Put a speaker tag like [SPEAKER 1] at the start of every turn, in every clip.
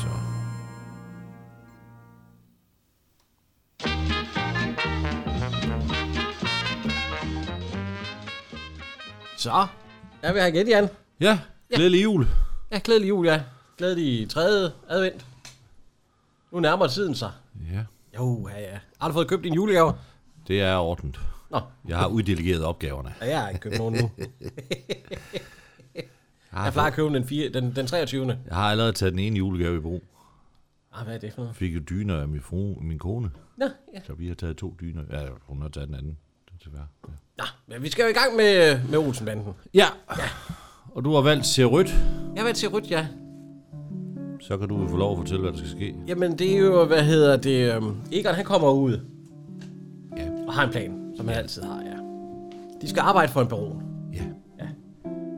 [SPEAKER 1] Så.
[SPEAKER 2] Så, der er vi her igen, Jan.
[SPEAKER 1] Ja, glædelig jul.
[SPEAKER 2] Ja, glædelig jul, ja. Glædelig tredje advent. Nu nærmer tiden sig.
[SPEAKER 1] Ja,
[SPEAKER 2] Jo, ja, ja. Har du fået købt din julegave?
[SPEAKER 1] det er ordent.
[SPEAKER 2] Nå,
[SPEAKER 1] Jeg har uddelegeret opgaverne.
[SPEAKER 2] ja, jeg har ikke købt nogen nu.
[SPEAKER 1] Jeg
[SPEAKER 2] Jeg
[SPEAKER 1] har,
[SPEAKER 2] plejer at købe den, 4, den, den 23.
[SPEAKER 1] jeg har allerede taget den ene julegave i brug.
[SPEAKER 2] Ah, hvad er det for noget?
[SPEAKER 1] Fik jo dyner af min, fru, min kone,
[SPEAKER 2] Nå, ja.
[SPEAKER 1] så vi har taget to dyner. Ja, hun har taget den anden. Det er desværre. Ja.
[SPEAKER 2] Nå, men vi skal jo i gang med, med Olsenbanden.
[SPEAKER 1] ja. Og du har valgt ser rødt,
[SPEAKER 2] Jeg vil til Rødt, ja.
[SPEAKER 1] så kan du jo få lov at fortælle, hvad der skal ske.
[SPEAKER 2] Jamen, det er jo, hvad hedder det... øhm, Egon, han kommer ud.
[SPEAKER 1] Ja.
[SPEAKER 2] Og har en plan, som han altid har, ja. De skal arbejde for en baron.
[SPEAKER 1] Ja,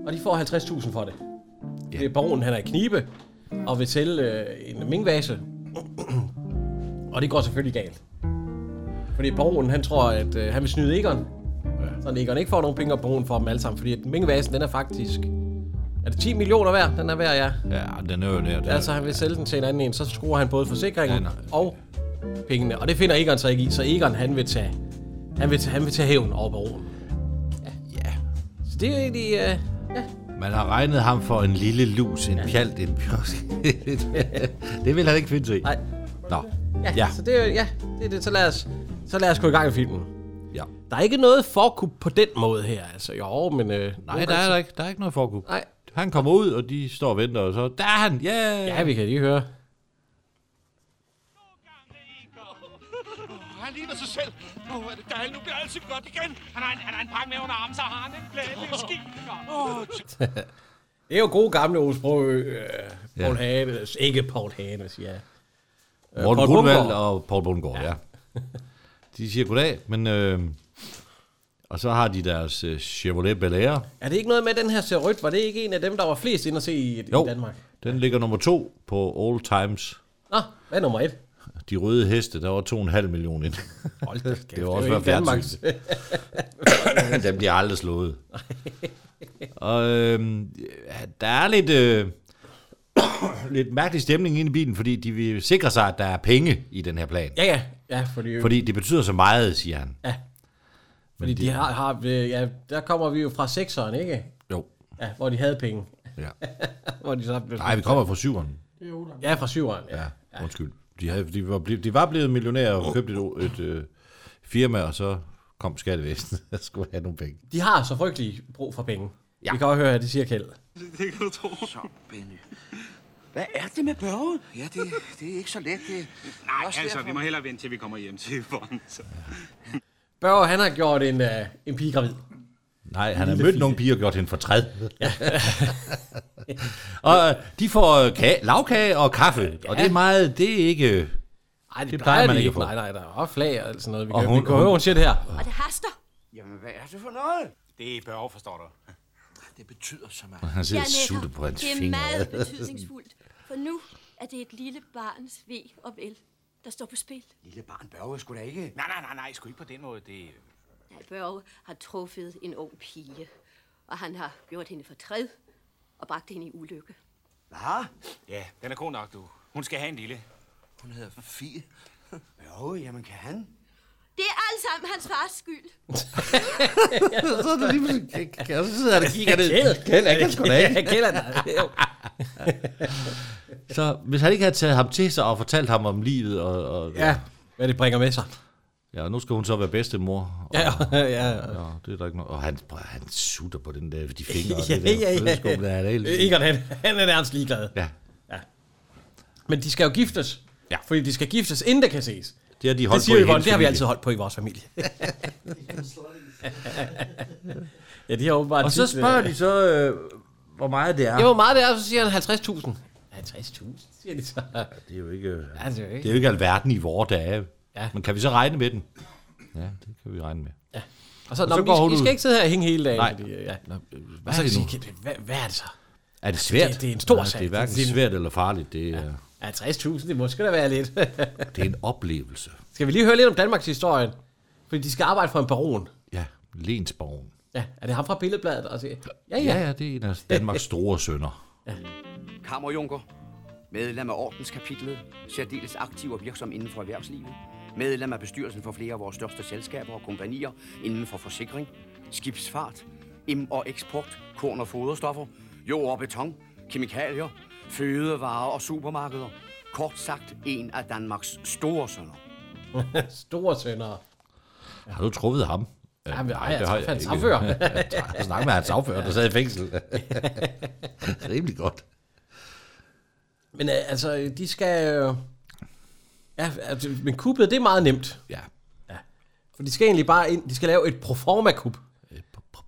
[SPEAKER 2] Og de får 50.000 for det.
[SPEAKER 1] Ja.
[SPEAKER 2] Ja. Det er baronen, han er i knibe, og vil sælge øh, en minkvase. og det går selvfølgelig galt. Fordi baronen, han tror, at øh, han vil snyde Egon.
[SPEAKER 1] Ja.
[SPEAKER 2] Ja. Så Egon ikke får nogen penge, og baronen får dem alle sammen. Fordi at minkvasen, den er faktisk... Er det 10 millioner værd? Den er værd, ja.
[SPEAKER 1] ja den er jo nær.
[SPEAKER 2] Ja, så Altså, han vil sælge den til en anden en, så skruer han både forsikringen
[SPEAKER 1] Ja,
[SPEAKER 2] ja,
[SPEAKER 1] nej.
[SPEAKER 2] og pengene. Og det finder Egon så ikke i, så Egon han vil tage, han vil tage, han vil tage hævn over baronen.
[SPEAKER 1] ja.
[SPEAKER 2] Så det er jo egentlig, øh, ja,
[SPEAKER 1] Man har regnet ham for en lille lus, en ja. pjalt, en pjosk. det vil han ikke finde sig i.
[SPEAKER 2] nej,
[SPEAKER 1] Nå,
[SPEAKER 2] Ja,
[SPEAKER 1] Ja.
[SPEAKER 2] ja. så det er jo- ja, det er det. Så lad, os, så lad os gå i gang med filmen.
[SPEAKER 1] ja.
[SPEAKER 2] Der er ikke noget forkup på den måde her, altså. Jo, men... Øh,
[SPEAKER 1] Nej, der er der ikke, der er ikke noget forkup.
[SPEAKER 2] Nej.
[SPEAKER 1] Han kommer ud, og de står og venter, og så, der er han, yeah!
[SPEAKER 2] Ja, vi kan lige høre.
[SPEAKER 3] Åh, Han ligner sig selv. Åh, oh, er det dejligt. Nu bliver alt så godt igen. Han har en, han har en pakke med under armen, så har han en glad lille ski. Åh, oh,
[SPEAKER 2] Det er jo gode gamle Osbro, øh, Paul
[SPEAKER 1] Ja.
[SPEAKER 2] Hane, ikke Paul Hane, siger jeg.
[SPEAKER 1] Øh, Morten
[SPEAKER 2] Øh, Poul
[SPEAKER 1] Grundvald
[SPEAKER 2] Bundgaard.
[SPEAKER 1] og Paul Bundgaard, ja. ja. De siger goddag, men... Øh, og så har de deres øh, Chevrolet Bel Air.
[SPEAKER 2] Er det ikke noget med, at den her ser rødt? Var det ikke en af dem, der var flest ind at se i, i
[SPEAKER 1] Jo,
[SPEAKER 2] Danmark?
[SPEAKER 1] den ligger nummer to på All Times.
[SPEAKER 2] Nå, hvad er nummer et?
[SPEAKER 1] De røde heste, der var 2,5 millioner ind.
[SPEAKER 2] Hold da kæft,
[SPEAKER 1] Det var også været
[SPEAKER 2] Danmarks.
[SPEAKER 1] fjernsynet. Dem bliver aldrig slået. og øh, der er lidt, øh, lidt mærkelig stemning inde i bilen, fordi de vil sikre sig, at der er penge i den her plan.
[SPEAKER 2] Ja, ja, ja, fordi, fordi,
[SPEAKER 1] Fordi det betyder så meget, siger han.
[SPEAKER 2] fordi de har, har øh, ja, der kommer vi jo fra sekseren, ikke?
[SPEAKER 1] Jo.
[SPEAKER 2] Ja, hvor de havde penge.
[SPEAKER 1] Ja.
[SPEAKER 2] hvor de så blev,
[SPEAKER 1] Nej, vi kommer fra syveren.
[SPEAKER 2] ja, fra syveren. Ja.
[SPEAKER 1] Ja, undskyld. De, havde, de, var, blevet, de var blevet millionærer og købte et, et øh, firma, og så kom skattevæsenet og skulle have nogle penge.
[SPEAKER 2] De har så frygtelig brug for penge. Ja. Vi kan også høre, at det siger Kjeld.
[SPEAKER 4] Så, Benny. Hvad er det med børge? Ja, det, det er ikke så let. Det,
[SPEAKER 3] Nej,
[SPEAKER 4] Også
[SPEAKER 3] altså,
[SPEAKER 4] derfor.
[SPEAKER 3] vi må hellere vente, til vi kommer hjem til Yvonne. Så.
[SPEAKER 2] Børge, han har gjort en, øh, en pige gravid.
[SPEAKER 1] Nej, han har mødt nogle piger og gjort hende fortræd. og øh, de får øh, kage, lavkage og kaffe, og det er meget, det er ikke... øh,
[SPEAKER 2] Ej, det, det
[SPEAKER 1] plejer man
[SPEAKER 2] de
[SPEAKER 1] ikke at få.
[SPEAKER 2] Nej, nej, der er også flag og alt sådan noget. Vi
[SPEAKER 1] Og
[SPEAKER 2] kan, hun,
[SPEAKER 1] hun-
[SPEAKER 2] vi kan høre,
[SPEAKER 1] hun-
[SPEAKER 2] hun siger det her.
[SPEAKER 5] Og det haster.
[SPEAKER 4] Jamen, hvad er det for noget?
[SPEAKER 3] Det er Børge, forstår du.
[SPEAKER 4] Det betyder så meget.
[SPEAKER 1] Han sidder og
[SPEAKER 5] Janette,
[SPEAKER 1] sutter på hans
[SPEAKER 5] Det er
[SPEAKER 1] fingre.
[SPEAKER 5] meget betydningsfuldt, for nu er det et lille barns ved og vel, der står på spil.
[SPEAKER 4] Lille barn børge skulle da ikke.
[SPEAKER 3] Nej, nej, nej, nej, sgu ikke på den måde. Det,
[SPEAKER 5] Nej, Børge har truffet en ung pige, og han har gjort hende fortræd og bragt hende i ulykke.
[SPEAKER 4] Hvad?
[SPEAKER 3] ja, den er god nok, du. Hun skal have en lille.
[SPEAKER 4] Hun hedder Fie. Jo, jamen kan han?
[SPEAKER 5] Det er alt sammen hans fars skyld.
[SPEAKER 1] så er det lige pludselig, og så sidder han og kigger
[SPEAKER 2] Kjeld, Kjeld,
[SPEAKER 1] han kan sgu da ikke.
[SPEAKER 2] Ja, Kjeld er der. Jo.
[SPEAKER 1] Så hvis han ikke havde taget ham til sig og fortalt ham om livet, og, og ja.
[SPEAKER 2] Ja, hvad det bringer med sig.
[SPEAKER 1] ja, nu skal hun så være bedstemor,
[SPEAKER 2] Ja, ja, ja.
[SPEAKER 1] Ja, det er der ikke noget. Og han, prøv, han sutter på den der, de fingre. og det
[SPEAKER 2] Ja, ja, ja.
[SPEAKER 1] der flødeskum, der er det hele tiden.
[SPEAKER 2] Egon, han, han er nærmest ligeglad.
[SPEAKER 1] Ja,
[SPEAKER 2] Men de skal jo giftes.
[SPEAKER 1] Ja.
[SPEAKER 2] Fordi de skal giftes, inden det kan ses.
[SPEAKER 1] det har de
[SPEAKER 2] Det
[SPEAKER 1] holdt
[SPEAKER 2] siger
[SPEAKER 1] på i
[SPEAKER 2] Yvonne,
[SPEAKER 1] hendes
[SPEAKER 2] det har vi
[SPEAKER 1] familie.
[SPEAKER 2] altid holdt på i vores familie. ja, de har åbenbart...
[SPEAKER 1] Og så
[SPEAKER 2] tit, øh,
[SPEAKER 1] spørger de så, øh, hvor meget det er.
[SPEAKER 2] Ja, hvor meget det er, så siger han 50.000. 50.000, siger de så.
[SPEAKER 1] Det er jo ikke, øh,
[SPEAKER 2] Ja, det er jo
[SPEAKER 1] det er
[SPEAKER 2] ikke.
[SPEAKER 1] jo ikke alverden i vore dage.
[SPEAKER 2] Ja.
[SPEAKER 1] Men kan vi så regne med den? Ja, det kan vi regne med.
[SPEAKER 2] Og så,
[SPEAKER 1] så
[SPEAKER 2] nå, men
[SPEAKER 1] går
[SPEAKER 2] I,
[SPEAKER 1] hun
[SPEAKER 2] I skal
[SPEAKER 1] ud.
[SPEAKER 2] ikke sidde her og hænge hele dagen.
[SPEAKER 1] Nej.
[SPEAKER 2] Fordi, øh, ja.
[SPEAKER 1] Nå, øh,
[SPEAKER 2] Og
[SPEAKER 1] Hvad
[SPEAKER 2] så
[SPEAKER 1] er
[SPEAKER 2] kan I
[SPEAKER 1] det nu?
[SPEAKER 2] sige, kan det, hvad, hvad er det så?
[SPEAKER 1] Er det svært?
[SPEAKER 2] Det- det er en stor
[SPEAKER 1] Nej,
[SPEAKER 2] sag.
[SPEAKER 1] Det er hverken
[SPEAKER 2] Det er en-
[SPEAKER 1] svært eller farligt. Det er,
[SPEAKER 2] Ja, 60.000, det må sgu da være lidt.
[SPEAKER 1] det er en oplevelse.
[SPEAKER 2] skal vi lige høre lidt om Danmarks historie? Fordi de skal arbejde for en baron.
[SPEAKER 1] Ja, Lensborgen.
[SPEAKER 2] Ja, er det ham fra Billedbladet? Og siger, ja, ja.
[SPEAKER 1] Ja, ja, det er en af Danmarks store sønner.
[SPEAKER 4] Kammerjunker, medlem af ordenskapitlet, særdeles aktiv og virksom inden for erhvervslivet, medlem af bestyrelsen for flere af vores største selskaber og kompanier inden for forsikring, skibsfart, im- og eksport, korn- og foderstoffer, jord og beton, kemikalier, fødevarer og supermarkeder. Kort sagt, en af Danmarks store sønner.
[SPEAKER 2] Store sønder.
[SPEAKER 1] Har du truffet ham? Øh,
[SPEAKER 2] Jamen, nej, jeg
[SPEAKER 1] det har
[SPEAKER 2] tror hans
[SPEAKER 1] ikke.
[SPEAKER 2] affører.
[SPEAKER 1] Jeg snakker med hans affører, der sad i fængsel. Rimelig godt.
[SPEAKER 2] Men øh, altså, øh, de skal... Øh, ja, altså, men kuppet, det er meget nemt.
[SPEAKER 1] Ja.
[SPEAKER 2] For de skal egentlig bare ind, de skal lave et proforma-kup.
[SPEAKER 1] Øh,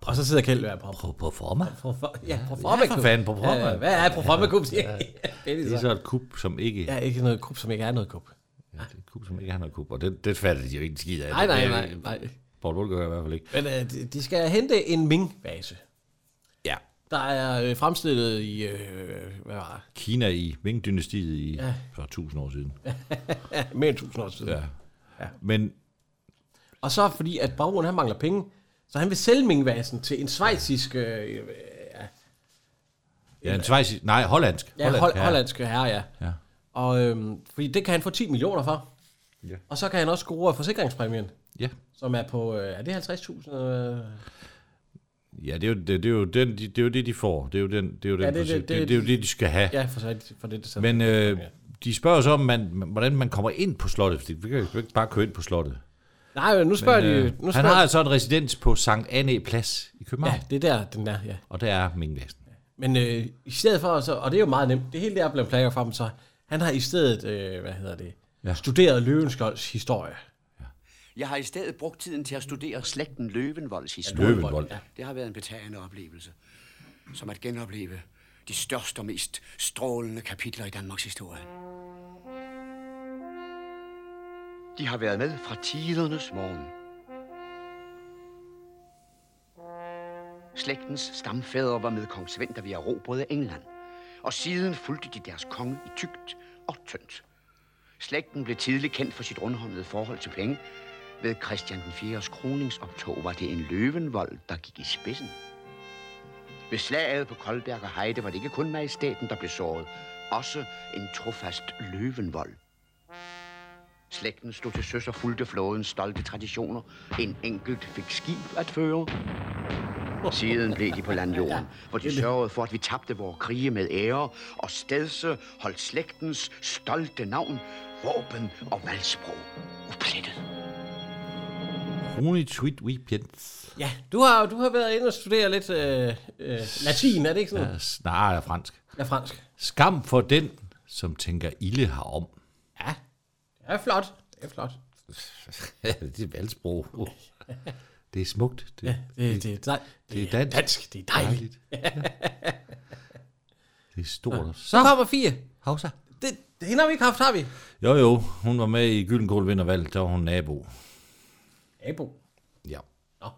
[SPEAKER 2] Og så sidder Kjeld og er på.
[SPEAKER 1] På, på forma.
[SPEAKER 2] profor- Ja, proforma-kup.
[SPEAKER 1] for fanden, proforma.
[SPEAKER 2] Ja, Hvad er proforma-kup? siger jeg. Det er
[SPEAKER 1] Det er
[SPEAKER 2] så-
[SPEAKER 1] så et kub, som ikke,
[SPEAKER 2] Ja, ikke noget kup, som ikke er noget kup.
[SPEAKER 1] ja. et kub, som ikke har noget kub. Og det, det fatter de jo ikke en skid af.
[SPEAKER 2] Nej, nej,
[SPEAKER 1] Det-
[SPEAKER 2] nej, nej.
[SPEAKER 1] Poul Volker gør i hvert fald ikke.
[SPEAKER 2] Men øh, de- de skal hente en mingbase,
[SPEAKER 1] Ja.
[SPEAKER 2] der er øh, fremstillet i... Øh, hvad var det?
[SPEAKER 1] Kina i Ming-dynastiet i
[SPEAKER 2] Ja.
[SPEAKER 1] for 1000 år siden.
[SPEAKER 2] Ja, mere end 1000 år siden. Ja.
[SPEAKER 1] Ja. Men
[SPEAKER 2] Og så fordi, at baronen han mangler penge, så han vil sælge mingvasen til en svejsisk... Øh, øh,
[SPEAKER 1] ja, en svejs, nej, hollandsk.
[SPEAKER 2] ja, hold, hollandsk herre, ja.
[SPEAKER 1] Ja.
[SPEAKER 2] Og øhm, fordi det kan han få 10 millioner for.
[SPEAKER 1] Ja.
[SPEAKER 2] Og så kan han også score forsikringspræmien,
[SPEAKER 1] Ja.
[SPEAKER 2] som er på... Øh, er det 50.000? Øh,
[SPEAKER 1] Ja, det er, jo, det, det, er jo den, de, det er jo det, de får. Det er jo, den, det er jo, den
[SPEAKER 2] Ja,
[SPEAKER 1] ja,
[SPEAKER 2] det-
[SPEAKER 1] det, det,
[SPEAKER 2] det- det-
[SPEAKER 1] det, det, er jo det, de skal have.
[SPEAKER 2] ja, for, så- for det, det
[SPEAKER 1] Men øh, de spørger jo så, om man, man- hvordan man kommer ind på slottet, fordi vi kan jo ikke bare køre ind på slottet.
[SPEAKER 2] Nej, men nu spørger
[SPEAKER 1] Øh,
[SPEAKER 2] men, de... Nu spørger
[SPEAKER 1] han har altså en residens på Sankt Anne Plads i København,
[SPEAKER 2] Ja,
[SPEAKER 1] ja.
[SPEAKER 2] det er der, den er, ja.
[SPEAKER 1] og der er Mingvæsen.
[SPEAKER 2] Men øh, i stedet for, så, og det er jo meget nemt, det hele der er blevet plager frem, så han har i stedet, øh, hvad hedder det, ja.
[SPEAKER 1] Ja.
[SPEAKER 2] studeret Løvenskjolds historie.
[SPEAKER 4] Jeg har i stedet brugt tiden til at studere slægten Løvenvolds historie.
[SPEAKER 1] Løvenvold.
[SPEAKER 2] Ja.
[SPEAKER 4] Det har været en betagende oplevelse. Som at genopleve de største og mest strålende kapitler i Danmarks historie. De har været med fra tidernes morgen. Slægtens stamfædre var med kong Svend, da vi erobrede England. Og siden fulgte de deres konge i tygt og tyndt. Slægten blev tidligt kendt for sit rundhåndede forhold til penge. Ved Christian den 4. kroningsoptog var det en løvenvold, der gik i spidsen. Ved slaget på Koldberg og Heide var det ikke kun majestaten, der blev såret. Også en trofast løvenvold. Slægten stod til søs og fulgte flådens stolte traditioner. En enkelt fik skib at føre. Siden blev de på landjorden, hvor de sørgede for, at vi tabte vores krige med ære, og stedse holdt slægtens stolte navn, våben og valgsprog uplettet.
[SPEAKER 1] Rune Tweet Weekends.
[SPEAKER 2] Ja, du har, du har været inde og studere lidt øh, øh, latin, er det ikke sådan? Ja.
[SPEAKER 1] Ja, snarere er fransk.
[SPEAKER 2] ja, fransk.
[SPEAKER 1] Skam for den, som tænker ilde herom.
[SPEAKER 2] Ja, det er flot. Det er flot.
[SPEAKER 1] det er valgsprog. Det er smukt. Det, ja.
[SPEAKER 2] Det, det, det,
[SPEAKER 1] det er dansk.
[SPEAKER 2] dansk. Det er dejligt.
[SPEAKER 1] Dejligt. Det er stort.
[SPEAKER 2] Så kommer fire.
[SPEAKER 1] Havsa.
[SPEAKER 2] Det, det hende har vi ikke haft, har vi.
[SPEAKER 1] Jo jo, hun var med i Gyldenkål Vindervalg, der var hun nabo.
[SPEAKER 2] Abo.
[SPEAKER 1] Ja.
[SPEAKER 2] Nå.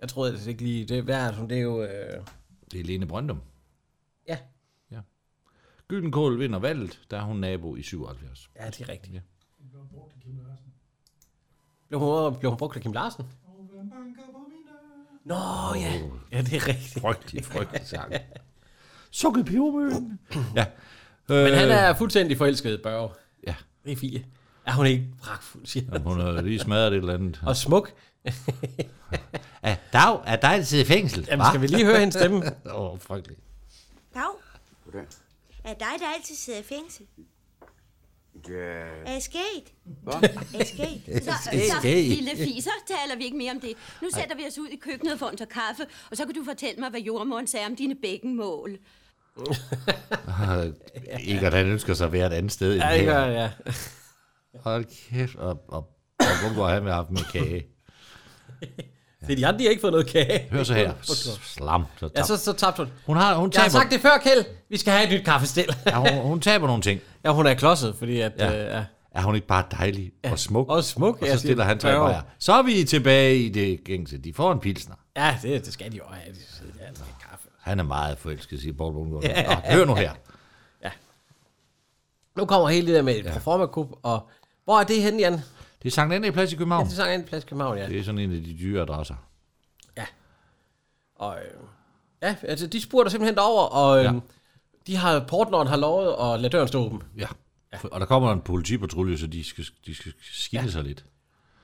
[SPEAKER 2] Jeg troede det ikke lige. Det, hvad er det, hun- det er jo... Øh,
[SPEAKER 1] Det er Lene Brøndum.
[SPEAKER 2] ja.
[SPEAKER 1] Gyldenkål vinder valget, der er hun nabo i 77.
[SPEAKER 2] ja, det er rigtigt.
[SPEAKER 1] Ja.
[SPEAKER 2] Blev hun, øh, blev hun brugt af Kim Larsen? Nå ja, ja det er rigtigt.
[SPEAKER 1] Frygtelig, frygtelig sang. Sukket peberbøen. Ja.
[SPEAKER 2] Men han er fuldstændig forelsket i Børge.
[SPEAKER 1] Øh, Ja.
[SPEAKER 2] Det er fie. Er hun ikke pragtfuld, siger han.
[SPEAKER 1] Hun har lige smadret et eller andet.
[SPEAKER 2] Og smuk.
[SPEAKER 1] Ja, Dag, er dig, der sidder i fængsel?
[SPEAKER 2] Jamen, skal vi lige høre hendes stemme?
[SPEAKER 1] Åh, oh, frygteligt.
[SPEAKER 6] Dag,
[SPEAKER 4] Goddag.
[SPEAKER 6] er dig, der altid sidder i fængsel?
[SPEAKER 4] Ja,
[SPEAKER 6] Er jeg sket?
[SPEAKER 4] Hvad?
[SPEAKER 6] Er jeg sket?
[SPEAKER 5] Så, så lille fiser taler vi ikke mere om det. Nu sætter vi os ud i køkkenet og får en tår kaffe, og så kan du fortælle mig, hvad jordmoren sagde om dine bækkenmål.
[SPEAKER 1] Ikke, at han ønsker sig at være et andet sted end
[SPEAKER 2] Ja, det gør
[SPEAKER 1] her.
[SPEAKER 2] jeg, ja.
[SPEAKER 1] Hold kæft, og, og, og hvor han med haft med kage.
[SPEAKER 2] Det er de andre, de har ikke fået noget kage.
[SPEAKER 1] Hør så her. Slam. Så
[SPEAKER 2] Ja,
[SPEAKER 1] tab.
[SPEAKER 2] så, så tabte hun.
[SPEAKER 1] Hun, har, hun,
[SPEAKER 2] Jeg har
[SPEAKER 1] taber,
[SPEAKER 2] sagt det før, Kjeld. Vi skal have et nyt kaffestil.
[SPEAKER 1] ja, hun, hun taber nogle ting.
[SPEAKER 2] ja, hun er klodset, fordi at... Ja.
[SPEAKER 1] Ja.
[SPEAKER 2] Øh, ja.
[SPEAKER 1] Er hun ikke bare dejlig og smuk?
[SPEAKER 2] og smuk,
[SPEAKER 1] Og
[SPEAKER 2] ja,
[SPEAKER 1] så
[SPEAKER 2] siger
[SPEAKER 1] stiller
[SPEAKER 2] den.
[SPEAKER 1] han tre
[SPEAKER 2] Ja.
[SPEAKER 1] bajer. Så er vi tilbage i det gængse. De får en pilsner.
[SPEAKER 2] Ja, det, det skal de jo have. De sidder der altså kaffe.
[SPEAKER 1] Han er meget forelsket, siger Paul Bundgaard. Nå, hør nu her.
[SPEAKER 2] Nu kommer hele det der med et ja. proforma-kup, og hvor er det henne, Jan? Det
[SPEAKER 1] Det er Sankt Anne Plads i København.
[SPEAKER 2] er sådan en plads i København, ja.
[SPEAKER 1] Det er sådan en af de dyre adresser.
[SPEAKER 2] Og, øh, ja, altså de spurgte simpelthen derover, og øh,
[SPEAKER 1] Ja.
[SPEAKER 2] de har, portneren har lovet at lade døren stå åben.
[SPEAKER 1] Ja. Og der kommer en politipatrulje, så de skal, de skal skille ja. sig lidt.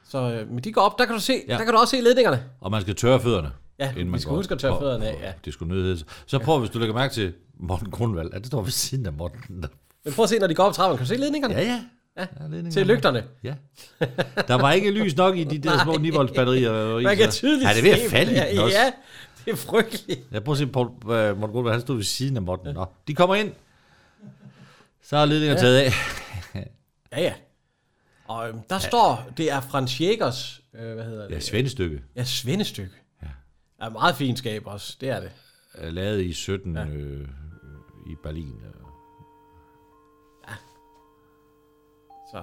[SPEAKER 2] Så øh, men de går op, der kan du se, ja.
[SPEAKER 1] Ja.
[SPEAKER 2] der kan du også se ledningerne.
[SPEAKER 1] Og man skal tørre fødderne.
[SPEAKER 2] Ja, vi skal huske at tørre
[SPEAKER 1] Og-
[SPEAKER 2] fødderne af,
[SPEAKER 1] og
[SPEAKER 2] ja.
[SPEAKER 1] Det skulle nødhede sig. Så prøv, hvis du lægger mærke til Morten Grundvald. Ja, det står ved siden af Morten.
[SPEAKER 2] Men prøv at se, når de går op trappen, kan du se ledningerne?
[SPEAKER 1] Ja, ja.
[SPEAKER 2] Ja,
[SPEAKER 1] ledningerne.
[SPEAKER 2] Til lygterne.
[SPEAKER 1] Ja. Der var ikke lys nok i de der små nivoldsbatterier.
[SPEAKER 2] Man kan tydeligt
[SPEAKER 1] Ja, det er ved
[SPEAKER 2] se
[SPEAKER 1] at falde
[SPEAKER 2] dem.
[SPEAKER 1] i den også.
[SPEAKER 2] Ja, det er frygteligt.
[SPEAKER 1] Jeg prøver at se, Paul, øh, Morten Grundvald, han stod ved siden af Morten. Nå, de kommer ind. Så er ledningerne taget af.
[SPEAKER 2] Ja, ja. Og øhm, der ja. står, det er Frans Jægers, øh, hvad hedder det?
[SPEAKER 1] Ja, Svendestykke.
[SPEAKER 2] Ja, svendestykke. Ja. Er meget fint skab også, det er det.
[SPEAKER 1] øh, lavet i 17 ja. øh, i Berlin. øh.
[SPEAKER 2] Så.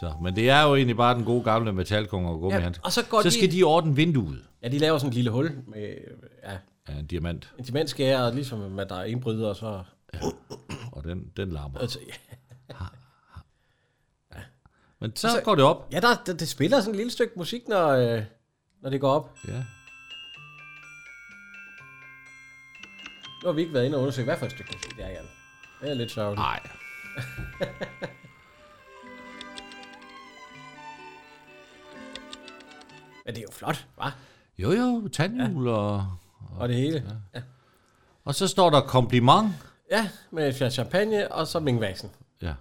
[SPEAKER 1] Så, men det er jo egentlig bare den gode gamle metalkonge og gummihandsker.
[SPEAKER 2] Ja, og så går
[SPEAKER 1] så
[SPEAKER 2] de-
[SPEAKER 1] skal de ordne vinduet
[SPEAKER 2] Ja, de laver sådan et lille hul med øh, ja,
[SPEAKER 1] af en diamant,
[SPEAKER 2] en dimensskære, og ligesom at der er indbryder, og så...
[SPEAKER 1] og den, den larmer.
[SPEAKER 2] Altså, ja.
[SPEAKER 1] Men så går det op.
[SPEAKER 2] Ja, der, der, det spiller sådan et lille stykke musik, når, øh, når det går op.
[SPEAKER 1] Ja.
[SPEAKER 2] Nu har vi ikke været inde og undersøge, hvad for et stykke musik det er, Jan. Det er lidt sørgeligt.
[SPEAKER 1] Nej.
[SPEAKER 2] Men det er jo flot, hva'?
[SPEAKER 1] Jo, jo, tandhjul ja. og...
[SPEAKER 2] Og det hele. Ja,
[SPEAKER 1] Og så står der kompliment.
[SPEAKER 2] ja med et glas champagne, og så mingvasen.
[SPEAKER 1] Ja,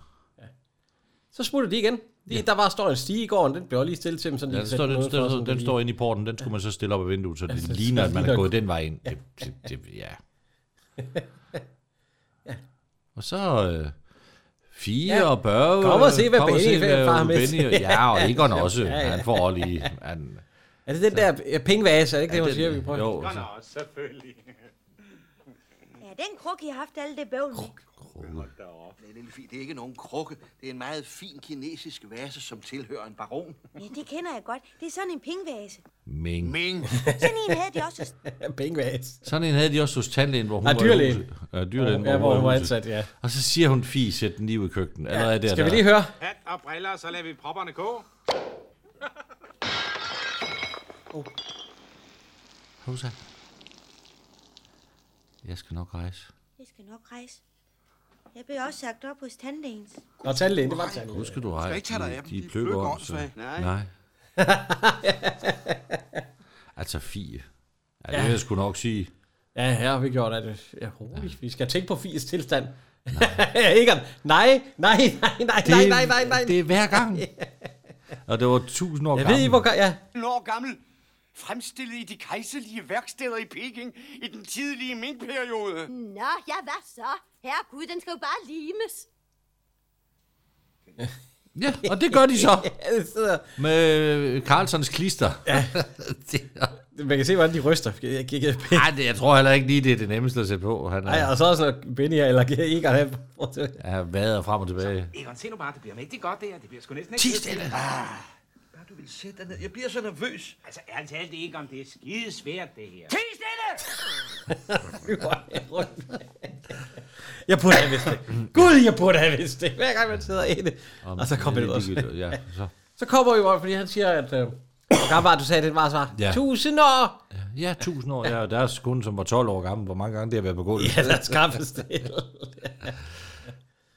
[SPEAKER 2] Så smutter de igen. De, ja. Der var står en stige i gården, den blev lige stille til dem, sådan
[SPEAKER 1] ja
[SPEAKER 2] de
[SPEAKER 1] den,
[SPEAKER 2] kan sætte
[SPEAKER 1] står, den,
[SPEAKER 2] noget for,
[SPEAKER 1] den,
[SPEAKER 2] sådan
[SPEAKER 1] den, den
[SPEAKER 2] de-
[SPEAKER 1] står inde i porten. Den skulle man så stille op ad vinduet, så det
[SPEAKER 2] så- så
[SPEAKER 1] ligner, at man
[SPEAKER 2] ligner-
[SPEAKER 1] er gået den vej ind. Det, det, det, ja. Og så... Øh, Fie
[SPEAKER 2] Ja.
[SPEAKER 1] ja. og Børge.
[SPEAKER 2] Kom og se, hvad
[SPEAKER 1] kom og
[SPEAKER 2] Benny-
[SPEAKER 1] hvad
[SPEAKER 2] far har med.
[SPEAKER 1] Benny og- Ja, og Egon også. ja, ja. Han får også lige... Han,
[SPEAKER 2] Er det den der ja, pengevase, er det ikke ja, det, man siger, vi prøver?
[SPEAKER 1] Jo, så,
[SPEAKER 6] Ja, den kruk, I har haft alle det bøvl med.
[SPEAKER 4] Nej, lille fi, det er ikke nogen krukke. Det er en meget fin kinesisk vase, som tilhører en baron.
[SPEAKER 6] Ja, det kender jeg godt. Det er sådan en pingvase.
[SPEAKER 1] Ming.
[SPEAKER 4] Ming!
[SPEAKER 6] Sådan en havde de også.
[SPEAKER 2] Ja, pengevase.
[SPEAKER 1] Sådan en havde de også hos tandlægen, hvor hun
[SPEAKER 2] Ah,
[SPEAKER 1] var i
[SPEAKER 2] dyrlægen.
[SPEAKER 1] huset. Ja, dyrlægen.
[SPEAKER 2] Ja, hvor hun var
[SPEAKER 1] i huset.
[SPEAKER 2] ansat, ja.
[SPEAKER 1] Og så siger hun, fi, sæt den lige ud i køkkenet. Allerede der,
[SPEAKER 2] Skal vi
[SPEAKER 1] der.
[SPEAKER 2] lige høre?
[SPEAKER 3] Hat og briller, så lader vi propperne gå.
[SPEAKER 1] Husa. Jeg skal nok rejse.
[SPEAKER 6] Jeg skal nok rejse. Jeg blev også sagt op hos tandlægens.
[SPEAKER 2] Nå, tandlægen, det var tandlægen.
[SPEAKER 1] Nu skal du rejse.
[SPEAKER 4] ikke tage dig af dem.
[SPEAKER 1] De,
[SPEAKER 4] De
[SPEAKER 1] de
[SPEAKER 4] er
[SPEAKER 1] pløkker om, så.
[SPEAKER 4] pløkkeåndssvage.
[SPEAKER 1] Nej.
[SPEAKER 4] Nej.
[SPEAKER 1] Nej. altså, fi. Ja, det vil jeg sgu nok sige.
[SPEAKER 2] Ja, her har vi gjort af det. Ja, roligt. Vi skal tænke på Fies tilstand. Ikke nej, nej, nej, nej, nej, nej, nej, nej.
[SPEAKER 1] Det er hver gang. Og det var tusind år
[SPEAKER 2] Jeg
[SPEAKER 1] gammel.
[SPEAKER 2] ved I, hvor... gør- Ja,
[SPEAKER 4] 18 år gammel, fremstillet i de kejserlige værksteder i Peking i den tidlige Ming-periode.
[SPEAKER 5] Nå, ja, hvad så? Herregud, den skal jo bare limes.
[SPEAKER 1] Ja, og det gør de så.
[SPEAKER 2] Ja, det sidder...
[SPEAKER 1] Med øh, Carlsons klister. Ja.
[SPEAKER 2] Man kan se, hvordan de ryster. Jeg kigger
[SPEAKER 1] Ej, det, jeg tror heller ikke lige, det er det nemmeste at sætte på. Han er,
[SPEAKER 2] Nej, og så er sådan noget Benny eller Egon. han-
[SPEAKER 1] er vader frem og tilbage.
[SPEAKER 3] Egon, se nu bare, det bliver mægtigt godt det her. Det bliver sgu næsten
[SPEAKER 1] Ti
[SPEAKER 3] ikke...
[SPEAKER 1] stille!
[SPEAKER 4] Bare du vil sætte dig ned. Jeg bliver så nervøs.
[SPEAKER 3] Altså, ærligt talt, Egon, det er skidesvært det her.
[SPEAKER 4] Ti stille!
[SPEAKER 2] Jeg burde have vidst det. Gud, jeg burde have vidst det. Hver gang man sidder inde. Og så kommer det også.
[SPEAKER 1] Ja, så.
[SPEAKER 2] Så kommer jo op, fordi han siger, at... Øh, hvor gammel var du, sagde den var svar.
[SPEAKER 1] Ja.
[SPEAKER 2] Tusind år!
[SPEAKER 1] ja, tusind år. Ja, og deres kunde, som var 12 år gammel, hvor mange gange det har været på gulvet.
[SPEAKER 2] Ja, der skaffes det.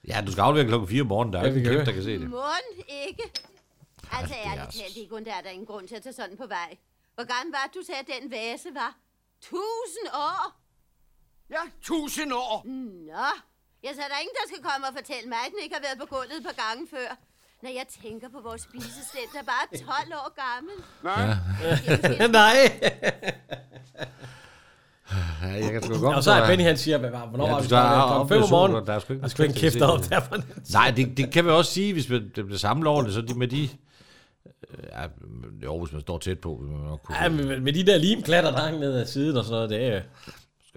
[SPEAKER 1] Ja, du skal aflevere klokken 4 om morgenen. Der er
[SPEAKER 2] Ja,
[SPEAKER 1] ikke
[SPEAKER 2] vi
[SPEAKER 1] en
[SPEAKER 2] kan
[SPEAKER 1] kæft, der
[SPEAKER 2] høre.
[SPEAKER 1] kan se det.
[SPEAKER 5] Mund ikke. Altså,
[SPEAKER 1] det er
[SPEAKER 5] ærligt
[SPEAKER 1] også-
[SPEAKER 5] talt, Egon, der er der ingen grund til at tage sådan på vej. Hvor gammel var det, du sagde, at den vase var? Tusind år!
[SPEAKER 4] Ja, tusind år!
[SPEAKER 5] Nå, jeg sagde, der er ingen, der skal komme og fortælle mig, at den ikke har været på gulvet et par gange før. Når jeg tænker på vores spisestel, der bare er 12 år gammel.
[SPEAKER 2] Nej.
[SPEAKER 1] Ja, jeg kan sgu godt.
[SPEAKER 2] Og så er
[SPEAKER 1] forstå,
[SPEAKER 2] Benny, han siger, hvad, var- hvornår
[SPEAKER 1] Ja,
[SPEAKER 2] var
[SPEAKER 1] du
[SPEAKER 2] vi
[SPEAKER 1] skal have
[SPEAKER 2] startet? Klokken fem om
[SPEAKER 1] oplevet
[SPEAKER 2] morgenen.
[SPEAKER 1] solen, og der er sgu ikke
[SPEAKER 2] Der skulle
[SPEAKER 1] nogen
[SPEAKER 2] ikke
[SPEAKER 1] til at
[SPEAKER 2] kæft
[SPEAKER 1] se
[SPEAKER 2] op
[SPEAKER 1] det.
[SPEAKER 2] derfor.
[SPEAKER 1] at- Nej, det, det kan vi også sige, hvis man, det bliver sammenlårende, så de med de... Øh, Ja, jo, hvis man står tæt på, vil man nok kunne...
[SPEAKER 2] Ja, men med, med de der limklatter, der hang ned ad siden og sådan noget, det er... jo-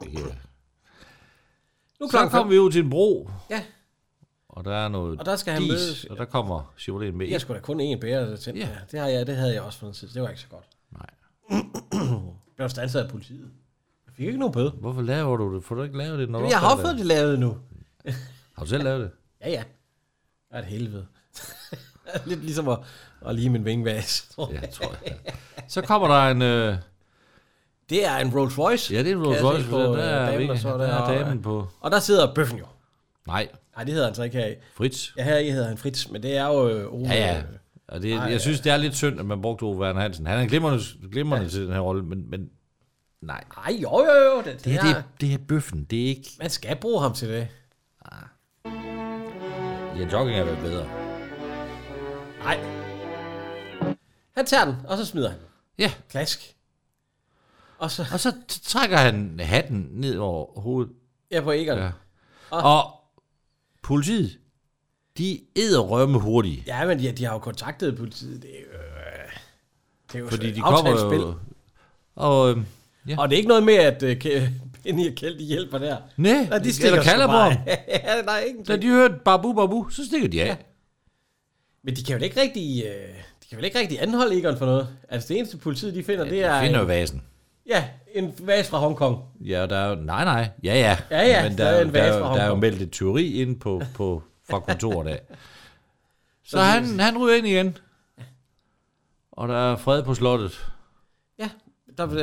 [SPEAKER 1] Ja.
[SPEAKER 2] Nu er
[SPEAKER 1] Så
[SPEAKER 2] klokken
[SPEAKER 1] kom
[SPEAKER 2] fem.
[SPEAKER 1] vi ud til en bro,
[SPEAKER 2] Ja.
[SPEAKER 1] Og der er noget
[SPEAKER 2] Og der skal han
[SPEAKER 1] dis,
[SPEAKER 2] mødes-
[SPEAKER 1] og der kommer Chivalen med.
[SPEAKER 2] Jeg skulle da kun én bære, der tændte
[SPEAKER 1] Ja.
[SPEAKER 2] yeah. det, har jeg, det havde jeg også for en tid. Det var ikke så godt.
[SPEAKER 1] Nej.
[SPEAKER 2] Jeg blev stanset af politiet. Jeg fik ikke nogen bøde.
[SPEAKER 1] Hvorfor laver du det? Får du ikke lavet det, når du
[SPEAKER 2] Jeg har
[SPEAKER 1] opdager
[SPEAKER 2] fået det lavet nu.
[SPEAKER 1] Har du selv lavet det?
[SPEAKER 2] Ja, ja. Det er et helvede. Lidt ligesom at, at lige min vingevags, tror jeg.
[SPEAKER 1] Ja, tror jeg. Så kommer der en... Øh,
[SPEAKER 2] Det er en Rolls Royce.
[SPEAKER 1] ja, det er en Rolls
[SPEAKER 2] Kan jeg
[SPEAKER 1] Royce,
[SPEAKER 2] se
[SPEAKER 1] for der,
[SPEAKER 2] på, øh,
[SPEAKER 1] er,
[SPEAKER 2] damen,
[SPEAKER 1] ikke,
[SPEAKER 2] og så
[SPEAKER 1] der,
[SPEAKER 2] er der-
[SPEAKER 1] er damen på...
[SPEAKER 2] Og der sidder bøffen jo.
[SPEAKER 1] Nej,
[SPEAKER 2] Nej, det hedder han så ikke her i.
[SPEAKER 1] Fritz.
[SPEAKER 2] Ja, her i hedder han Fritz, men det er jo øh, Ole.
[SPEAKER 1] Ja, ja. Og det, jeg synes, det er lidt synd, at man brugte Ove Werner Hansen. Han er glimrende, glimrende ja. til den her rolle, men, men nej.
[SPEAKER 2] Ej, jo, jo, jo. Det, det,
[SPEAKER 1] Det
[SPEAKER 2] ja,
[SPEAKER 1] her, det, er, det her bøffen, det er ikke... Ah.
[SPEAKER 2] Man skal bruge ham til det.
[SPEAKER 1] Ja, jogging er vel bedre.
[SPEAKER 2] Nej. Han tager den, og så smider han. den.
[SPEAKER 1] Ja,
[SPEAKER 2] Klask. Og så
[SPEAKER 1] og så t- trækker han hatten ned over hovedet.
[SPEAKER 2] er på Egon.
[SPEAKER 1] Ja.
[SPEAKER 2] Ja.
[SPEAKER 1] Og politiet, de æderrømme hurtige.
[SPEAKER 2] ja, men de, de har jo kontaktet politiet. Det er jo, øh, det er jo
[SPEAKER 1] Fordi
[SPEAKER 2] et
[SPEAKER 1] de
[SPEAKER 2] aftalt
[SPEAKER 1] kommer
[SPEAKER 2] spil.
[SPEAKER 1] jo... Og... Øhm, ja.
[SPEAKER 2] Og det er ikke noget med, at øh, Ke- Penny og Kjeld, de hjælper der.
[SPEAKER 1] Nej,
[SPEAKER 2] Nej, de stikker
[SPEAKER 1] eller kalder
[SPEAKER 2] sgu
[SPEAKER 1] på
[SPEAKER 2] bare.
[SPEAKER 1] ham.
[SPEAKER 2] ja, nej, ikke
[SPEAKER 1] Da de hørte babu babu, så stikker de af. Ja.
[SPEAKER 2] Men de kan jo ikke rigtig, øh, de kan vel ikke rigtig anholde Egon for noget. Altså det eneste politiet, de finder, ja, det er
[SPEAKER 1] Finder
[SPEAKER 2] en,
[SPEAKER 1] jo vasen.
[SPEAKER 2] ja, en vas fra Hongkong.
[SPEAKER 1] Ja, der er jo, nej, nej, ja, ja.
[SPEAKER 2] Ja, ja,
[SPEAKER 1] Men
[SPEAKER 2] der
[SPEAKER 1] der,
[SPEAKER 2] er
[SPEAKER 1] er,
[SPEAKER 2] en
[SPEAKER 1] jo- der, er,
[SPEAKER 2] vase
[SPEAKER 1] jo-
[SPEAKER 2] fra
[SPEAKER 1] der er jo
[SPEAKER 2] Hongkong.
[SPEAKER 1] meldt et tyveri ind på, på, fra kontoret af. Så han, han ryger ind igen. Og der er fred på slottet.
[SPEAKER 2] Ja, der, øh,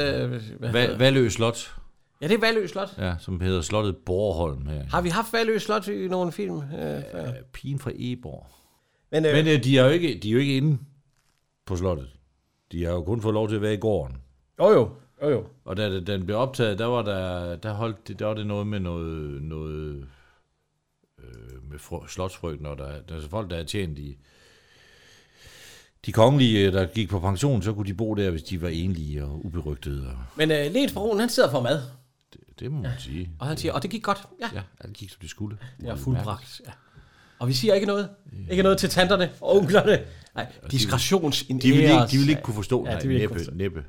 [SPEAKER 2] hvad
[SPEAKER 1] Val,
[SPEAKER 2] hedder-
[SPEAKER 1] Valø Slot,
[SPEAKER 2] ja det er Valø Slot.
[SPEAKER 1] ja, som hedder slottet Borholm her.
[SPEAKER 2] Har vi haft Valø Slot i nogle film? Øh, før?
[SPEAKER 1] Pigen fra Eborg.
[SPEAKER 2] men, øh,
[SPEAKER 1] Men øh, de, er jo ikke, de er jo ikke inde på slottet. De har jo kun fået lov til at være i gården.
[SPEAKER 2] jo jo, jo jo.
[SPEAKER 1] Og da det- den blev optaget, der var der, der, holdt det, der var det noget med noget, noget øh, med fro, slotsfrygten, og der, der er folk, der har tjent i de kongelige, øh, der gik på pension, så kunne de bo der, hvis de var enlige og uberygtede. Og
[SPEAKER 2] Men øh, Lens Broen, han sidder for mad,
[SPEAKER 1] det, det må man sige.
[SPEAKER 2] og han siger, og det gik godt. Ja,
[SPEAKER 1] Ja, alt gik, som det skulle.
[SPEAKER 2] det er fuldbragt. Ja. Og vi siger ikke noget. Ikke noget til tanterne og onklerne. Nej, diskretions en
[SPEAKER 1] De ville, ikke,
[SPEAKER 2] æres-
[SPEAKER 1] de ville ikke kunne forstå,
[SPEAKER 2] Ja,
[SPEAKER 1] nej,
[SPEAKER 2] de ville ikke
[SPEAKER 1] næppe,
[SPEAKER 2] kunne
[SPEAKER 1] næppe.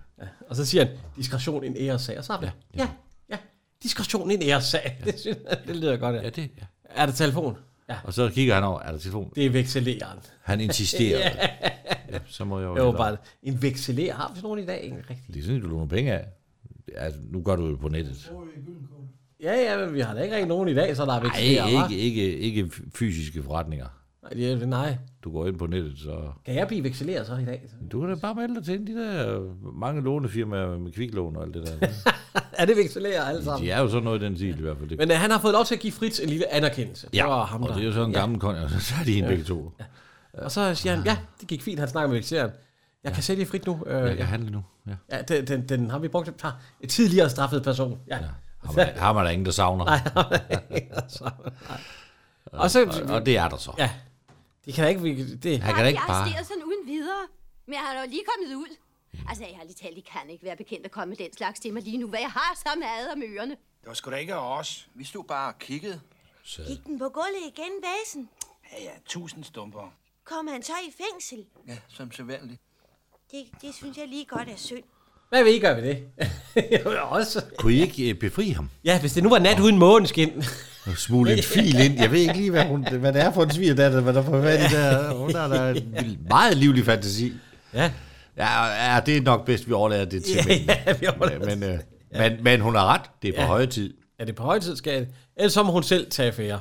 [SPEAKER 2] Og så siger han, diskretion en æresag. Og så har vi, ja, ja, ja. diskretion en æresag. Ja. Det, synes jeg, det lyder godt, ja.
[SPEAKER 1] Ja, det, ja.
[SPEAKER 2] Er det telefon? Ja,
[SPEAKER 1] Og så kigger han over, er der telefon?
[SPEAKER 2] det er vekseleren.
[SPEAKER 1] Han insisterer. ja. så må jeg jo...
[SPEAKER 2] Det var bare en vekseler. Har vi sådan nogen i dag? Ikke rigtigt.
[SPEAKER 1] Det er sådan, du låner penge af. Altså, nu gør du det på nettet.
[SPEAKER 2] Ja, ja, men vi har da ikke rigtig nogen i dag, så der er
[SPEAKER 1] Nej,
[SPEAKER 2] vekselerer,
[SPEAKER 1] ikke, ikke, ikke fysiske forretninger.
[SPEAKER 2] Nej, det er- nej.
[SPEAKER 1] Du går ind på nettet, så...
[SPEAKER 2] Kan jeg blive vekseleret så i dag?
[SPEAKER 1] Du kan da bare melde dig til de der mange lånefirmaer med kviklån og alt det der.
[SPEAKER 2] Er det vekselere alle sammen?
[SPEAKER 1] De er jo sådan noget i den stil i hvert fald. Det.
[SPEAKER 2] Men øh, han har fået lov til at give Fritz en lille anerkendelse. Det var ham,
[SPEAKER 1] og
[SPEAKER 2] der.
[SPEAKER 1] det er jo sådan en gammel kon, og så er de en begge to.
[SPEAKER 2] Og så siger han, ja, det gik fint, han snakker med vekseleren. Jeg kan sælge frit nu. Øh,
[SPEAKER 1] Jeg
[SPEAKER 2] ja,
[SPEAKER 1] kan handle nu. Ja.
[SPEAKER 2] ja den, den, den, har vi brugt. Ha, en tidligere straffet person. Ja. ja.
[SPEAKER 1] Har man, har man da ingen, der savner.
[SPEAKER 2] altså, Og så,
[SPEAKER 1] Og, og det er der så.
[SPEAKER 2] Ja. Det kan da ikke... vi- Det,
[SPEAKER 1] Han kan da ikke
[SPEAKER 5] Jeg
[SPEAKER 1] bare...
[SPEAKER 5] arresterer sådan uden videre. Men jeg har jo lige kommet ud. Altså, jeg har lige talt, I kan ikke være bekendt at komme med den slags til mig lige nu, hvad jeg har så mad om ørerne.
[SPEAKER 7] Det var sgu da ikke af os. Vi stod bare og kiggede.
[SPEAKER 6] Gik den på gulvet igen, basen?
[SPEAKER 7] Ja, ja, tusind stumper.
[SPEAKER 6] Kom han så i fængsel?
[SPEAKER 7] Ja, som sædvanligt.
[SPEAKER 6] Det, det synes jeg lige godt er synd.
[SPEAKER 2] hvad vil I gøre ved det? Jeg vil også.
[SPEAKER 1] Kunne I ikke øh, befri ham?
[SPEAKER 2] Ja, hvis det nu var nat uden måneskin.
[SPEAKER 1] Og smule en fil ind. Jeg ved ikke lige, hvad, hun, hvad det er for en svigerdatter, hvad der er for hvad det der. Hun har da en vild- meget livlig fantasi.
[SPEAKER 2] ja.
[SPEAKER 1] Ja, ja, det er nok bedst, vi overlader det til
[SPEAKER 2] Ja,
[SPEAKER 1] mændene.
[SPEAKER 2] ja, vi overlader
[SPEAKER 1] men, men, øh, men, men hun har ret. Det er på ja. høje tid.
[SPEAKER 2] Er det på høje tid, skal jeg? Ellers så må hun selv tage affære.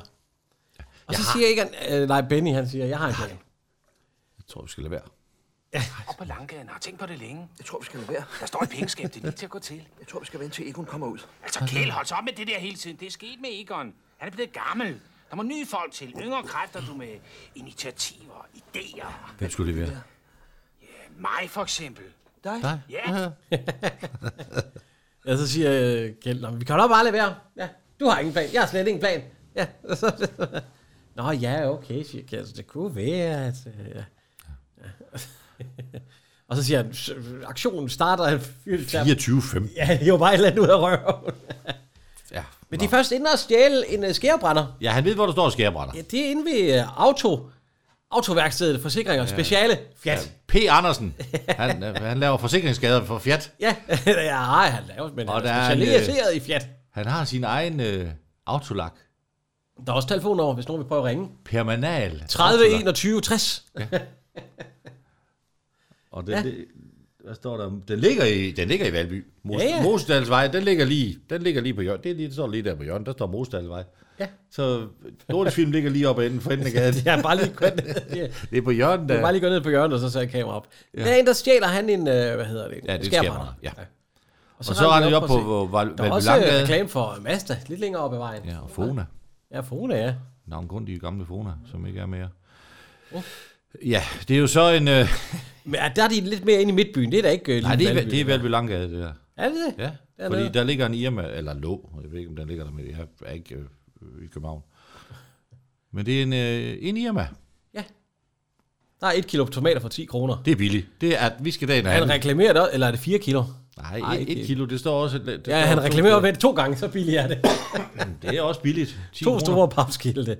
[SPEAKER 2] Og så siger ikke han, øh, nej, Benny han siger, jeg har en plan.
[SPEAKER 1] Jeg tror, vi skal lade være.
[SPEAKER 7] Op på Langgaden har tænkt på det længe. Jeg tror, vi skal lade være. Der står et pengeskab, det er lige til at gå til. Jeg tror, vi skal vente til Egon kommer ud.
[SPEAKER 8] Altså, Kjell, hold så op med det der hele tiden. Det er sket med Egon. Han er blevet gammel. Der må nye folk til. Yngre kræfter, du med initiativer, idéer.
[SPEAKER 1] Hvem skulle det være?
[SPEAKER 8] Mig for eksempel.
[SPEAKER 7] Dig?
[SPEAKER 1] Nej.
[SPEAKER 8] Ja.
[SPEAKER 2] Ja, så siger øh, Kjeld, "Nå, men vi kan da bare lade være. Ja, du har ingen plan. Jeg har slet ingen plan. Ja. Nå ja, okay, siger Kjeld. Så Det kunne være, at... Øh, ja. Ja. Og så siger han, "S- aktionen starter, han fyldt
[SPEAKER 1] 24-15.
[SPEAKER 2] Ja, det var bare et eller andet ud af røven.
[SPEAKER 1] Ja.
[SPEAKER 2] Men de er først inde og stjæle en uh, skærebrænder.
[SPEAKER 1] ja, han ved, hvor der står skærebrænder.
[SPEAKER 2] Ja, det er inde ved uh, auto, autoværkstedet, forsikring og speciale. Fjat.
[SPEAKER 1] P. Andersen. Han, øh, han laver forsikringsskader for Fiat.
[SPEAKER 2] Ja, ja, ja han laver, men
[SPEAKER 1] Og
[SPEAKER 2] og han
[SPEAKER 1] der
[SPEAKER 2] er
[SPEAKER 1] er en, øh,
[SPEAKER 2] specialiseret i fjat.
[SPEAKER 1] Han har sin egen øh, autolak.
[SPEAKER 2] Der er også telefonnummer, hvis nogen vil prøve at ringe.
[SPEAKER 1] Permanal.
[SPEAKER 2] 30 21 60.
[SPEAKER 1] Og den,
[SPEAKER 2] Ja.
[SPEAKER 1] ja. det, hvad står der? Den ligger i, den ligger i Valby. Mos,
[SPEAKER 2] Ja,
[SPEAKER 1] ja,
[SPEAKER 2] ja.
[SPEAKER 1] ja. Mosdalsvej, den ligger lige, den ligger lige på hjørnet. Det er lige, det står lige der på hjørnet. Der står Mosdalsvej.
[SPEAKER 2] Ja.
[SPEAKER 1] Så Dortes film ligger lige op ad enden for enden af gaden.
[SPEAKER 2] Jeg har bare lige gået ned, ja.
[SPEAKER 1] Det er på hjørnet
[SPEAKER 2] Jeg har
[SPEAKER 1] der.
[SPEAKER 2] bare lige gået ned på hjørnet, og så sagde kameraet op. Ja. Der er en, der stjæler han en, øh, hvad hedder det?
[SPEAKER 1] Ja, det
[SPEAKER 2] skærbrænder.
[SPEAKER 1] sker bare. Ja. Og så,
[SPEAKER 2] render
[SPEAKER 1] har de
[SPEAKER 2] de
[SPEAKER 1] op på
[SPEAKER 2] op for at se.
[SPEAKER 1] hvor- Val-
[SPEAKER 2] Der er
[SPEAKER 1] Valby
[SPEAKER 2] også øh,
[SPEAKER 1] Langgade.
[SPEAKER 2] reklame for Mazda, lidt længere op ad vejen.
[SPEAKER 1] Ja, og Fona.
[SPEAKER 2] Ja, Fona, ja.
[SPEAKER 1] Navngrundige gamle Fona, som ikke er mere. Ja, det er jo så en... Øh,
[SPEAKER 2] Men er der er de lidt mere inde i midtbyen. Det er da ikke øh, lige
[SPEAKER 1] nej, det er,
[SPEAKER 2] Valby.
[SPEAKER 1] det er Valby Langgade, det der.
[SPEAKER 2] Er det det?
[SPEAKER 1] Ja,
[SPEAKER 2] Dernede.
[SPEAKER 1] fordi der ligger en Irma, eller lå, jeg ved ikke, om den ligger der, men jeg er ikke øh, i København. Men det er en, øh, en Irma.
[SPEAKER 2] Der er et kilo tomater for 10 kroner.
[SPEAKER 1] Det er billigt. Det er, at vi skal dagen
[SPEAKER 2] Han
[SPEAKER 1] have.
[SPEAKER 2] reklamerer det, også- eller er det 4 kilo?
[SPEAKER 1] Nej, et, et kilo, det står også... Det
[SPEAKER 2] Ja,
[SPEAKER 1] står
[SPEAKER 2] han
[SPEAKER 1] også-
[SPEAKER 2] reklamerer ved det to gange, så billigt er det.
[SPEAKER 1] Det er også billigt. 10
[SPEAKER 2] To
[SPEAKER 1] kroner.
[SPEAKER 2] store papskilte.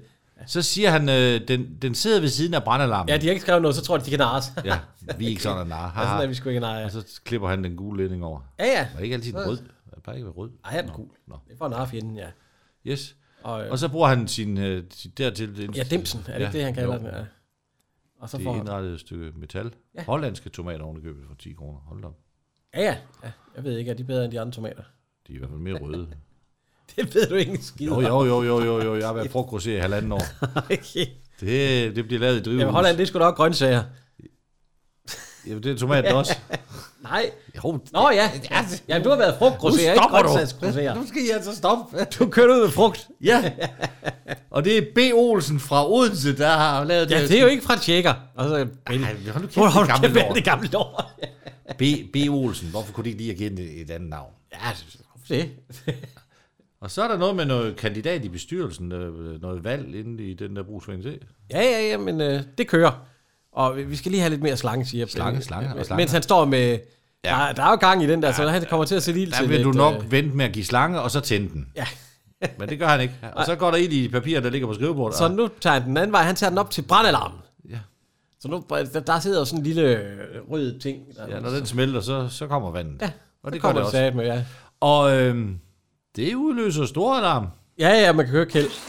[SPEAKER 1] Så siger han, øh, den, den sidder ved siden af brandalarmen.
[SPEAKER 2] Ja, de har ikke skrevet noget, så tror de, de kan narres. Ja,
[SPEAKER 1] ja vi er ikke sådan, at nej.
[SPEAKER 2] sådan er vi sgu ikke narre.
[SPEAKER 1] Og så klipper han den gule ledning over.
[SPEAKER 2] Ja, ja.
[SPEAKER 1] Det er ikke altid
[SPEAKER 2] Så-
[SPEAKER 1] rød. Det plejer ikke at være rød.
[SPEAKER 2] Ej, han er
[SPEAKER 1] Nå,
[SPEAKER 2] cool.
[SPEAKER 1] Nå.
[SPEAKER 2] Det er for at narre fjenden, ja.
[SPEAKER 1] Yes.
[SPEAKER 2] Og, øh,
[SPEAKER 1] Og så bruger han sin, øh, sin dertil...
[SPEAKER 2] ja, dimsen, er det ikke det, han kalder
[SPEAKER 1] jo.
[SPEAKER 2] den? Ja. Og så
[SPEAKER 1] Det
[SPEAKER 2] får
[SPEAKER 1] er
[SPEAKER 2] han...
[SPEAKER 1] indrettet et stykke metal.
[SPEAKER 2] Ja.
[SPEAKER 1] Ja. Hollandske tomater ovenikøbet for 10 kroner. Hold da op.
[SPEAKER 2] Ja, ja, ja. Jeg ved ikke, er de bedre end de andre tomater?
[SPEAKER 1] De er i hvert fald mere røde.
[SPEAKER 2] Det ved du ikke en skid
[SPEAKER 1] Jo,
[SPEAKER 2] om.
[SPEAKER 1] jo, jo, jo, jo, jo. Jeg har været frugtgrosser i halvanden år.
[SPEAKER 2] Okay.
[SPEAKER 1] Det, det bliver lavet i drivhus.
[SPEAKER 2] Jamen, Holland, det er sgu nok grøntsager.
[SPEAKER 1] Jamen, det er tomaten også.
[SPEAKER 2] Nej.
[SPEAKER 1] Jo,
[SPEAKER 2] Nå ja. Jamen, du har været frugtgrosserer, ikke grøntsagsgrosserer.
[SPEAKER 1] Nu skal I altså stoppe.
[SPEAKER 2] Du kører ud med frugt.
[SPEAKER 1] Ja. Og det er B. Olsen fra Odense, der har lavet
[SPEAKER 2] Ja,
[SPEAKER 1] det.
[SPEAKER 2] det er jo ikke fra tjekker. Og så,
[SPEAKER 1] Ej, hold nu kæft,
[SPEAKER 2] Hvor har
[SPEAKER 1] det
[SPEAKER 2] du
[SPEAKER 1] gamle
[SPEAKER 2] kæft, det
[SPEAKER 1] lort.
[SPEAKER 2] er det gamle lår?
[SPEAKER 1] B. B. Olsen. Hvorfor kunne de ikke lige have givet den et andet navn?
[SPEAKER 2] Ja, det.
[SPEAKER 1] Og så er der noget med noget kandidat i bestyrelsen, øh, noget valg inde i den der brugsforening. Se.
[SPEAKER 2] Ja, ja, ja, men øh, det kører. Og vi- vi skal lige have lidt mere slange, siger
[SPEAKER 1] Slange, slange og slange.
[SPEAKER 2] Mens han står med... Ja. Der, der er jo gang i den der, så han kommer til at se lille til
[SPEAKER 1] Der vil du
[SPEAKER 2] lidt,
[SPEAKER 1] nok
[SPEAKER 2] øh,
[SPEAKER 1] vente med at give slange, og så tænde den.
[SPEAKER 2] Ja.
[SPEAKER 1] Men det gør han ikke. Og så går der ild i de papirer, der ligger på skrivebordet.
[SPEAKER 2] Så nu tager han den anden vej. Han tager den op til brandalarmen.
[SPEAKER 1] Ja.
[SPEAKER 2] Så nu, der, der sidder jo sådan en lille øh, rød ting. Der,
[SPEAKER 1] Ja, når den smelter, så, så kommer vandet. Ja, og det gør
[SPEAKER 2] kommer
[SPEAKER 1] det
[SPEAKER 2] det
[SPEAKER 1] også.
[SPEAKER 2] sat med, ja.
[SPEAKER 1] Og øhm, det udløser stor alarm.
[SPEAKER 2] Ja, ja, man kan høre kæld.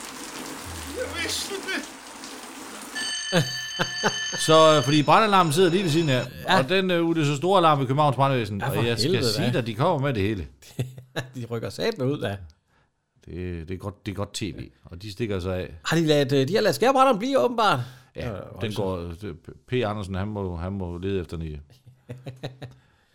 [SPEAKER 1] Så, øh, fordi brandalarmen sidder lige ved siden af, ja. og den øh, udløser stor alarm i Københavns Brandvæsen.
[SPEAKER 2] Ja, for
[SPEAKER 1] og jeg skal
[SPEAKER 2] helvede da.
[SPEAKER 1] sige dig, de kommer med det hele.
[SPEAKER 2] De rykker sat med ud af.
[SPEAKER 1] Det, det, er godt, det er godt tv, og de stikker sig af.
[SPEAKER 2] Har de, ladt, øh, de har ladt skærbrænderen blive, åbenbart. Øh,
[SPEAKER 1] Ja, den går... det- P. Andersen, han må, han må lede efter nye.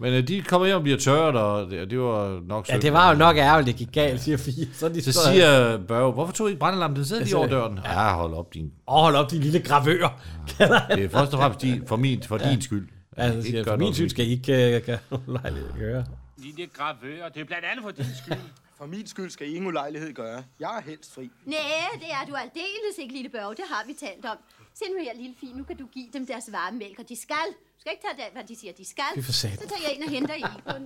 [SPEAKER 1] Men øh, de kommer hjem og bliver tørret, og det, og det var nok
[SPEAKER 2] Ja,
[SPEAKER 1] synd.
[SPEAKER 2] det var jo nok ærgerligt, det gik galt, siger fire. Så, de
[SPEAKER 1] Så
[SPEAKER 2] står-
[SPEAKER 1] siger Børge, hvorfor tog I ikke brandalarmen? Den sidder lige over
[SPEAKER 2] siger-
[SPEAKER 1] døren. Ja, hold op, din.
[SPEAKER 2] Åh, hold op, de lille gravører.
[SPEAKER 1] Det er først og fremmest din, for, min, for din skyld.
[SPEAKER 2] Ja, så
[SPEAKER 1] Ikke
[SPEAKER 2] siger, jeg,
[SPEAKER 1] gør
[SPEAKER 2] for min
[SPEAKER 1] noget
[SPEAKER 2] skyld
[SPEAKER 1] ved
[SPEAKER 2] skal I ikke øh, gøre nogen lejlighed at gøre.
[SPEAKER 8] Lille gravør, det er blandt andet for din skyld.
[SPEAKER 7] For min skyld skal I ingen ulejlighed gøre. Jeg er helst fri.
[SPEAKER 5] Næh, det er du aldeles ikke, lille børge. Det har vi talt om. Se nu her, lille fin. Nu kan du give dem deres varme mælk, og de skal. Du skal ikke tage det, hvad de siger, de skal.
[SPEAKER 2] Det er for satan.
[SPEAKER 5] Så tager jeg ind og henter Egon.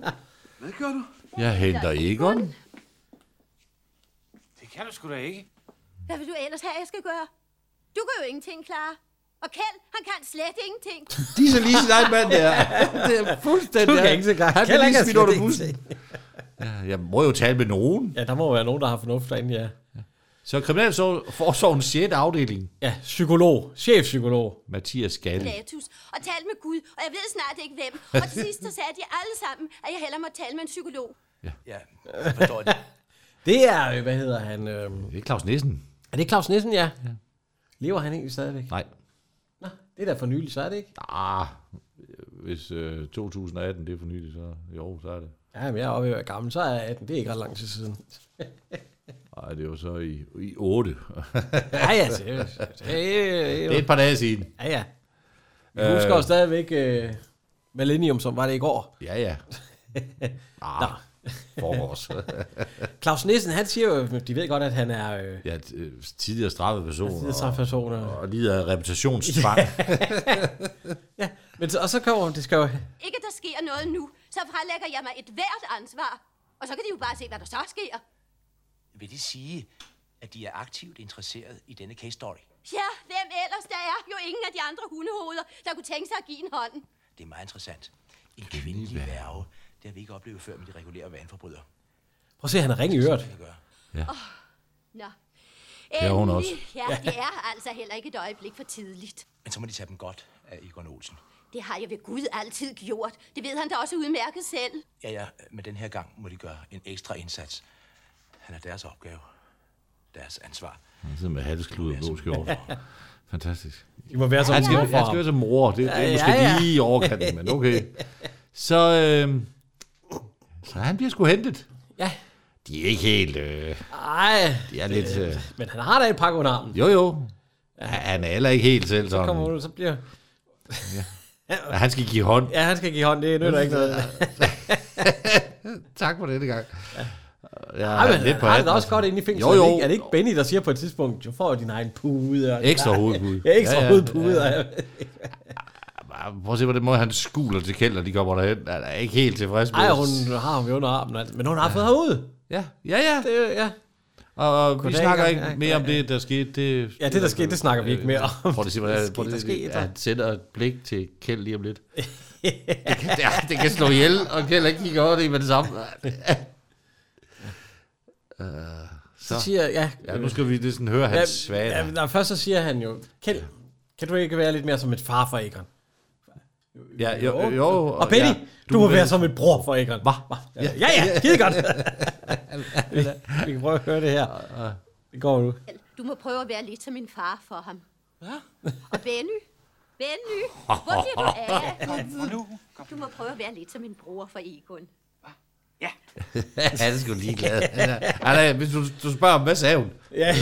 [SPEAKER 7] Hvad gør du?
[SPEAKER 1] det. Jeg henter Egon.
[SPEAKER 8] Det kan du sgu da ikke.
[SPEAKER 5] Hvad vil du ellers have, jeg skal gøre? Du kan jo ingenting klare. Og Kjeld, han kan slet ingenting.
[SPEAKER 1] De er så lige sin egen mand der. Det er fuldstændig...
[SPEAKER 2] Du kan ikke se gang.
[SPEAKER 1] Han
[SPEAKER 2] Kan
[SPEAKER 1] kan
[SPEAKER 2] ikke
[SPEAKER 1] lige
[SPEAKER 2] have
[SPEAKER 1] smidt under
[SPEAKER 2] slet
[SPEAKER 1] bussen. Ja, jeg må jo tale med nogen.
[SPEAKER 2] Ja, der må være nogen, der har fornuft derinde, ja.
[SPEAKER 1] Så Kriminalforsorgens 6. afdeling,
[SPEAKER 2] Ja, psykolog. Chefpsykolog.
[SPEAKER 1] Mathias Skalle.
[SPEAKER 5] Pilatus og talte med Gud, og jeg ved snart ikke hvem. Og til sidst så sagde de alle sammen, at jeg hellere må tale med en psykolog.
[SPEAKER 7] Ja, jeg forstår det.
[SPEAKER 2] Det er, øh, hvad hedder han? Øh,
[SPEAKER 1] Det er Claus Nissen.
[SPEAKER 2] er det Claus Nissen, ja? ja. Lever han egentlig stadigvæk?
[SPEAKER 1] Nej.
[SPEAKER 2] Nå, det er da for nylig, så er det ikke?
[SPEAKER 1] Ah, hvis øh, 2018 det er for nylig, så jo, så er det.
[SPEAKER 2] Ja, men jeg er oppe i at være gammel, så er jeg 18. Det er ikke ret lang tid siden.
[SPEAKER 1] Ej, det var så i, i 8. det
[SPEAKER 2] Ja, ja, det er jo-
[SPEAKER 1] er et par dage siden.
[SPEAKER 2] Ja, ja. Jeg husker øh, stadigvæk øh, Millennium, som var det i går.
[SPEAKER 1] Ja, ja. Ah, forårs.
[SPEAKER 2] Claus Nissen, han siger jo, de ved godt, at han er øh,
[SPEAKER 1] ja, t- øh, tidligere straffet person. Og,
[SPEAKER 2] personer.
[SPEAKER 1] og lider af reputationstvang.
[SPEAKER 2] Men så, og så kommer det skal jo...
[SPEAKER 5] Ikke at der sker noget nu, så frelægger jeg mig et hvert ansvar. Og så kan de jo bare se, hvad der så sker.
[SPEAKER 7] Vil det sige, at de er aktivt interesseret i denne case story?
[SPEAKER 5] Ja, hvem ellers der er? Jo ingen af de andre hundehoveder, der kunne tænke sig at give en hånd.
[SPEAKER 7] Det er meget interessant. En kvindelig værve, det har vi ikke oplevet før med de regulære vandforbrydere.
[SPEAKER 2] Prøv at se, han er ring i øret.
[SPEAKER 7] Hvad gør?
[SPEAKER 5] Nå,
[SPEAKER 1] Det er hun også.
[SPEAKER 5] Endelig. Ja, det er altså heller ikke et øjeblik for tidligt.
[SPEAKER 7] Men så må de tage dem godt af Egon Olsen.
[SPEAKER 5] Det har jeg ved Gud altid gjort. Det ved han da også udmærket selv.
[SPEAKER 7] Ja, ja, men den her gang må de gøre en ekstra indsats. Han er deres opgave. Deres ansvar.
[SPEAKER 1] Han sidder med halsklud og blå skjort. Fantastisk.
[SPEAKER 2] I må være så
[SPEAKER 1] han skal,
[SPEAKER 2] mor for
[SPEAKER 1] han skal
[SPEAKER 2] ham.
[SPEAKER 1] være som mor. Det, det
[SPEAKER 2] Ja,
[SPEAKER 1] er måske
[SPEAKER 2] ja, ja.
[SPEAKER 1] lige i overkanten, men okay. Så, øh, så han bliver sgu hentet.
[SPEAKER 2] Ja.
[SPEAKER 1] De er ikke helt... Øh,
[SPEAKER 2] Ej,
[SPEAKER 1] de er lidt... Øh,
[SPEAKER 2] men han har da et pakke under armen.
[SPEAKER 1] jo, jo. Han er heller ikke helt selv
[SPEAKER 2] Så kommer
[SPEAKER 1] sådan.
[SPEAKER 2] hun, så bliver...
[SPEAKER 1] Han skal give hånd.
[SPEAKER 2] Ja, han skal give hånd, det nytter ikke noget.
[SPEAKER 1] tak for denne gang. Jeg
[SPEAKER 2] Ej,
[SPEAKER 1] er
[SPEAKER 2] men
[SPEAKER 1] lidt
[SPEAKER 2] han
[SPEAKER 1] på
[SPEAKER 2] har det
[SPEAKER 1] hatten,
[SPEAKER 2] da også
[SPEAKER 1] altså.
[SPEAKER 2] godt inde i fængslet.
[SPEAKER 1] Jo, jo.
[SPEAKER 2] Er det ikke- Er det ikke Benny, der siger på et tidspunkt, du får jo din egen pude? Og
[SPEAKER 1] Ekstra hovedpude.
[SPEAKER 2] Ja, ekstra
[SPEAKER 1] Ja,
[SPEAKER 2] ja,
[SPEAKER 1] ja,
[SPEAKER 2] hovedpude.
[SPEAKER 1] ja.
[SPEAKER 2] Ja, ja.
[SPEAKER 1] Prøv at se, hvordan måde han skuler til Kjeld, og de kommer derhen. Han er ikke helt tilfreds med
[SPEAKER 2] Ej,
[SPEAKER 1] det.
[SPEAKER 2] hun har ham jo under armen, altså. men hun har fået herude.
[SPEAKER 1] Ja, ja, ja.
[SPEAKER 2] Det, er- ja.
[SPEAKER 1] Og, og vi
[SPEAKER 2] Goddag,
[SPEAKER 1] snakker
[SPEAKER 2] ja,
[SPEAKER 1] ikke
[SPEAKER 2] ja,
[SPEAKER 1] mere om
[SPEAKER 2] ja,
[SPEAKER 1] det, der skete. Det, Øh,
[SPEAKER 2] ja, det der skete, det snakker vi ikke mere om.
[SPEAKER 1] Prøv at se, hvordan prøv
[SPEAKER 2] der
[SPEAKER 1] at
[SPEAKER 2] skete,
[SPEAKER 1] se,
[SPEAKER 2] der.
[SPEAKER 1] at han sender et blik til Kjeld lige om lidt. det, kan, ja, det kan slå ihjel, og Kjeld ikke kigger over det med det samme. Øh,
[SPEAKER 2] Så
[SPEAKER 1] så.
[SPEAKER 2] siger jeg, ja.
[SPEAKER 1] Ja, nu skal vi lige sådan høre hans svage.
[SPEAKER 2] ja, ja, først så siger han jo, Kjeld, kan du ikke være lidt mere som et far for Egon?
[SPEAKER 1] Ja, jo, jo,
[SPEAKER 2] Og Benny, ja, du, må være som et bror for Egon. Hva? Ja, ja, ja skide godt. vi, vi kan prøve at høre det her. Det går nu.
[SPEAKER 5] Du må prøve at være lidt som min far for ham. Og Benny, Benny, hvor bliver du af?
[SPEAKER 8] Kom nu. Kom.
[SPEAKER 5] Du må prøve at være lidt som min bror for Egon.
[SPEAKER 8] Ja,
[SPEAKER 1] Han er sgu ligeglad. Han er, han er, hvis du, du spørger ham, hvad sagde hun? Øh.
[SPEAKER 2] Ja.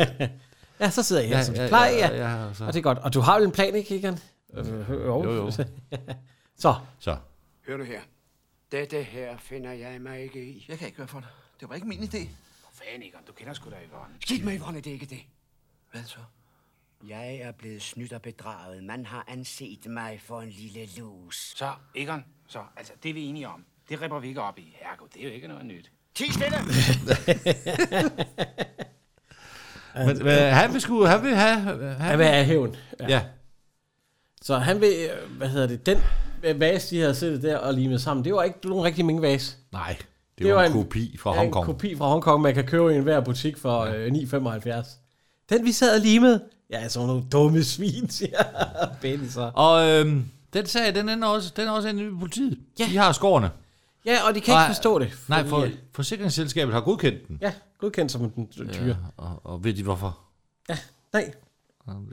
[SPEAKER 2] ja, så sidder jeg her, ja, som ja, plejer. Ja, ja.
[SPEAKER 1] ja, så.
[SPEAKER 2] Og det er godt. Og du har jo en plan, ikke, Egon? Øh, jo,
[SPEAKER 1] Jo, jo.
[SPEAKER 2] Så,
[SPEAKER 1] så.
[SPEAKER 9] Hør du her.
[SPEAKER 4] Dette her finder jeg mig ikke i.
[SPEAKER 9] Jeg kan ikke være for det. Det var ikke min idé.
[SPEAKER 8] for fanden, Egon. Du kender sgu da Egon.
[SPEAKER 4] Kig mig, Yvonne, det er ikke det.
[SPEAKER 9] Hvad så?
[SPEAKER 4] Jeg er blevet snydt og bedraget. Man har anset mig for en lille lus.
[SPEAKER 8] Så, Egon, så, altså, det er vi enige om. Det ripper vi ikke op i. Herregud, det er jo ikke noget nyt.
[SPEAKER 4] Ti stille!
[SPEAKER 1] Men, men han vil sgu, han vil have... Han,
[SPEAKER 2] Altså, han vil have hævn. Ja.
[SPEAKER 1] ja.
[SPEAKER 2] Så han vil, øh, hvad hedder det, den øh, vase, de havde siddet der og limet sammen, det var ikke nogen rigtig minkvase.
[SPEAKER 1] Nej, det,
[SPEAKER 2] Det
[SPEAKER 1] var,
[SPEAKER 2] var
[SPEAKER 1] en
[SPEAKER 2] en-
[SPEAKER 1] kopi fra
[SPEAKER 2] Ja,
[SPEAKER 1] Hongkong.
[SPEAKER 2] En kopi fra Hongkong, man kan købe i enhver butik for øh, 9,75. Den vi sad og limede. Ja, sådan nogle dumme svin, siger Benny så.
[SPEAKER 1] Og øhm, den sag, den ender også, den er også inde i politiet. Ja. De har skårene.
[SPEAKER 2] Ja, og de kan ikke forstå det.
[SPEAKER 1] Nej,
[SPEAKER 2] fordi,
[SPEAKER 1] for,
[SPEAKER 2] øh,
[SPEAKER 1] forsikringsselskabet har godkendt den.
[SPEAKER 2] Ja, godkendt som en dyr.
[SPEAKER 1] Og, og ved de hvorfor?
[SPEAKER 2] Nej,
[SPEAKER 1] Det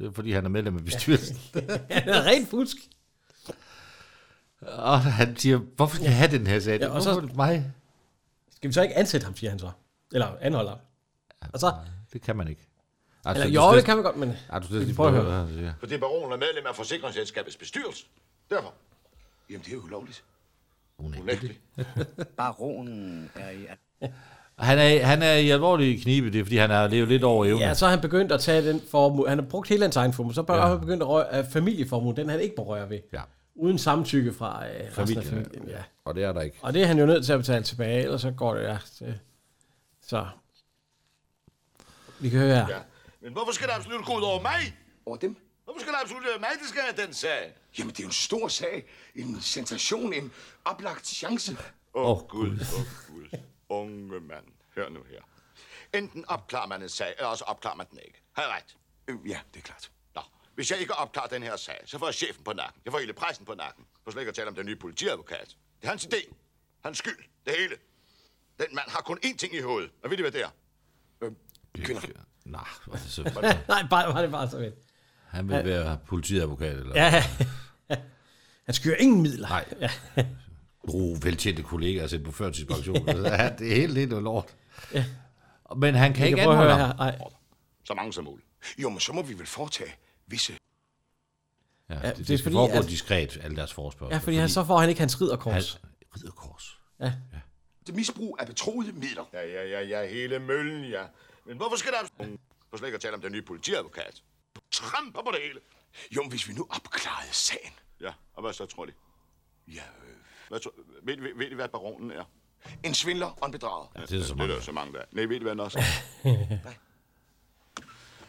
[SPEAKER 1] er, fordi han er medlem af bestyrelsen.
[SPEAKER 2] det er rent fusk.
[SPEAKER 1] og han siger, hvorfor skal jeg have den her sag? Ja,
[SPEAKER 2] Ja,
[SPEAKER 1] og
[SPEAKER 2] og så-
[SPEAKER 1] så, mig?
[SPEAKER 2] Skal vi så ikke ansætte ham, siger han så. Eller anholde ham. Og så,
[SPEAKER 1] Det kan man ikke. Altså,
[SPEAKER 2] eller,
[SPEAKER 1] du
[SPEAKER 2] jo,
[SPEAKER 1] slet-
[SPEAKER 2] det kan vi godt, men...
[SPEAKER 1] Ej, du slet
[SPEAKER 2] Vi
[SPEAKER 1] ikke
[SPEAKER 2] prøver at
[SPEAKER 1] prøver at høre.
[SPEAKER 10] Fordi baronen er medlem af forsikringsselskabets bestyrelse. Derfor.
[SPEAKER 9] Jamen, det er jo ulovligt.
[SPEAKER 10] Unægteligt.
[SPEAKER 4] Baronen er i...
[SPEAKER 1] Han er, han er i alvorlig knibe, det er, fordi han er levet lidt over evne.
[SPEAKER 2] Ja, så er han begyndt at tage den formue. Han har brugt hele hans egen formue. Så har han begyndt at røre uh, familieformuen, den han ikke må røre ved.
[SPEAKER 1] Ja.
[SPEAKER 2] Uden samtykke fra øh, resten af
[SPEAKER 1] Familien,
[SPEAKER 2] familien. Ja.
[SPEAKER 1] Og det er der ikke.
[SPEAKER 2] Og det er han jo nødt til at betale tilbage, ellers så går det, ja. det- Så. Vi kan høre her.
[SPEAKER 10] Ja. Men hvorfor skal det absolut gå ud over mig?
[SPEAKER 9] Over dem?
[SPEAKER 10] Hvorfor skal det absolut være mig, det skal have den sag?
[SPEAKER 9] Jamen, det er jo en stor sag. En sensation. En oplagt chance.
[SPEAKER 10] Åh, oh, Gud, åh, oh, Gud. Unge mand, hør nu her. Enten opklarer man en sag, eller så opklarer man den ikke. Har jeg ret?
[SPEAKER 9] Øh, Ja, det er klart.
[SPEAKER 10] Nå, hvis jeg ikke opklarer den her sag, så får jeg chefen på nakken. Jeg får hele pressen på nakken. For slet ikke at tale om den nye politiadvokat. Det er hans idé. Hans skyld. Det hele. Den mand har kun én ting i hovedet. Og ved I, hvad det er?
[SPEAKER 9] Øh, Kvinder.
[SPEAKER 1] Nej, altså,
[SPEAKER 2] Nej, bare, var det bare så vildt.
[SPEAKER 1] han vil være politiadvokat. Eller?
[SPEAKER 2] Ja. Han skyer ingen midler.
[SPEAKER 1] Nej. Gode, veltjente kollegaer sendt på førtidspension. ja. Det er helt lidt noget lort. Ja. Men han kan
[SPEAKER 2] Vi
[SPEAKER 1] ikke
[SPEAKER 2] kan prøve at
[SPEAKER 1] anholde
[SPEAKER 2] høre
[SPEAKER 1] ham.
[SPEAKER 2] her. Nej.
[SPEAKER 10] Så mange som muligt.
[SPEAKER 9] Jo, men så må vi vel foretage visse...
[SPEAKER 1] Ja,
[SPEAKER 2] Ja,
[SPEAKER 1] det, det,
[SPEAKER 2] det er
[SPEAKER 1] skal
[SPEAKER 2] fordi,
[SPEAKER 1] foregå
[SPEAKER 2] at-
[SPEAKER 1] diskret, alle deres forspørgsel.
[SPEAKER 2] Ja, fordi han, så får han ikke hans
[SPEAKER 1] Han,
[SPEAKER 2] ridderkors.
[SPEAKER 1] ridderkors.
[SPEAKER 9] Det misbrug af betroede midler.
[SPEAKER 10] Ja, ja, ja, ja, hele møllen, ja. Men hvorfor skal der... For slet ikke at tale om den nye politiadvokat. Tramper på det hele.
[SPEAKER 9] Jo, men hvis vi nu opklarede sagen.
[SPEAKER 10] Ja, og hvad så, tror de?
[SPEAKER 9] Ja, øh,
[SPEAKER 10] Hvad tror, ved, ved, ved, de, hvad baronen er?
[SPEAKER 9] en svindler og en bedrager.
[SPEAKER 1] Ja, det er så
[SPEAKER 10] Det er
[SPEAKER 1] meget.
[SPEAKER 10] der så mange, der er. Nej, ved du, hvad han også er?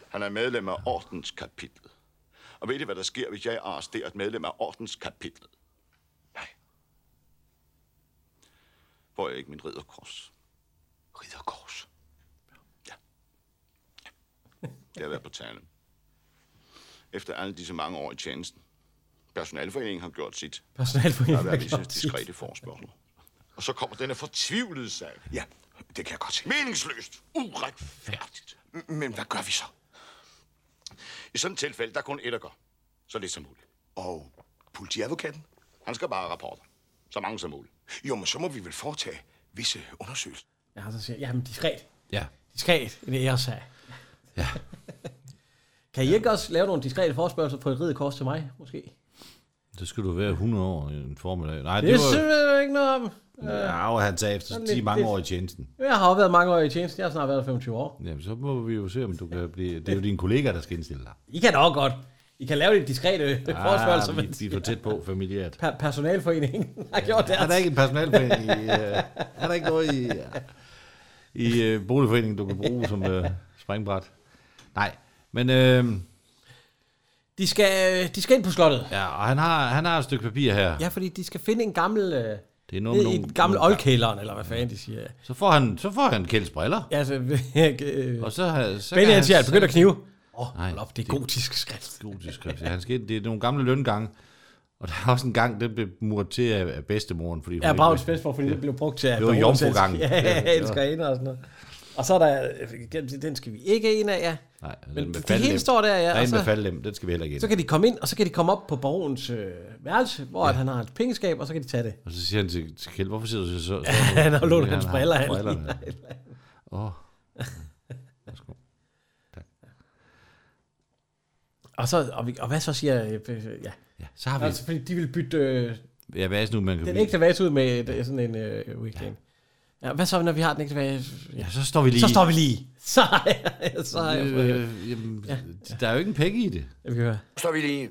[SPEAKER 10] Han er medlem af ordenskapitlet. Og ved I, hvad der sker, hvis jeg arresterer et medlem af ordenskapitlet? Nej. Får jeg ikke min ridderkors?
[SPEAKER 9] Ridderkors.
[SPEAKER 10] Ja.
[SPEAKER 9] Det har været på tale. Efter alle disse mange år i tjenesten. Personalforeningen har gjort sit.
[SPEAKER 2] Personalforeningen har
[SPEAKER 9] har været visse
[SPEAKER 2] gjort sit.
[SPEAKER 9] diskrete forspørgsel. Og så kommer denne fortvivlede sag.
[SPEAKER 11] Ja, det kan jeg godt se.
[SPEAKER 9] Meningsløst. Uretfærdigt.
[SPEAKER 11] Men hvad gør vi så?
[SPEAKER 9] I sådan et tilfælde, der er kun et at gøre. Så lidt som muligt.
[SPEAKER 11] Og politiadvokaten?
[SPEAKER 9] Han skal bare have rapporter. Så mange som muligt.
[SPEAKER 11] Jo, men så må vi vel foretage visse undersøgelser.
[SPEAKER 2] Ja, så siger jeg, jamen diskret.
[SPEAKER 1] Ja.
[SPEAKER 2] Diskret, en æresag. Ja. kan I ikke også lave nogle diskrete forspørgelser på et ridekors til mig, måske?
[SPEAKER 1] Det skulle du være 100 år i en formiddag. Nej,
[SPEAKER 2] det,
[SPEAKER 1] det,
[SPEAKER 2] det
[SPEAKER 1] var...
[SPEAKER 2] simpelthen ikke noget om.
[SPEAKER 1] Ja, og han sagde efter
[SPEAKER 2] sådan
[SPEAKER 1] 10
[SPEAKER 2] lidt-
[SPEAKER 1] mange
[SPEAKER 2] lidt-
[SPEAKER 1] år i tjenesten.
[SPEAKER 2] Jeg har også været mange år i tjeneste. Jeg har snart været 25 år.
[SPEAKER 1] Jamen, så må vi jo se, om du kan blive... Det er jo dine kollegaer, der skal indstille dig.
[SPEAKER 2] I kan da også godt. I kan lave lidt diskrete ah, forspørgelser.
[SPEAKER 1] Ah, vi, vi er for tæt på familiært.
[SPEAKER 2] Per- personalforeningen har gjort deres.
[SPEAKER 1] Er der ikke en personalforening i... Uh, er der ikke noget i... Uh, I uh, boligforeningen, du kan bruge som uh, springbræt? Nej, men... Uh,
[SPEAKER 2] de, skal, øh, de skal ind på slottet.
[SPEAKER 1] Ja, og han har, han har et stykke papir her.
[SPEAKER 2] Ja, fordi de skal finde en gammel... Øh,
[SPEAKER 1] Det er
[SPEAKER 2] ned
[SPEAKER 1] noget med
[SPEAKER 2] i
[SPEAKER 1] nogle-
[SPEAKER 2] en gammel
[SPEAKER 1] nogle-
[SPEAKER 2] oldkælderen, eller hvad fanden de siger.
[SPEAKER 1] Så får han, så får han Kjelds briller.
[SPEAKER 2] Ja, så, øh,
[SPEAKER 1] og så, har- så
[SPEAKER 2] Benny, han siger, at han begynder at knive. Åh,
[SPEAKER 1] Nej,
[SPEAKER 2] hold op, det er gotisk skrift.
[SPEAKER 1] Gotisk skrift. Ja, han skal, det er nogle gamle løngange. Og der er også en gang, den blev murt til af af bedstemoren. Fordi hun
[SPEAKER 2] Ja,
[SPEAKER 1] ikke-
[SPEAKER 2] Brauns bedstefar, fordi det blev brugt til... at
[SPEAKER 1] Det var
[SPEAKER 2] berolige selv-
[SPEAKER 1] jomfrugangen.
[SPEAKER 2] Ja, ja, elskerinder og sådan noget. Og så er der... øh, Den skal vi ikke ind af, ja.
[SPEAKER 1] Nej, altså,
[SPEAKER 2] Men
[SPEAKER 1] den med
[SPEAKER 2] det hele
[SPEAKER 1] faldlem.
[SPEAKER 2] står der, ja.
[SPEAKER 1] Der er
[SPEAKER 2] og
[SPEAKER 1] en
[SPEAKER 2] så-
[SPEAKER 1] med faldlem, den skal vi heller ikke ind.
[SPEAKER 2] Så kan de komme ind, og så kan de komme op på baronens øh, værelse, hvor ja. at han har et pengeskab, og så kan de tage det.
[SPEAKER 1] Og så siger han til, til Kjeld, hvorfor sidder du så... så
[SPEAKER 2] Ja, han har lånt hans briller, han
[SPEAKER 1] brillerne.
[SPEAKER 2] ligner et eller andet.
[SPEAKER 1] Åh. Værsgo.
[SPEAKER 2] Og, så, og, vi, og hvad så siger... Øh, øh, ja.
[SPEAKER 1] ja, så har vi-
[SPEAKER 2] Altså, fordi de vil bytte øh,
[SPEAKER 1] Ja, hvad er det nu, man kan
[SPEAKER 2] den
[SPEAKER 1] blive-
[SPEAKER 2] ægte vase ud med et, øh, sådan en øh, weekend. Ja. ja. hvad så, når vi har den ægte vase?
[SPEAKER 1] Ja, så står vi lige.
[SPEAKER 2] Så står vi lige. Så har jeg, så har jeg fået-
[SPEAKER 1] øh, jamen, ja. Der er jo ikke en penge i det.
[SPEAKER 2] Jeg vil høre.
[SPEAKER 7] Står vi lige.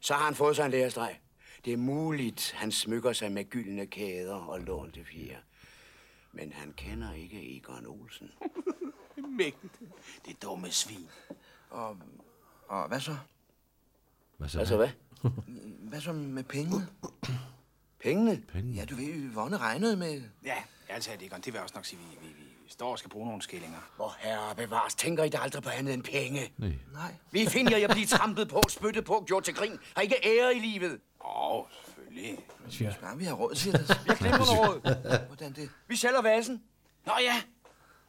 [SPEAKER 7] Så har han fået sig en lærestreg. Det er muligt, han smykker sig med gyldne kæder og lånte fjer. Men han kender ikke Egon Olsen. Mægtigt. Det dumme svin. Og, og hvad så?
[SPEAKER 1] Hvad så?
[SPEAKER 7] Hvad så hvad? Hvad så med pengene? Pengene?
[SPEAKER 1] Pengene?
[SPEAKER 7] Ja, du ved, Yvonne regnede med... Ja, altså det Egon. Det vil jeg også nok sige, vi, vi, vi står og skal bruge nogle skillinger. Hvor herre bevares, tænker I da aldrig på andet end penge?
[SPEAKER 1] Nej.
[SPEAKER 7] Nej.
[SPEAKER 4] Vi finder jer at blive trampet på, spyttet på, gjort til grin. Har I ikke ære i livet?
[SPEAKER 7] Åh, oh, selvfølgelig.
[SPEAKER 2] Siger.
[SPEAKER 7] Ja, vi har råd til det. Jeg
[SPEAKER 4] glemmer noget råd.
[SPEAKER 7] Hvordan det?
[SPEAKER 4] Vi sælger vasen.
[SPEAKER 7] Nå ja,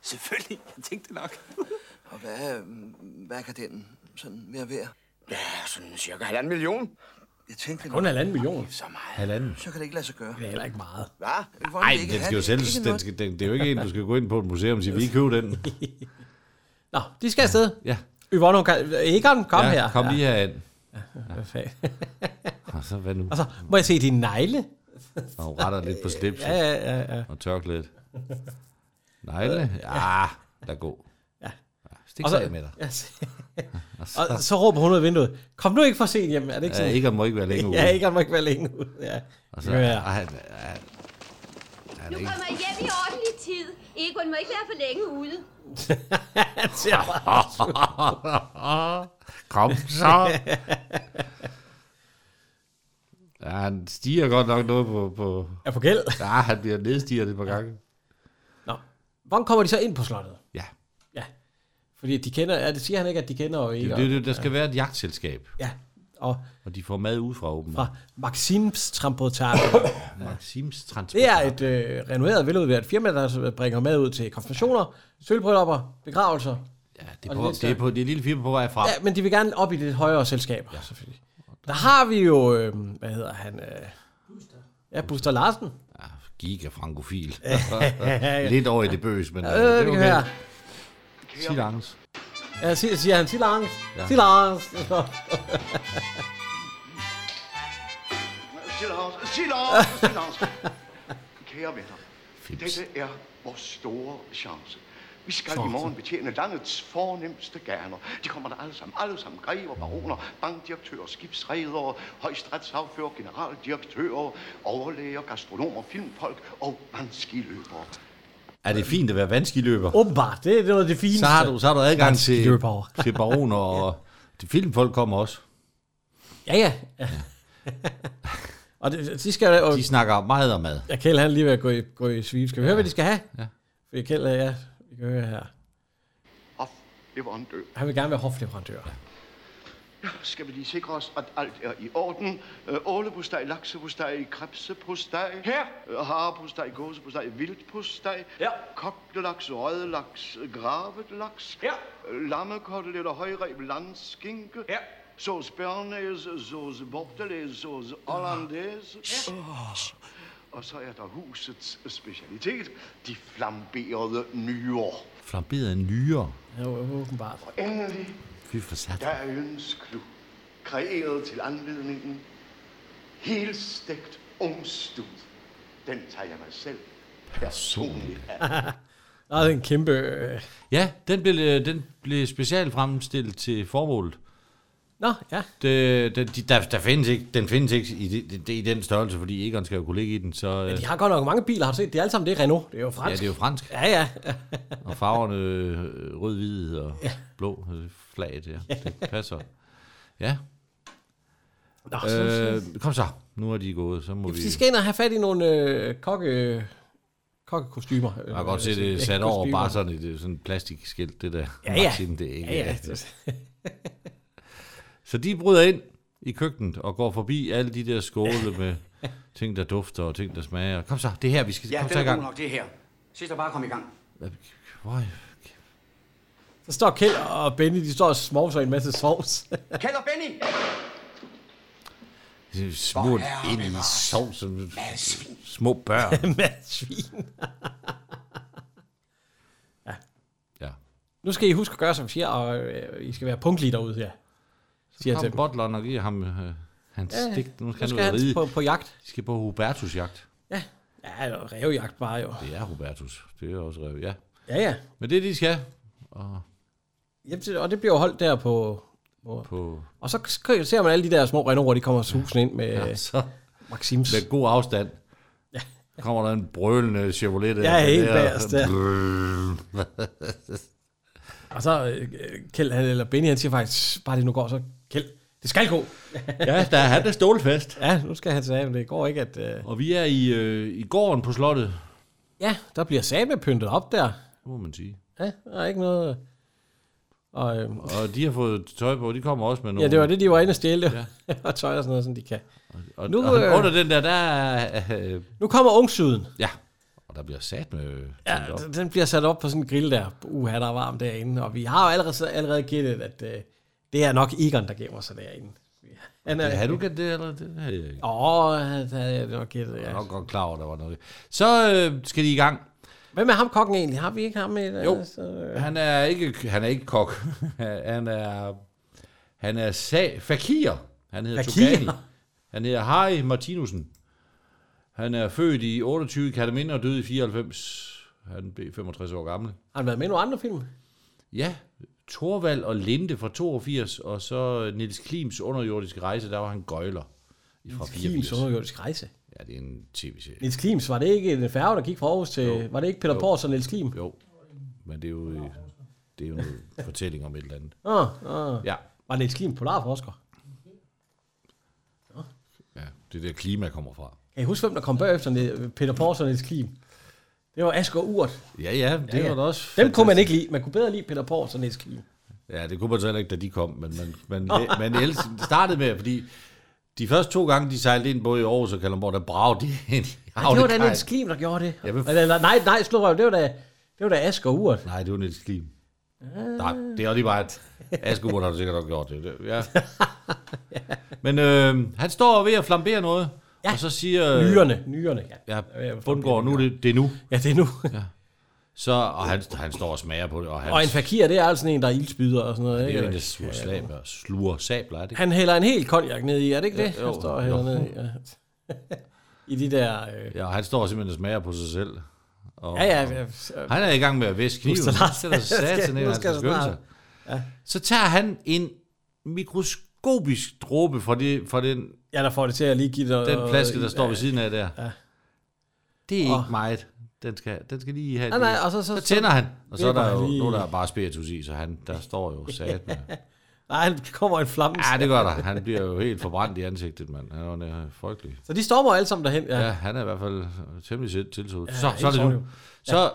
[SPEAKER 7] selvfølgelig. Jeg tænkte nok. Og hvad, øh, hvad kan den sådan mere værd?
[SPEAKER 4] Ja, sådan cirka halvanden million.
[SPEAKER 7] Jeg tænkte
[SPEAKER 2] Kun halvanden million.
[SPEAKER 7] Så meget.
[SPEAKER 1] Halvanden.
[SPEAKER 7] Så kan det ikke lade sig gøre.
[SPEAKER 2] Det er heller ikke meget.
[SPEAKER 7] Hvad?
[SPEAKER 1] Nej, den skal jo sælges. Den skal, den, det er jo ikke en, du skal gå ind på et museum og sige, vi køber den.
[SPEAKER 2] Nå, de skal afsted.
[SPEAKER 1] Ja.
[SPEAKER 2] Yvonne, hun kan, Egon, kom
[SPEAKER 1] ja,
[SPEAKER 2] her.
[SPEAKER 1] Kom lige herind.
[SPEAKER 2] Hvad fanden?
[SPEAKER 1] Og så hvad nu?
[SPEAKER 2] Og så, må jeg se dine negle?
[SPEAKER 1] Og hun retter lidt på slipset.
[SPEAKER 2] Ja, ja, ja, ja.
[SPEAKER 1] Og tørklædet. Negle? Ja, der er god. Ah,
[SPEAKER 2] Ja.
[SPEAKER 1] Stik sig af med dig.
[SPEAKER 2] Ja, så-
[SPEAKER 1] Og
[SPEAKER 2] og så råber hun ud af vinduet, kom nu ikke for sent hjem, er det
[SPEAKER 1] Ja,
[SPEAKER 2] ikke sådan?
[SPEAKER 1] Egon må ikke være længe ude.
[SPEAKER 2] Ja, Egon må ikke være længe ude, ja.
[SPEAKER 1] Og så,
[SPEAKER 2] Ja,
[SPEAKER 1] ja.
[SPEAKER 2] ja.
[SPEAKER 1] Han, han, han,
[SPEAKER 5] Du
[SPEAKER 1] er ikke...
[SPEAKER 5] kommer hjem i ordentlig tid. Egon må ikke være for længe ude.
[SPEAKER 2] Han ser
[SPEAKER 1] Kom så! Ja, han stiger godt nok noget på... på
[SPEAKER 2] Ja, på gæld.
[SPEAKER 1] Ja, han bliver nedstiger det par gange.
[SPEAKER 2] Nå, hvordan kommer de så ind på slottet?
[SPEAKER 1] Ja.
[SPEAKER 2] Ja, fordi de kender, ja, det siger han ikke, at de kender jo
[SPEAKER 1] Det,
[SPEAKER 2] Egon.
[SPEAKER 1] det, det, der skal være et jagtselskab,
[SPEAKER 2] Ja, og
[SPEAKER 1] og de får mad ud fra åben.
[SPEAKER 2] fra Maxims Trampotage.
[SPEAKER 1] Maxims Transport.
[SPEAKER 2] Det er et øh, renoveret, veludvært firma, der bringer mad ud til konfirmationer, sølvbryllupper, begravelser.
[SPEAKER 1] Ja, det,
[SPEAKER 2] og
[SPEAKER 1] er
[SPEAKER 2] lidt
[SPEAKER 1] på, det
[SPEAKER 2] større.
[SPEAKER 1] er på det lille firma på vej frem.
[SPEAKER 2] Ja, men de vil gerne op i det lidt højere selskab. Ja, selvfølgelig. Der har vi jo, øh, hvad hedder han? Øh, ja, Buster Larsen.
[SPEAKER 1] Giga frankofil.
[SPEAKER 2] ja.
[SPEAKER 1] Lidt over i det bøs, men øh,
[SPEAKER 2] Ja,
[SPEAKER 1] det er
[SPEAKER 2] det kan være.
[SPEAKER 1] okay. Sig langs.
[SPEAKER 2] Ja, siger, siger han, sig langs.
[SPEAKER 1] Ja.
[SPEAKER 2] Sig langs.
[SPEAKER 9] Silence, silence, silence. Kære venner, dette er vores store chance. Vi skal i morgen betjene landets fornemmeste gerner. De kommer der alle sammen, alle sammen. Grever, baroner, bankdirektører, skibsredere, højstrætsaffører, generaldirektører, overlæger, gastronomer, filmfolk og vandskiløbere.
[SPEAKER 1] Er det fint at være vandskiløber?
[SPEAKER 2] Åbenbart, det er noget af det fineste.
[SPEAKER 1] Så har du, så har du adgang til,
[SPEAKER 2] Vandskiløbere.
[SPEAKER 1] til baroner, og til filmfolk kommer også.
[SPEAKER 2] Ja, ja. og det, de skal jo...
[SPEAKER 1] De snakker meget om mad.
[SPEAKER 2] Ja, Kjeld, han er lige ved at gå i, gå i svime. Skal vi ja. høre, hvad de skal have?
[SPEAKER 1] Ja.
[SPEAKER 2] Fordi Kjeld, ja, vi kan høre her.
[SPEAKER 9] leverandør.
[SPEAKER 2] Han vil gerne være hofleverandør.
[SPEAKER 9] Ja, skal vi lige sikre os, at alt er i orden. Øh, Ålepostej, laksepostej, krebsepostej. Her! Øh, harepostej, gåsepostej, vildpostej. Ja. Koglelaks, rødlaks, gravet laks. Ja. Øh, lammekoteletter, højreb, landskinke. Ja. Sås bernæse, sås bortelæs, sås hollandaise. Ja. Og så er der husets specialitet, de flamberede nyår.
[SPEAKER 1] Flamberet nyere.
[SPEAKER 2] Ja, åbenbart.
[SPEAKER 9] Og endelig
[SPEAKER 1] Fy for sat.
[SPEAKER 9] der er øens klub, kreeret til anledningen. Helstegt ungstud. Den tager jeg mig selv personligt af.
[SPEAKER 2] Nå, det er en kæmpe... Øh...
[SPEAKER 1] Ja, den blev, øh, den blev specielt fremstillet til formålet.
[SPEAKER 2] Nå, ja.
[SPEAKER 1] Det, det, de- der, der findes ikke, den findes ikke i, det, det, i den størrelse, fordi Egon skal jo kunne ligge i den. Så,
[SPEAKER 2] Men
[SPEAKER 1] øh,
[SPEAKER 2] de har godt nok mange biler, har du set? Det er alle sammen det er Renault. Det er jo fransk.
[SPEAKER 1] Ja, det er jo fransk.
[SPEAKER 2] Ja, ja.
[SPEAKER 1] Og farverne øh, rød, hvid og ja. blå øh, flaget, ja. Det passer. Ja.
[SPEAKER 2] Nå, så-
[SPEAKER 1] øh, kom så. Nu er de gået, så må
[SPEAKER 2] Ja,
[SPEAKER 1] vi...
[SPEAKER 2] for de skal ind og have fat i nogle øh, kokke, kokkekostymer.
[SPEAKER 1] Jeg kan godt se, det er sat over bare sådan et øh, sådan et plastikskilt, det der.
[SPEAKER 2] Ja, ja.
[SPEAKER 1] Martin, det er ikke.
[SPEAKER 2] Ja, ja.
[SPEAKER 1] Så de bryder ind i køkkenet og går forbi alle de der skåle med ting, der dufter og ting, der smager. Kom så, det er her, vi skal
[SPEAKER 12] Ja,
[SPEAKER 1] kom
[SPEAKER 12] det
[SPEAKER 1] så i
[SPEAKER 12] er god
[SPEAKER 1] gang.
[SPEAKER 12] nok, det her. Sidst bare kom i gang.
[SPEAKER 1] Øj,
[SPEAKER 2] Så står Kjeld og Benny, de står og smovser i en masse sovs.
[SPEAKER 12] Kjeld og Benny!
[SPEAKER 1] det er Smurt ind i sov som små børn.
[SPEAKER 2] svin. ja.
[SPEAKER 1] Ja.
[SPEAKER 2] Nu skal I huske at gøre, som vi siger, og øh, I skal være punktlige derude, ja. Siger
[SPEAKER 1] Så
[SPEAKER 2] jeg til
[SPEAKER 1] kom
[SPEAKER 2] dem.
[SPEAKER 1] Botleren og giver ham øh, hans
[SPEAKER 2] Ja, ja.
[SPEAKER 1] stik. Nu
[SPEAKER 2] Nu
[SPEAKER 1] skal,
[SPEAKER 2] skal
[SPEAKER 1] han
[SPEAKER 2] han
[SPEAKER 1] ud og ride.
[SPEAKER 2] på- på jagt.
[SPEAKER 1] De skal på Hubertus jagt.
[SPEAKER 2] Ja, det er revjagt bare jo.
[SPEAKER 1] Det er Hubertus. Det er også rev, ja.
[SPEAKER 2] Ja, ja.
[SPEAKER 1] Men det er de skal. Og
[SPEAKER 2] Jamen, det- og det bliver jo holdt der på... på,
[SPEAKER 1] på
[SPEAKER 2] Og så k- ser man alle de der små Renault'er, de kommer susende ind med...
[SPEAKER 1] Ja,
[SPEAKER 2] Ja,
[SPEAKER 1] så.
[SPEAKER 2] Maxims.
[SPEAKER 1] Med god afstand. Kommer der en brølende Chevrolet. der,
[SPEAKER 2] Ja, helt
[SPEAKER 1] der-
[SPEAKER 2] bagerst, ja.
[SPEAKER 1] Brrr.
[SPEAKER 2] Og så øh, Kjeld, han, eller Benny, han siger faktisk, bare det nu går, så Kjeld, det skal gå.
[SPEAKER 1] ja, der er han der stålfast.
[SPEAKER 2] Ja, nu skal han sige, men det går ikke, at... Øh...
[SPEAKER 1] Og vi er i, øh, i gården på slottet.
[SPEAKER 2] Ja, der bliver samme pyntet op der.
[SPEAKER 1] Det må man sige.
[SPEAKER 2] Ja, der er ikke noget... Og, øhm,
[SPEAKER 1] Og de har fået tøj på, de kommer også med nogle...
[SPEAKER 2] ja, det var det, de var inde og stjæle. Ja. og tøj og sådan noget, som de kan.
[SPEAKER 1] Og,
[SPEAKER 2] nu,
[SPEAKER 1] nu, og
[SPEAKER 2] øh,
[SPEAKER 1] under den der, der er... Øh,
[SPEAKER 2] nu kommer ungsyden.
[SPEAKER 1] Ja, og der bliver sat med...
[SPEAKER 2] Ja, den- den bliver sat op på sådan en grill der. Uha, der er varmt derinde. Og vi har jo allerede, allerede gættet, at øh, det er nok Egon, der gemmer sig derinde. Han er-
[SPEAKER 1] Ja, har du gættet det, eller det havde jeg ikke.
[SPEAKER 2] Åh, oh, det havde jeg nok gættet,
[SPEAKER 1] Jeg
[SPEAKER 2] ja.
[SPEAKER 1] er nok godt klar over, der var noget. Så øh, skal de i gang.
[SPEAKER 2] Hvad med ham kokken egentlig? Har vi ikke ham med?
[SPEAKER 1] Jo,
[SPEAKER 2] Altså, øh,
[SPEAKER 1] han er ikke, han er ikke kok. han er, han er sag, fakir. Han hedder
[SPEAKER 2] Fakir?
[SPEAKER 1] Tugani. Han hedder Harry Martinussen. Han er født i 28 i Katamin og døde i 94. Han blev 65 år gammel.
[SPEAKER 2] Har han været med i nogle andre film?
[SPEAKER 1] Ja, Torvald og Linde fra 82, og så Nils Klims underjordiske rejse, der var han gøjler. Fra
[SPEAKER 2] Nils Klims underjordisk rejse?
[SPEAKER 1] Ja, det er en tv-serie.
[SPEAKER 2] Niels Klims, var det ikke en færge, der gik fra Aarhus til...
[SPEAKER 1] Jo.
[SPEAKER 2] Jo. Var det ikke Peter
[SPEAKER 1] Jo.
[SPEAKER 2] Pors og Niels Klim?
[SPEAKER 1] Jo, men det er jo, øh, det er jo en fortælling om et eller andet.
[SPEAKER 2] Åh, ah, ah.
[SPEAKER 1] Ja.
[SPEAKER 2] Var Niels Klim polarforsker?
[SPEAKER 1] Ja, det er der klima kommer fra.
[SPEAKER 2] Kan I huske, hvem der kom bagefter Ni- Peter Pors og Niels Klim? Det var Asger Urt.
[SPEAKER 1] Ja, ja, det var da også Ah,
[SPEAKER 2] Dem kunne man ikke lide. Man kunne bedre lide Peter Pors og Niels Klim.
[SPEAKER 1] Ja, det kunne man så heller ikke, da de kom, men man, man, man elskede, det startede med, fordi de første to gange, de sejlede ind både i Aarhus og Kalundborg, der bragte de ind i
[SPEAKER 2] Ja, det var da
[SPEAKER 1] havnekajen.
[SPEAKER 2] Niels Klim, der gjorde det.
[SPEAKER 1] Ja, men-
[SPEAKER 2] Eller, eller, nej, nej, slå røv. Det var da, det var da Asger Urt.
[SPEAKER 1] Nej, det var Niels Klim. Nej, det er lige bare, at Askewood har du sikkert nok gjort det. det- Ja. Men øh, han står ved at flambere noget, ja. og så siger... øh,
[SPEAKER 2] Nyrerne, nyrerne, ja.
[SPEAKER 1] Ja, Bundgaard, nu er det, det er nu.
[SPEAKER 2] Ja, det er nu.
[SPEAKER 1] ja. Så, og han, han står og smager på det, og han...
[SPEAKER 2] Og en fakir, det er altså sådan en, der er ildspyder og sådan noget.
[SPEAKER 1] det er
[SPEAKER 2] ikke?
[SPEAKER 1] jo en, der sluger sabler, sluger sabler, er det ikke?
[SPEAKER 2] Han hælder en hel konjak ned i, er det ikke det?
[SPEAKER 1] Jo, jo,
[SPEAKER 2] han står og
[SPEAKER 1] jo.
[SPEAKER 2] hælder ned i, ja. I de der... Øh,
[SPEAKER 1] Ja, og han står simpelthen og smager på sig selv. Og,
[SPEAKER 2] Ja, ja, ja.
[SPEAKER 1] Han er i gang med at væske kniven.
[SPEAKER 2] Husk
[SPEAKER 1] Nu
[SPEAKER 2] det, Lars.
[SPEAKER 1] skal der satan ind,
[SPEAKER 2] Nu
[SPEAKER 1] han
[SPEAKER 2] skal
[SPEAKER 1] skal
[SPEAKER 2] der
[SPEAKER 1] skynde sig.
[SPEAKER 2] snart.
[SPEAKER 1] Ja. Så tager han en mikroskopisk dråbe fra, det, fra den,
[SPEAKER 2] ja, der får det til at lige give dig...
[SPEAKER 1] den flaske, der står
[SPEAKER 2] Øh, ja,
[SPEAKER 1] ved siden af der.
[SPEAKER 2] Ja.
[SPEAKER 1] Det er ikke
[SPEAKER 2] Og-
[SPEAKER 1] meget. Den skal, den skal lige have...
[SPEAKER 2] Nej, nej, og så- så-
[SPEAKER 1] så tænder han. Og så er
[SPEAKER 2] vipper
[SPEAKER 1] der
[SPEAKER 2] han
[SPEAKER 1] jo
[SPEAKER 2] lige-
[SPEAKER 1] nu er der bare spiritus i, så han, der står jo sat med.
[SPEAKER 2] Nej, han kommer en flamme.
[SPEAKER 1] Ja, det gør der. Han bliver jo helt forbrændt i ansigtet, mand. Han er jo nær- frygtelig.
[SPEAKER 2] Så de stormer alle sammen derhen, ja.
[SPEAKER 1] Ja, han er i hvert fald temmelig sæt tilsået.
[SPEAKER 2] Ja,
[SPEAKER 1] så,
[SPEAKER 2] helt
[SPEAKER 1] så er det
[SPEAKER 2] sort
[SPEAKER 1] nu.
[SPEAKER 2] jo.
[SPEAKER 1] Så,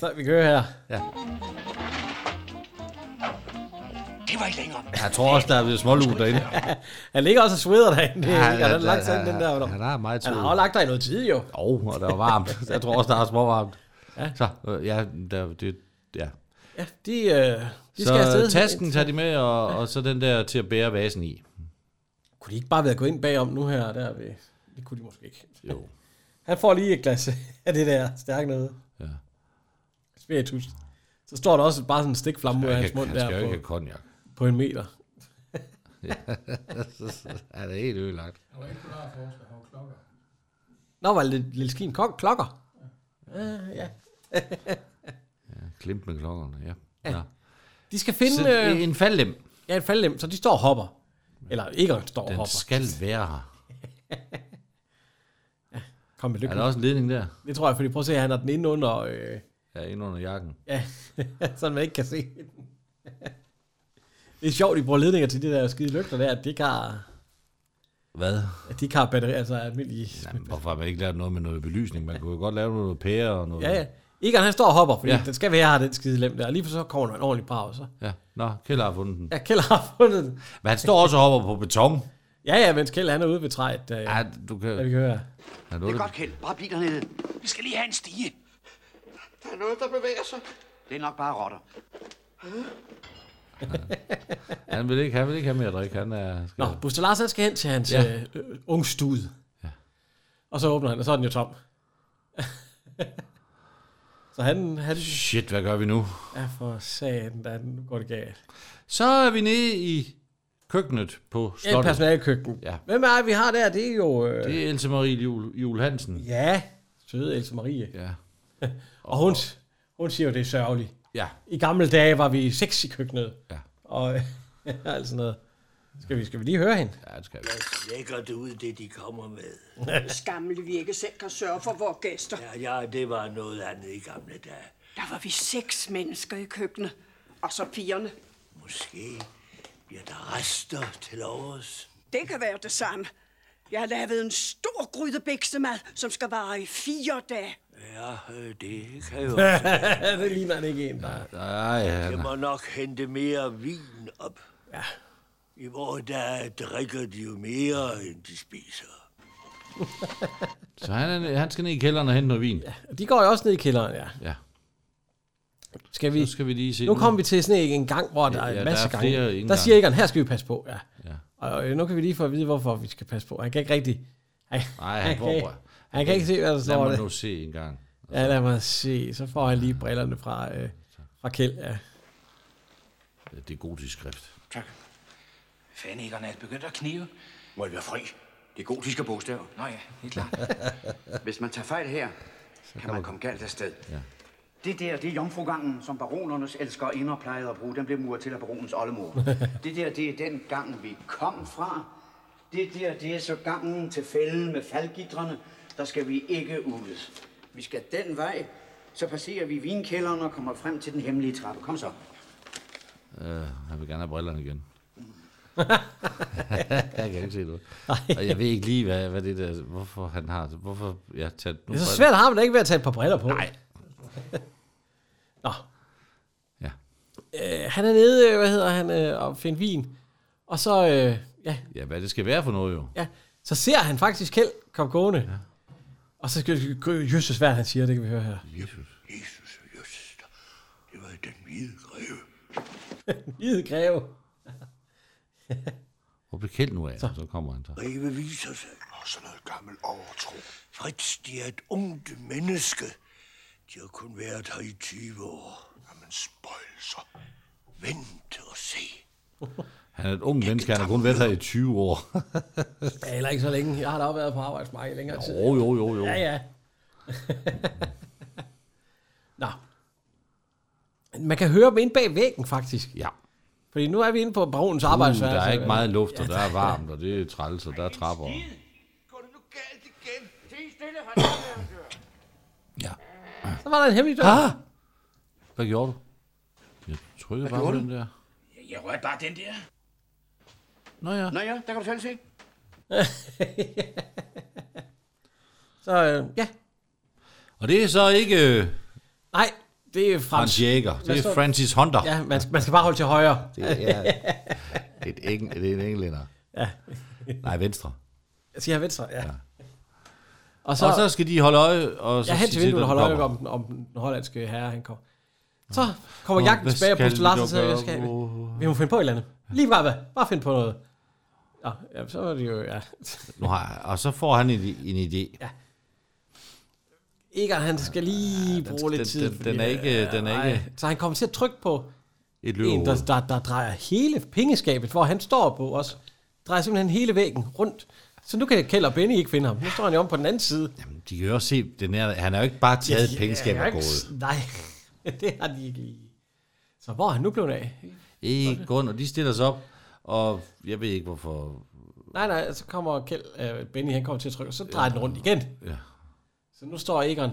[SPEAKER 2] Så vi kører her.
[SPEAKER 1] Ja.
[SPEAKER 9] var ikke længere.
[SPEAKER 1] Jeg tror også, der er blevet smålug derinde.
[SPEAKER 2] han ligger også og sveder derinde.
[SPEAKER 1] Ja,
[SPEAKER 2] Ja, han
[SPEAKER 1] ja,
[SPEAKER 2] har lagt sig
[SPEAKER 1] ja,
[SPEAKER 2] ind, den der.
[SPEAKER 1] ja, der er meget
[SPEAKER 2] Han
[SPEAKER 1] sved.
[SPEAKER 2] har jo lagt dig i noget tid, jo.
[SPEAKER 1] Jo, og der var varmt. Jeg tror også, der er småvarmt.
[SPEAKER 2] Ja.
[SPEAKER 1] Så, øh, ja, der, det, ja.
[SPEAKER 2] Ja, de, øh, de
[SPEAKER 1] så
[SPEAKER 2] skal afsted.
[SPEAKER 1] tasken tager de med, og, og så den der til at bære vasen i.
[SPEAKER 2] Kunne de ikke bare være gået ind bagom nu her? Der ved... Det kunne de måske ikke.
[SPEAKER 1] Jo.
[SPEAKER 2] Han får lige et glas af det der stærke noget.
[SPEAKER 1] Ja.
[SPEAKER 2] Spiritus. Så står der også bare sådan en stikflamme ud af
[SPEAKER 1] Han
[SPEAKER 2] hans
[SPEAKER 1] kan-
[SPEAKER 2] mund
[SPEAKER 1] han skal jo
[SPEAKER 2] der
[SPEAKER 1] ikke have
[SPEAKER 2] på,
[SPEAKER 1] konjak.
[SPEAKER 2] på en meter.
[SPEAKER 1] Ja, så er det helt ødelagt.
[SPEAKER 2] Nå, var det lille, lille skin kok- klokker? Ja. ja.
[SPEAKER 1] Ja, Klimt med klokkerne, ja.
[SPEAKER 2] Ja.
[SPEAKER 1] Nå.
[SPEAKER 2] De skal finde...
[SPEAKER 1] Så, øh, en faldlem.
[SPEAKER 2] Ja, en faldlem, så de står og hopper. Eller ikke står og
[SPEAKER 1] Den
[SPEAKER 2] hopper.
[SPEAKER 1] skal være her.
[SPEAKER 2] Kom med lykke.
[SPEAKER 1] Er der også en ledning der?
[SPEAKER 2] Det tror jeg, fordi prøv at se, han har den inde under... Øh,
[SPEAKER 1] Ja, inde under jakken.
[SPEAKER 2] ja, sådan man ikke kan se den. det er sjovt, de bruger ledninger til de der skide lygter der, at de ikke har...
[SPEAKER 1] Hvad?
[SPEAKER 2] At de ikke har batteri, altså almindelige...
[SPEAKER 1] Jamen, hvorfor har man ikke lavet noget med noget belysning? Man kunne jo godt lave noget pære og noget.
[SPEAKER 2] Ja, ja. Egon han står og hopper, fordi
[SPEAKER 1] Ja.
[SPEAKER 2] ja. den skal være her, den skide lem der. Og lige for så kommer der en ordentlig brav, så.
[SPEAKER 1] ja. Nå, Kjell har fundet den.
[SPEAKER 2] Ja, Kjell har fundet den.
[SPEAKER 1] Men han står også og hopper på beton.
[SPEAKER 2] Ja, ja, mens Kjell han er ude ved træet. Øh,
[SPEAKER 1] Ja, du kan...
[SPEAKER 2] Ja, vi kan høre.
[SPEAKER 1] Er
[SPEAKER 9] Det er
[SPEAKER 1] noget,
[SPEAKER 9] godt, Kjeld. Bare bliv dernede. Vi skal lige have en stige. Der er noget, der bevæger sig.
[SPEAKER 4] Det er nok bare rotter.
[SPEAKER 1] han, vil ikke, han vil ikke have mere drik. Han er... Skal...
[SPEAKER 2] Nå, Buster Lars han skal hen til hans
[SPEAKER 1] Ja.
[SPEAKER 2] ja. øh, øh, ungstude. Ja. Og så åbner han, og så er den jo tom. så han... han
[SPEAKER 1] Shit, hvad gør vi nu?
[SPEAKER 2] Ja, for satan, da nu går det galt.
[SPEAKER 1] Så er vi nede i køkkenet på
[SPEAKER 2] Ja, et
[SPEAKER 1] slottet.
[SPEAKER 2] personalkøkken.
[SPEAKER 1] Ja.
[SPEAKER 2] Hvem er det, vi har der? Det er jo... Øh,
[SPEAKER 1] Det er Else Marie Jul, Jul Hansen.
[SPEAKER 2] Ja, søde Else Marie.
[SPEAKER 1] Ja.
[SPEAKER 2] og hun, hun siger jo, det er sørgeligt.
[SPEAKER 1] Ja.
[SPEAKER 2] I gamle dage var vi seks i køkkenet. Ja. Og alt sådan noget. Skal vi, skal vi lige høre hende?
[SPEAKER 1] Ja, det skal vi.
[SPEAKER 13] Lækkert ud, det de kommer med.
[SPEAKER 14] Skamle, vi ikke selv kan sørge for vores gæster.
[SPEAKER 13] Ja, ja, det var noget andet i gamle dage.
[SPEAKER 14] Der var vi seks mennesker i køkkenet. Og så pigerne.
[SPEAKER 13] Måske bliver der rester til overs.
[SPEAKER 14] Det kan være det samme. Jeg har lavet en stor gryde biksemad, som skal vare i fire dage.
[SPEAKER 13] Ja, øh, det kan jo...
[SPEAKER 2] det ligner han ikke en. Nej,
[SPEAKER 1] nej.
[SPEAKER 13] Jeg må nok hente mere vin op.
[SPEAKER 2] Ja.
[SPEAKER 13] I vore dage drikker de jo mere, end de spiser.
[SPEAKER 1] Så han, er, han skal ned i kælderen og hente noget vin. Ja.
[SPEAKER 2] De går jo også ned i kælderen, ja.
[SPEAKER 1] ja.
[SPEAKER 2] Skal vi,
[SPEAKER 1] Så skal vi lige se
[SPEAKER 2] nu
[SPEAKER 1] den.
[SPEAKER 2] kommer vi til sådan en gang, hvor der
[SPEAKER 1] Ja,
[SPEAKER 2] er en
[SPEAKER 1] ja,
[SPEAKER 2] masse
[SPEAKER 1] der er
[SPEAKER 2] gange.
[SPEAKER 1] flere indgange.
[SPEAKER 2] Der siger Egon, her skal vi passe på. Ja.
[SPEAKER 1] Ja.
[SPEAKER 2] Og øh, nu kan vi lige få at vide, hvorfor vi skal passe på. Han kan ikke rigtig... Han,
[SPEAKER 1] Nej, han får...
[SPEAKER 2] kan, han kan ikke se, hvad der står
[SPEAKER 1] Lad mig
[SPEAKER 2] der.
[SPEAKER 1] nu se en gang.
[SPEAKER 2] Ja, lad mig se. Så får han lige brillerne fra, øh, fra Kjeld. Ja.
[SPEAKER 1] Det er gotisk skrift.
[SPEAKER 8] Tak. Fanden, Egon, er det begyndt at knive?
[SPEAKER 4] Må det være fri? Det er gotiske bogstaver.
[SPEAKER 8] Nå ja, helt klart.
[SPEAKER 4] Hvis man tager fejl her, kan man komme galt afsted.
[SPEAKER 1] Ja.
[SPEAKER 4] Det der, det er jomfrugangen, som baronernes elskere inder plejede at bruge. Den blev muret til af baronens oldemor. det der, det er den gang, vi kom fra. Det der, det er så gangen til fælden med faldgitrene. Der skal vi ikke ud. Vi skal den vej, så passerer vi vinkælderen og kommer frem til den hemmelige trappe. Kom så.
[SPEAKER 1] Uh, han vil gerne have brillerne igen. jeg kan ikke se noget. Og jeg ved ikke lige, hvad, hvad det der... Hvorfor han har... Hvorfor jeg tager...
[SPEAKER 2] Det er så svært har man da ikke ved at tage et par briller på. Nej. Nå.
[SPEAKER 1] Ja.
[SPEAKER 2] Øh, han er nede, øh, hvad hedder han, øh, og finde vin. Og så, øh, ja,
[SPEAKER 1] Ja, hvad det skal være for noget jo.
[SPEAKER 2] ja, så ser han faktisk Kjeld komme gående. Ja. Og så skal det jøsses, hvad han siger, det kan vi høre her.
[SPEAKER 13] Jesus, Jesus, Jesus. Det var den hvide greve.
[SPEAKER 2] Hvide greve.
[SPEAKER 1] Hvor bliver Kjeld nu af? Så. så kommer han så.
[SPEAKER 13] Breve viser sig. Og sådan noget gammel overtro. Fritz, de er et ungt menneske. De har kun været her i 20 år. Jamen, spøjelser. Vent og se.
[SPEAKER 1] Han er et ung menneske, han har kun været her i 20 år.
[SPEAKER 2] Ja, heller ikke så længe. Jeg har da også været på arbejdsmarkedet i længere tid.
[SPEAKER 1] Jo, jo, jo, jo.
[SPEAKER 2] Ja, ja. Nå. Man kan høre dem inde bag væggen, faktisk.
[SPEAKER 1] Ja.
[SPEAKER 2] Fordi nu er vi inde på baronens
[SPEAKER 1] Uh,
[SPEAKER 2] arbejdsværelse.
[SPEAKER 1] der er ikke meget luft, og
[SPEAKER 2] Ja,
[SPEAKER 1] der er varmt, og det er træls, og der er trapper.
[SPEAKER 2] Så var der en hemmelig dør.
[SPEAKER 1] Ah! Hvad gjorde du? Jeg trykkede
[SPEAKER 4] Hvad
[SPEAKER 1] bare på
[SPEAKER 4] gjorde
[SPEAKER 1] den der.
[SPEAKER 8] Jeg rørte bare den der.
[SPEAKER 1] Nå ja.
[SPEAKER 4] Nå ja, der kan du selv se.
[SPEAKER 2] Så øh, ja. øh,
[SPEAKER 1] Og det er så ikke... øh,
[SPEAKER 2] Nej, Det er Frans,
[SPEAKER 1] Frans Jæger. Det
[SPEAKER 2] Hvad
[SPEAKER 1] er
[SPEAKER 2] står-
[SPEAKER 1] Francis Hunter.
[SPEAKER 2] Ja, man, man skal bare holde til højre.
[SPEAKER 1] Det er, det er, et eng, det er en englænder.
[SPEAKER 2] Ja.
[SPEAKER 1] Nej, venstre.
[SPEAKER 2] Jeg siger venstre, ja. ja.
[SPEAKER 1] Og så, og så skal de holde øje. Og så
[SPEAKER 2] ja, hen
[SPEAKER 1] sige
[SPEAKER 2] til
[SPEAKER 1] når
[SPEAKER 2] vinduet og
[SPEAKER 1] du
[SPEAKER 2] holde øje
[SPEAKER 1] kommer.
[SPEAKER 2] om, om den hollandske herre, han kommer. Så kommer
[SPEAKER 1] Nå,
[SPEAKER 2] jagten
[SPEAKER 1] hvad
[SPEAKER 2] tilbage, og
[SPEAKER 1] skal
[SPEAKER 2] Buster Larsen
[SPEAKER 1] vi
[SPEAKER 2] siger,
[SPEAKER 1] gøre?
[SPEAKER 2] jeg skal, vi må finde på et eller andet. Lige bare hvad? Bare finde på noget. Ja, ja så er det jo, ja.
[SPEAKER 1] Nu har, og så får han en, en idé. Ja,
[SPEAKER 2] Egon, han skal lige bruge
[SPEAKER 1] skal-
[SPEAKER 2] lidt
[SPEAKER 1] den-
[SPEAKER 2] tid.
[SPEAKER 1] den-
[SPEAKER 2] fordi,
[SPEAKER 1] den er ikke-
[SPEAKER 2] øh,
[SPEAKER 1] den er
[SPEAKER 2] nej.
[SPEAKER 1] ikke-
[SPEAKER 2] Så han kommer til at trykke på
[SPEAKER 1] Et
[SPEAKER 2] en, der,
[SPEAKER 1] løvehoved.
[SPEAKER 2] der, der drejer hele pengeskabet, hvor han står på også. Drejer simpelthen hele væggen rundt. Så nu kan Kjeld og Benny ikke finde ham. Nu står han jo om på den anden side.
[SPEAKER 1] De kan jo også se, den er, han har jo ikke bare taget
[SPEAKER 2] Ja,
[SPEAKER 1] et pengeskab
[SPEAKER 2] jeg
[SPEAKER 1] og
[SPEAKER 2] er ikke-
[SPEAKER 1] gået.
[SPEAKER 2] Nej, det har de ikke lige. Så hvor er han nu blevet af?
[SPEAKER 1] Ikke grund, og de stiller sig op. Og jeg ved ikke, hvorfor...
[SPEAKER 2] Nej, nej, så kommer Kjeld, øh, Benny, han kommer til at trykke, og så drejer den rundt igen.
[SPEAKER 1] Ja.
[SPEAKER 2] Så nu står Egon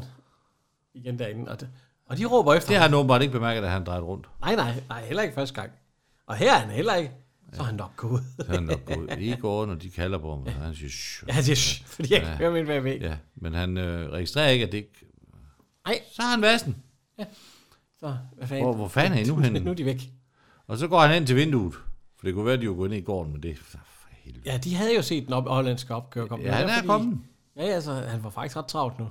[SPEAKER 2] igen derinde, og, det, og de råber efter
[SPEAKER 1] Det har han åbenbart ikke bemærket, at han drejede rundt.
[SPEAKER 2] Nej, nej, nej, heller ikke første gang. Og her er han heller ikke. Så er han nok gået.
[SPEAKER 1] Så han nok gået. I går, når de kalder på ham, og han siger... Shh.
[SPEAKER 2] Ja, han siger, "Shh," fordi jeg kan høre min vej væk.
[SPEAKER 1] Ja, men han øh, registrerer ikke, at det ikke...
[SPEAKER 2] Nej.
[SPEAKER 1] Så har han vassen.
[SPEAKER 2] Ja. Så, hvad fanden?
[SPEAKER 1] Hvor, hvor fanden er I nu henne?
[SPEAKER 2] nu er de væk.
[SPEAKER 1] Og så går han hen til vinduet. For det kunne være, at de var gået ind i gården, men det...
[SPEAKER 2] Ja, de havde jo set den op hollandske opkører komme.
[SPEAKER 1] Ja,
[SPEAKER 2] Det
[SPEAKER 1] han er
[SPEAKER 2] fordi-
[SPEAKER 1] kommet.
[SPEAKER 2] Ja, ja, så han var faktisk ret travlt nu.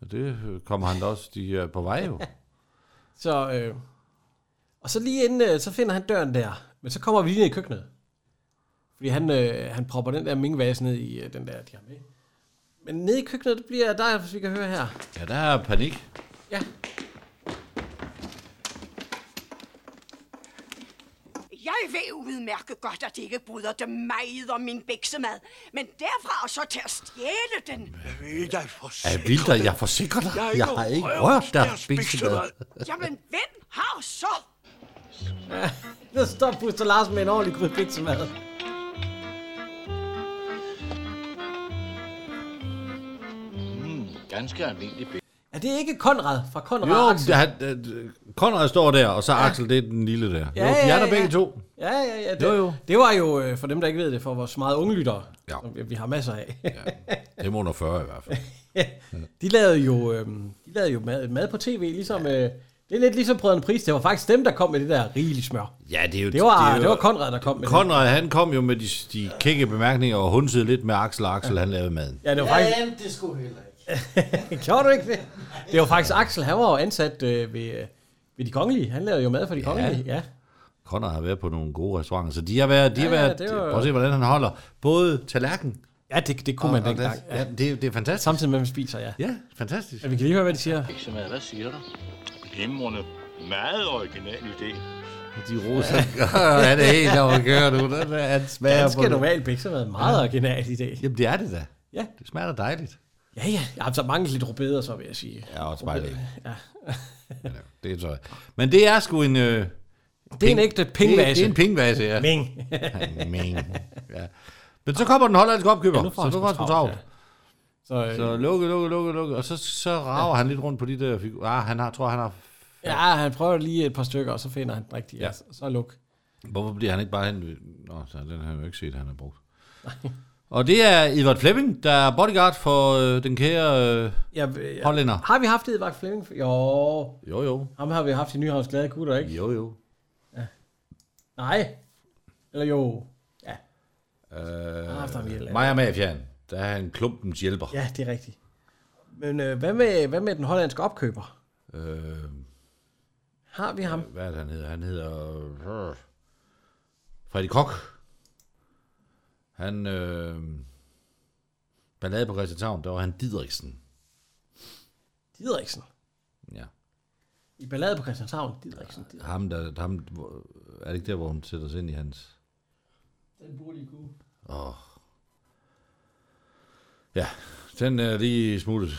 [SPEAKER 1] Og det øh, kommer han da også. De er på vej jo.
[SPEAKER 2] Så, øh, og så lige inden, øh, så finder han døren der. Men så kommer vi lige ned i køkkenet. Fordi han, øh, han propper den der minkvase ned i øh, den der, de har med. Men nede i køkkenet, det bliver der, hvis vi kan høre her.
[SPEAKER 1] Ja, der er panik.
[SPEAKER 2] Ja.
[SPEAKER 14] Jeg ved udmærket godt, at det ikke bryder dem meget om min biksemad. Men derfra og så til at stjæle den.
[SPEAKER 13] Jeg ved dig for
[SPEAKER 1] Er vildt, og jeg forsikrer dig.
[SPEAKER 13] Jeg har
[SPEAKER 1] Jeg
[SPEAKER 13] ikke
[SPEAKER 1] har ikke
[SPEAKER 13] rørt
[SPEAKER 1] rørt dig,
[SPEAKER 13] deres
[SPEAKER 1] biksemad.
[SPEAKER 14] Jamen, hvem har så?
[SPEAKER 2] Ja, så står Buster Larsen med en ordentlig gryde biksemad.
[SPEAKER 15] Mm, ganske almindelig bæk.
[SPEAKER 2] Er det ikke Konrad fra Konrad
[SPEAKER 1] Jo,
[SPEAKER 2] Axel?
[SPEAKER 1] han, øh, Konrad står der, og så Axel, det er den lille der. Jo, de er der begge to.
[SPEAKER 2] Ja, ja, ja. Det,
[SPEAKER 1] Jo, jo.
[SPEAKER 2] det var jo, øh, for dem, der ikke ved det, for vores meget unge lyttere, ja. som vi- vi har masser af.
[SPEAKER 1] Det er under 40 i hvert fald.
[SPEAKER 2] de lavede jo, øh, de lavede jo mad, mad på tv, ligesom... Øh, det er lidt ligesom Brødrene Pris. Det var faktisk dem, der kom med det der rigelige smør.
[SPEAKER 1] Ja, det er jo...
[SPEAKER 2] Det var- det var Konrad, der kom med det.
[SPEAKER 1] Konrad, han kom jo med de, de kække bemærkninger og hundsede lidt med Axel, og Axel, han lavede maden.
[SPEAKER 2] Ja, det var faktisk...
[SPEAKER 15] Jamen, det skulle heller ikke.
[SPEAKER 2] Gjorde du ikke det? Det var faktisk Axel, han var jo ansat øh, ved, øh, ved de kongelige. Han lavede jo mad for de kongelige, ja.
[SPEAKER 1] Conrad har været på nogle gode restauranter, så de har været... De
[SPEAKER 2] Ja,
[SPEAKER 1] har
[SPEAKER 2] ja,
[SPEAKER 1] været
[SPEAKER 2] det
[SPEAKER 1] det
[SPEAKER 2] var-
[SPEAKER 1] Prøv at se, hvordan han holder. Både tallerken...
[SPEAKER 2] Ja, det, det kunne man dengang.
[SPEAKER 1] Ja, det, det er fantastisk.
[SPEAKER 2] Samtidig med, at man spiser, ja.
[SPEAKER 1] Ja, fantastisk.
[SPEAKER 2] Men vi kan lige høre, hvad de siger.
[SPEAKER 15] Biksemad, hvad siger du? Glimrende. Meget original idé.
[SPEAKER 1] De roser. Ja. er det helt over at køre nu? Den er en smager
[SPEAKER 2] Ganske
[SPEAKER 1] på-
[SPEAKER 2] normalt biksemad. Meget original idé.
[SPEAKER 1] Jamen, det er det da.
[SPEAKER 2] Ja.
[SPEAKER 1] Det smager da dejligt.
[SPEAKER 2] Ja, ja. Jeg har så mange lidt rubeder, så vil jeg sige.
[SPEAKER 1] Ja, og spejlæg.
[SPEAKER 2] Ja.
[SPEAKER 1] Det tror jeg. Men det er sgu en... Øh, det
[SPEAKER 2] Det er en ægte pingvase.
[SPEAKER 1] Det, det er en pingvase, ja.
[SPEAKER 2] Ming.
[SPEAKER 1] Ming. Ja. Men så kommer den hollandske opkøber, ja,
[SPEAKER 2] Ja, nu
[SPEAKER 1] nu så
[SPEAKER 2] får han
[SPEAKER 1] nu
[SPEAKER 2] sgu
[SPEAKER 1] var sgu
[SPEAKER 2] travlt,
[SPEAKER 1] travlt.
[SPEAKER 2] Så, øh,
[SPEAKER 1] Så lukke, lukke, lukke, lukke. Og så, så rager ja. han lidt rundt på de der figurer. Ah, han har, tror, han har...
[SPEAKER 2] ja, han prøver lige et par stykker, og så finder han den rigtige. Ja.
[SPEAKER 1] Ja.
[SPEAKER 2] Så luk.
[SPEAKER 1] Hvorfor bliver han ikke bare hen... Nå, så den har jeg jo ikke set, han har brugt. og det er Edward Fleming, der er bodyguard for øh, den kære øh,
[SPEAKER 2] Ja,
[SPEAKER 1] ja,
[SPEAKER 2] øh, ja.
[SPEAKER 1] hollænder.
[SPEAKER 2] Har vi haft Edvard Flemming? Jo.
[SPEAKER 1] Jo, jo.
[SPEAKER 2] Ham har vi haft i Nyhavns Glade Gutter, ikke?
[SPEAKER 1] Jo, jo.
[SPEAKER 2] Nej. Eller jo. Ja. har haft ham i et eller
[SPEAKER 1] Øh,
[SPEAKER 2] andet.
[SPEAKER 1] Maja Mafian, der er han klumpens hjælper.
[SPEAKER 2] Ja, det er rigtigt. Men øh, hvad, med, hvad med den hollandske opkøber?
[SPEAKER 1] Øh,
[SPEAKER 2] Har vi ham?
[SPEAKER 1] hvad er det, han hedder? Han hedder... øh, Freddy Kok. Han... Øh, ballade på Christianshavn, der var han Didriksen.
[SPEAKER 2] Didriksen.
[SPEAKER 1] Ja.
[SPEAKER 2] I ballade på Christianshavn. Didriksen. Didriksen.
[SPEAKER 1] Ham, der, ham, hvor- er det ikke der, hvor hun sætter sig ind i hans...
[SPEAKER 2] Den burde I kunne.
[SPEAKER 1] Åh. Ja, den er lige smuttet.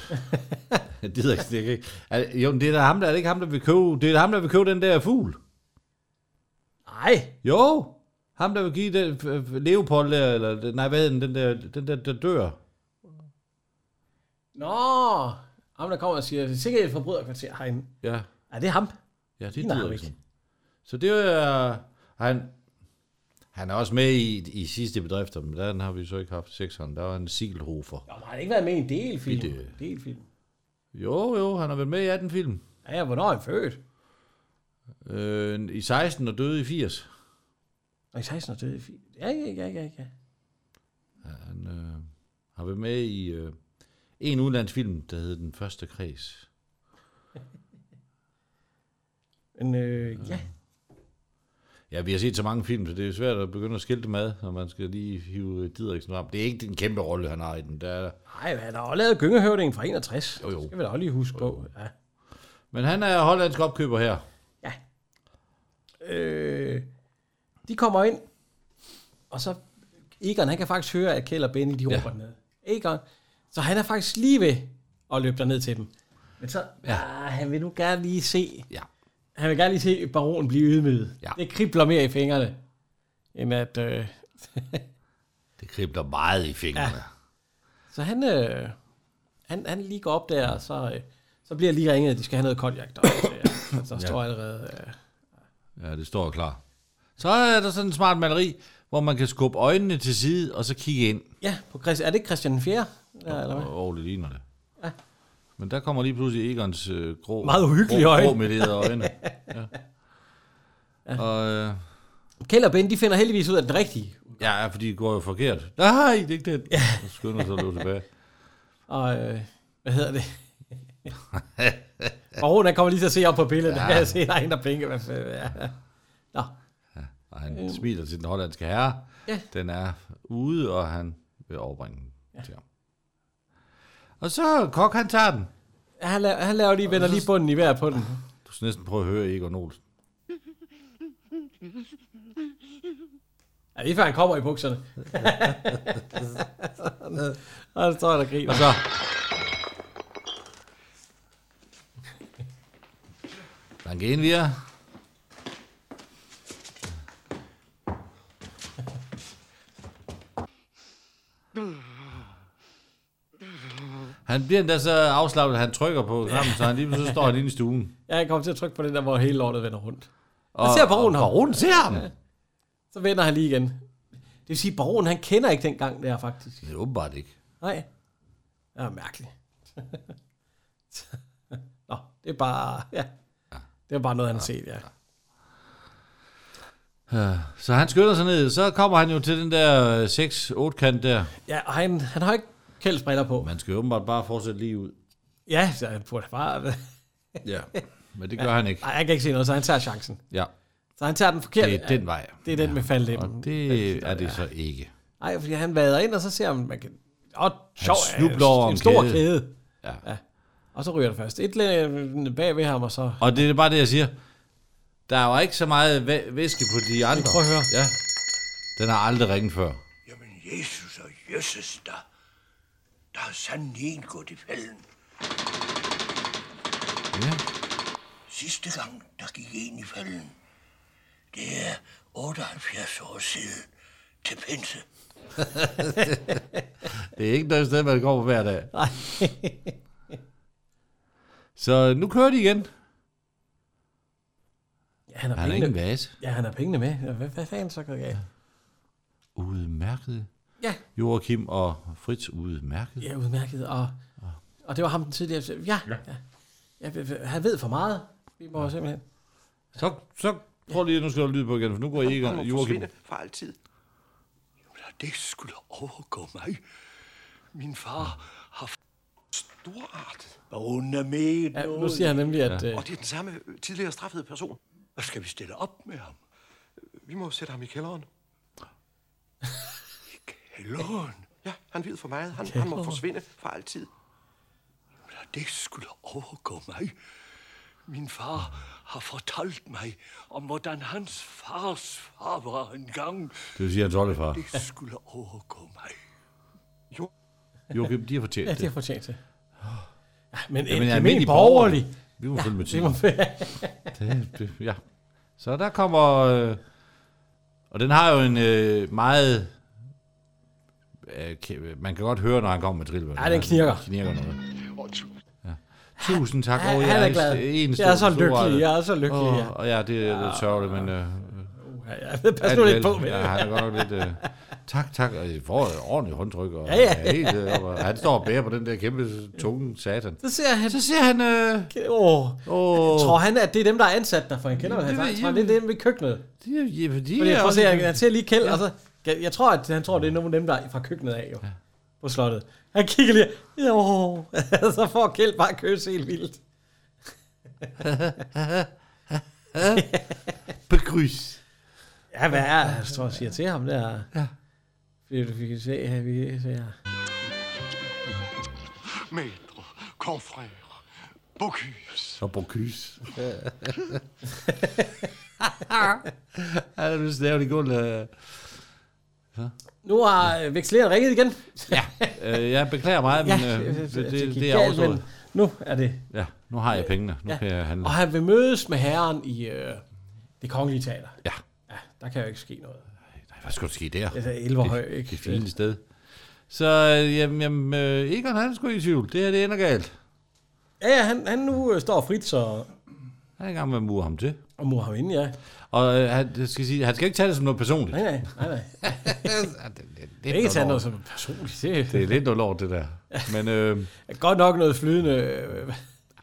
[SPEAKER 1] Didriksen, det kan ikke... Er, det- jo, men det er da ham, der er det ikke ham, der vil købe... Det er da ham, der vil købe den der fugl.
[SPEAKER 2] Nej.
[SPEAKER 1] Jo, ham der vil give den, f- f- Leopold der, eller den- nej, hvad hedder den, den der, den der, der dør.
[SPEAKER 2] Nå. Ham, der kommer og siger, sikkert et forbryderkvarter herinde.
[SPEAKER 1] Ja.
[SPEAKER 2] Er det ham?
[SPEAKER 1] Ja, det
[SPEAKER 2] Ligner
[SPEAKER 1] er
[SPEAKER 2] ham
[SPEAKER 1] Didriksen. Så det er, han, han er også med i, i sidste bedrifter, men der har vi så ikke haft sekseren, der var en Siegelhofer. øh,
[SPEAKER 2] Har han ikke været med i en delfilm?
[SPEAKER 1] I det-
[SPEAKER 2] Delfilm.
[SPEAKER 1] Jo, jo, han har været med i 18 film.
[SPEAKER 2] Ja, hvornår er han født?
[SPEAKER 1] Øh, I 16 og døde i 80.
[SPEAKER 2] Og i 16 og døde i 80. Ja, ja, ja, ja, ja.
[SPEAKER 1] Ja, han øh, har været med i øh, en udlandsfilm, der hed Den Første Kreds.
[SPEAKER 2] Men øh, ja.
[SPEAKER 1] Ja, vi har set så mange film, så det er svært at begynde at skille dem ad, når man skal lige hive Didriksen frem. Det er ikke den kæmpe rolle, han har i den. Der er
[SPEAKER 2] Nej, han har også lavet Gyngehøvdingen fra 61.
[SPEAKER 1] Jo, jo.
[SPEAKER 2] Det skal vi da også lige huske på. Ja.
[SPEAKER 1] Men han er hollandsk opkøber her.
[SPEAKER 2] Øh, de kommer ind, og så Egon, han kan faktisk høre, at Kjell og Benny, de
[SPEAKER 1] Ja.
[SPEAKER 2] råber ja. ned. Egon. Så han er faktisk lige ved at løbe derned til dem. Men så, ja. ah, han vil nu gerne lige se.
[SPEAKER 1] Ja.
[SPEAKER 2] Han vil gerne lige se baronen blive ydmyget. Ja. Det kribler mere i fingrene, end at... Øh,
[SPEAKER 1] Det kribler meget i fingrene.
[SPEAKER 2] så han, øh, han, han lige går op der, og så, øh, så bliver jeg lige ringet, at de skal have noget konjak der. så
[SPEAKER 1] Ja.
[SPEAKER 2] står allerede... Øh,
[SPEAKER 1] Ja, ja det står klar. Så er der sådan en smart maleri, hvor man kan skubbe øjnene til side, og så kigge ind.
[SPEAKER 2] ja, på Christ, er det ikke Christian 4? Ja, eller hvad?
[SPEAKER 1] Åh, oh, det ligner det. Ja. Men der kommer lige pludselig Egons øh, grå...
[SPEAKER 2] Meget uhyggelige
[SPEAKER 1] grå,
[SPEAKER 2] øjne.
[SPEAKER 1] Grå med det øjne. Ja. ja. Og, øh,
[SPEAKER 2] Kjell og Ben, de finder heldigvis ud af den rigtige.
[SPEAKER 1] ja, ja, fordi det går jo forkert. Nej, det er ikke det. Ja. Så skynder sig at løbe tilbage.
[SPEAKER 2] Og øh, hvad hedder det? Baron, han kommer lige til at se op på billedet. Ja. Der
[SPEAKER 1] Ja.
[SPEAKER 2] kan jeg se, der er en, der blinker. Hvad fanden, ja. Nå,
[SPEAKER 1] Og han
[SPEAKER 2] Øhm.
[SPEAKER 1] smiler til den hollandske herre.
[SPEAKER 2] Ja.
[SPEAKER 1] Den er ude, og han vil overbringe den ja. til ham. Og så Kok, han tager den.
[SPEAKER 2] han laver, han laver lige, vender lige bunden i hver på den.
[SPEAKER 1] Du skal næsten prøve at høre Egon Olsen.
[SPEAKER 2] Ja, lige før han kommer i bukserne. og så står han og griner.
[SPEAKER 1] Og så... Dan gehen wir. Han bliver endda så afslappet, at han trykker på knappen, så han lige pludselig står han inde i stuen.
[SPEAKER 2] Ja, jeg kommer til at trykke på den der, hvor hele lortet vender rundt. Og,
[SPEAKER 1] Og-
[SPEAKER 2] ser baronen
[SPEAKER 1] og
[SPEAKER 2] ham.
[SPEAKER 1] baronen ser ham.
[SPEAKER 2] Ja. Så vender han lige igen. Det vil sige, at baronen, han kender ikke den gang der, faktisk.
[SPEAKER 1] Det er åbenbart ikke.
[SPEAKER 2] Nej. Det er mærkeligt. Nå, det er bare... Ja. Det er bare noget, han har set, ja.
[SPEAKER 1] Øh, Så han skynder sig ned, så kommer han jo til den der øh, 6-8 kant der.
[SPEAKER 2] Ja, og han, han har ikke kældsbriller på.
[SPEAKER 1] Man skal jo åbenbart bare fortsætte lige ud.
[SPEAKER 2] Ja, så han burde bare...
[SPEAKER 1] Ja, men det gør han ikke.
[SPEAKER 2] Nej, jeg kan ikke se noget, så han tager chancen.
[SPEAKER 1] Ja,
[SPEAKER 2] Så han tager den forkerte.
[SPEAKER 1] det er den vej.
[SPEAKER 2] Det er den med faldlemmen.
[SPEAKER 1] Og det er det så ikke.
[SPEAKER 2] Nej, fordi han vader ind, og så ser han, man kan... Åh, sjov,
[SPEAKER 1] Han snubler over
[SPEAKER 2] en
[SPEAKER 1] en
[SPEAKER 2] stor
[SPEAKER 1] kæde.
[SPEAKER 2] kæde.
[SPEAKER 1] Ja.
[SPEAKER 2] ja. Og så ryger det først. Et læ- bag ved ham, og så...
[SPEAKER 1] Og det er bare det, jeg siger. Der er jo ikke så meget væ- væske på de andre.
[SPEAKER 13] prøv at høre.
[SPEAKER 1] Ja. Den har aldrig ringet før.
[SPEAKER 13] Jamen, Jesus og Jesus, der, der er sandelig en gået i fælden.
[SPEAKER 1] Ja.
[SPEAKER 13] Sidste gang, der gik en i fælden, det er 78 år siden til pinse.
[SPEAKER 1] Det er ikke noget sted, man går på hver dag. Så nu kører de igen.
[SPEAKER 2] Ja, han
[SPEAKER 1] Han
[SPEAKER 2] har,
[SPEAKER 1] har
[SPEAKER 2] pengene.
[SPEAKER 1] ingen vase.
[SPEAKER 2] Ja, han har pengene med. Ja, Hvad, hvad fanden så går jeg?
[SPEAKER 1] Udmærket.
[SPEAKER 2] Ja.
[SPEAKER 1] Joachim og Fritz udmærket.
[SPEAKER 2] Ja, udmærket. Og, og det var ham den tidligere. Ja, ja. ja. ja han ved for meget. Vi må ja. simpelthen...
[SPEAKER 1] Så, så prøv lige, nu skal der lyd på igen, for nu går I ikke Joachim.
[SPEAKER 13] for altid. Jamen, da det skulle overgå mig. Min far har f- storartet. Baronen er med i
[SPEAKER 2] Ja, nu
[SPEAKER 13] noget.
[SPEAKER 2] siger han nemlig, at, Ja. øh,
[SPEAKER 13] Og det er den samme øh, tidligere straffede person. Hvad skal vi stille op med ham? Øh, Vi må sætte ham i kælderen. I kælderen? Ja, han ved for meget. Han, han må
[SPEAKER 9] Kælderen.
[SPEAKER 13] forsvinde for altid. Jamen, da det skulle overgå mig. Min far har fortalt mig om, hvordan hans fars far var engang.
[SPEAKER 1] Det vil sige, hans oldefar.
[SPEAKER 13] Det skulle overgå mig. Jo.
[SPEAKER 1] Joachim, de har fortjent
[SPEAKER 2] Ja,
[SPEAKER 1] det.
[SPEAKER 2] de har fortjent det. Ja,
[SPEAKER 1] Jamen,
[SPEAKER 2] men, en almindelig
[SPEAKER 1] almindelig
[SPEAKER 2] borgerlig.
[SPEAKER 1] borgerlig. Vi må følge med
[SPEAKER 2] det må-
[SPEAKER 1] det, det, ja. Så der kommer... Øh, og den har jo en øh, meget... Øh, kæ- man kan godt høre, når han kommer med trillebør.
[SPEAKER 2] Ja, den knirker.
[SPEAKER 1] knirker noget. Ja. Tusind tak.
[SPEAKER 2] Han-
[SPEAKER 1] Åh,
[SPEAKER 2] han er
[SPEAKER 1] en
[SPEAKER 2] glad.
[SPEAKER 1] en
[SPEAKER 2] Jeg
[SPEAKER 1] stor-
[SPEAKER 2] er så
[SPEAKER 1] stor-
[SPEAKER 2] lykkelig, jeg er så lykkelig, ja.
[SPEAKER 1] Åh, Og ja, det er lidt sørgeligt, men... Øh,
[SPEAKER 2] Ja, ja, pas nu lidt på med
[SPEAKER 1] med
[SPEAKER 2] det.
[SPEAKER 1] ja, han er godt nok lidt... Øh, tak, tak. Og I får et ordentligt håndtryk. Og,
[SPEAKER 2] Ja, ja.
[SPEAKER 1] er Helt, øh, og han står og bærer på den der kæmpe tunge satan.
[SPEAKER 2] Så ser han...
[SPEAKER 1] Så ser han... Øh,
[SPEAKER 2] åh,
[SPEAKER 1] åh.
[SPEAKER 2] Tror han, at det er dem, der er ansat der, for han kender vel
[SPEAKER 1] Det
[SPEAKER 2] hans
[SPEAKER 1] ved
[SPEAKER 2] egen.
[SPEAKER 1] jeg
[SPEAKER 2] Tror han, det er dem ved køkkenet.
[SPEAKER 1] De, ja, de,
[SPEAKER 2] Fordi jeg prøver at se, han, han ser lige kæld,
[SPEAKER 1] Ja.
[SPEAKER 2] ja. og så... Jeg, jeg tror, at han tror, det er nogle af dem, der er fra køkkenet af, jo. Ja. På slottet. Han kigger lige... Jo, så får kæld bare køs helt vildt.
[SPEAKER 1] Begrys.
[SPEAKER 2] Ja, hvad er det, jeg tror, jeg siger til ham der?
[SPEAKER 1] Ja.
[SPEAKER 2] Fordi vi kan se, at vi ser...
[SPEAKER 9] Maître, confrère, Bocuse.
[SPEAKER 1] Så Bocuse. Han er vist lavet i gulvet.
[SPEAKER 2] Nu har øh, veksleret ringet igen.
[SPEAKER 1] Ja. Øh, jeg beklager meget, men
[SPEAKER 2] Ja,
[SPEAKER 1] øh, det, det, det,
[SPEAKER 2] gik
[SPEAKER 1] det er
[SPEAKER 2] galt,
[SPEAKER 1] overstået.
[SPEAKER 2] men Nu er det.
[SPEAKER 1] Ja, nu har jeg pengene. Nu kan jeg handle.
[SPEAKER 2] Og han vil mødes med herren i øh, det kongelige teater.
[SPEAKER 1] Ja.
[SPEAKER 2] ja. Der kan jo ikke ske noget.
[SPEAKER 1] Hvad skulle der ske der?
[SPEAKER 2] Det er Elverhøj, Altså, ikke?
[SPEAKER 1] Det, det fine sted. Så øh, jamen, jamen, øh, Egon han er sgu i tvivl. Det her, det ender galt.
[SPEAKER 2] Ja, ja han, han nu øh, står frit, så...
[SPEAKER 1] Han er i gang med at mure ham til.
[SPEAKER 2] Og mure ham ind, ja.
[SPEAKER 1] Og øh, han, jeg skal sige, han skal ikke tage det som noget personligt.
[SPEAKER 2] Nej, nej, nej, nej. det er
[SPEAKER 1] noget
[SPEAKER 2] ikke tage
[SPEAKER 1] lort.
[SPEAKER 2] noget som personligt. Det,
[SPEAKER 1] Det er lidt noget lort, det der. Men øh,
[SPEAKER 2] er godt nok noget flydende... Øh.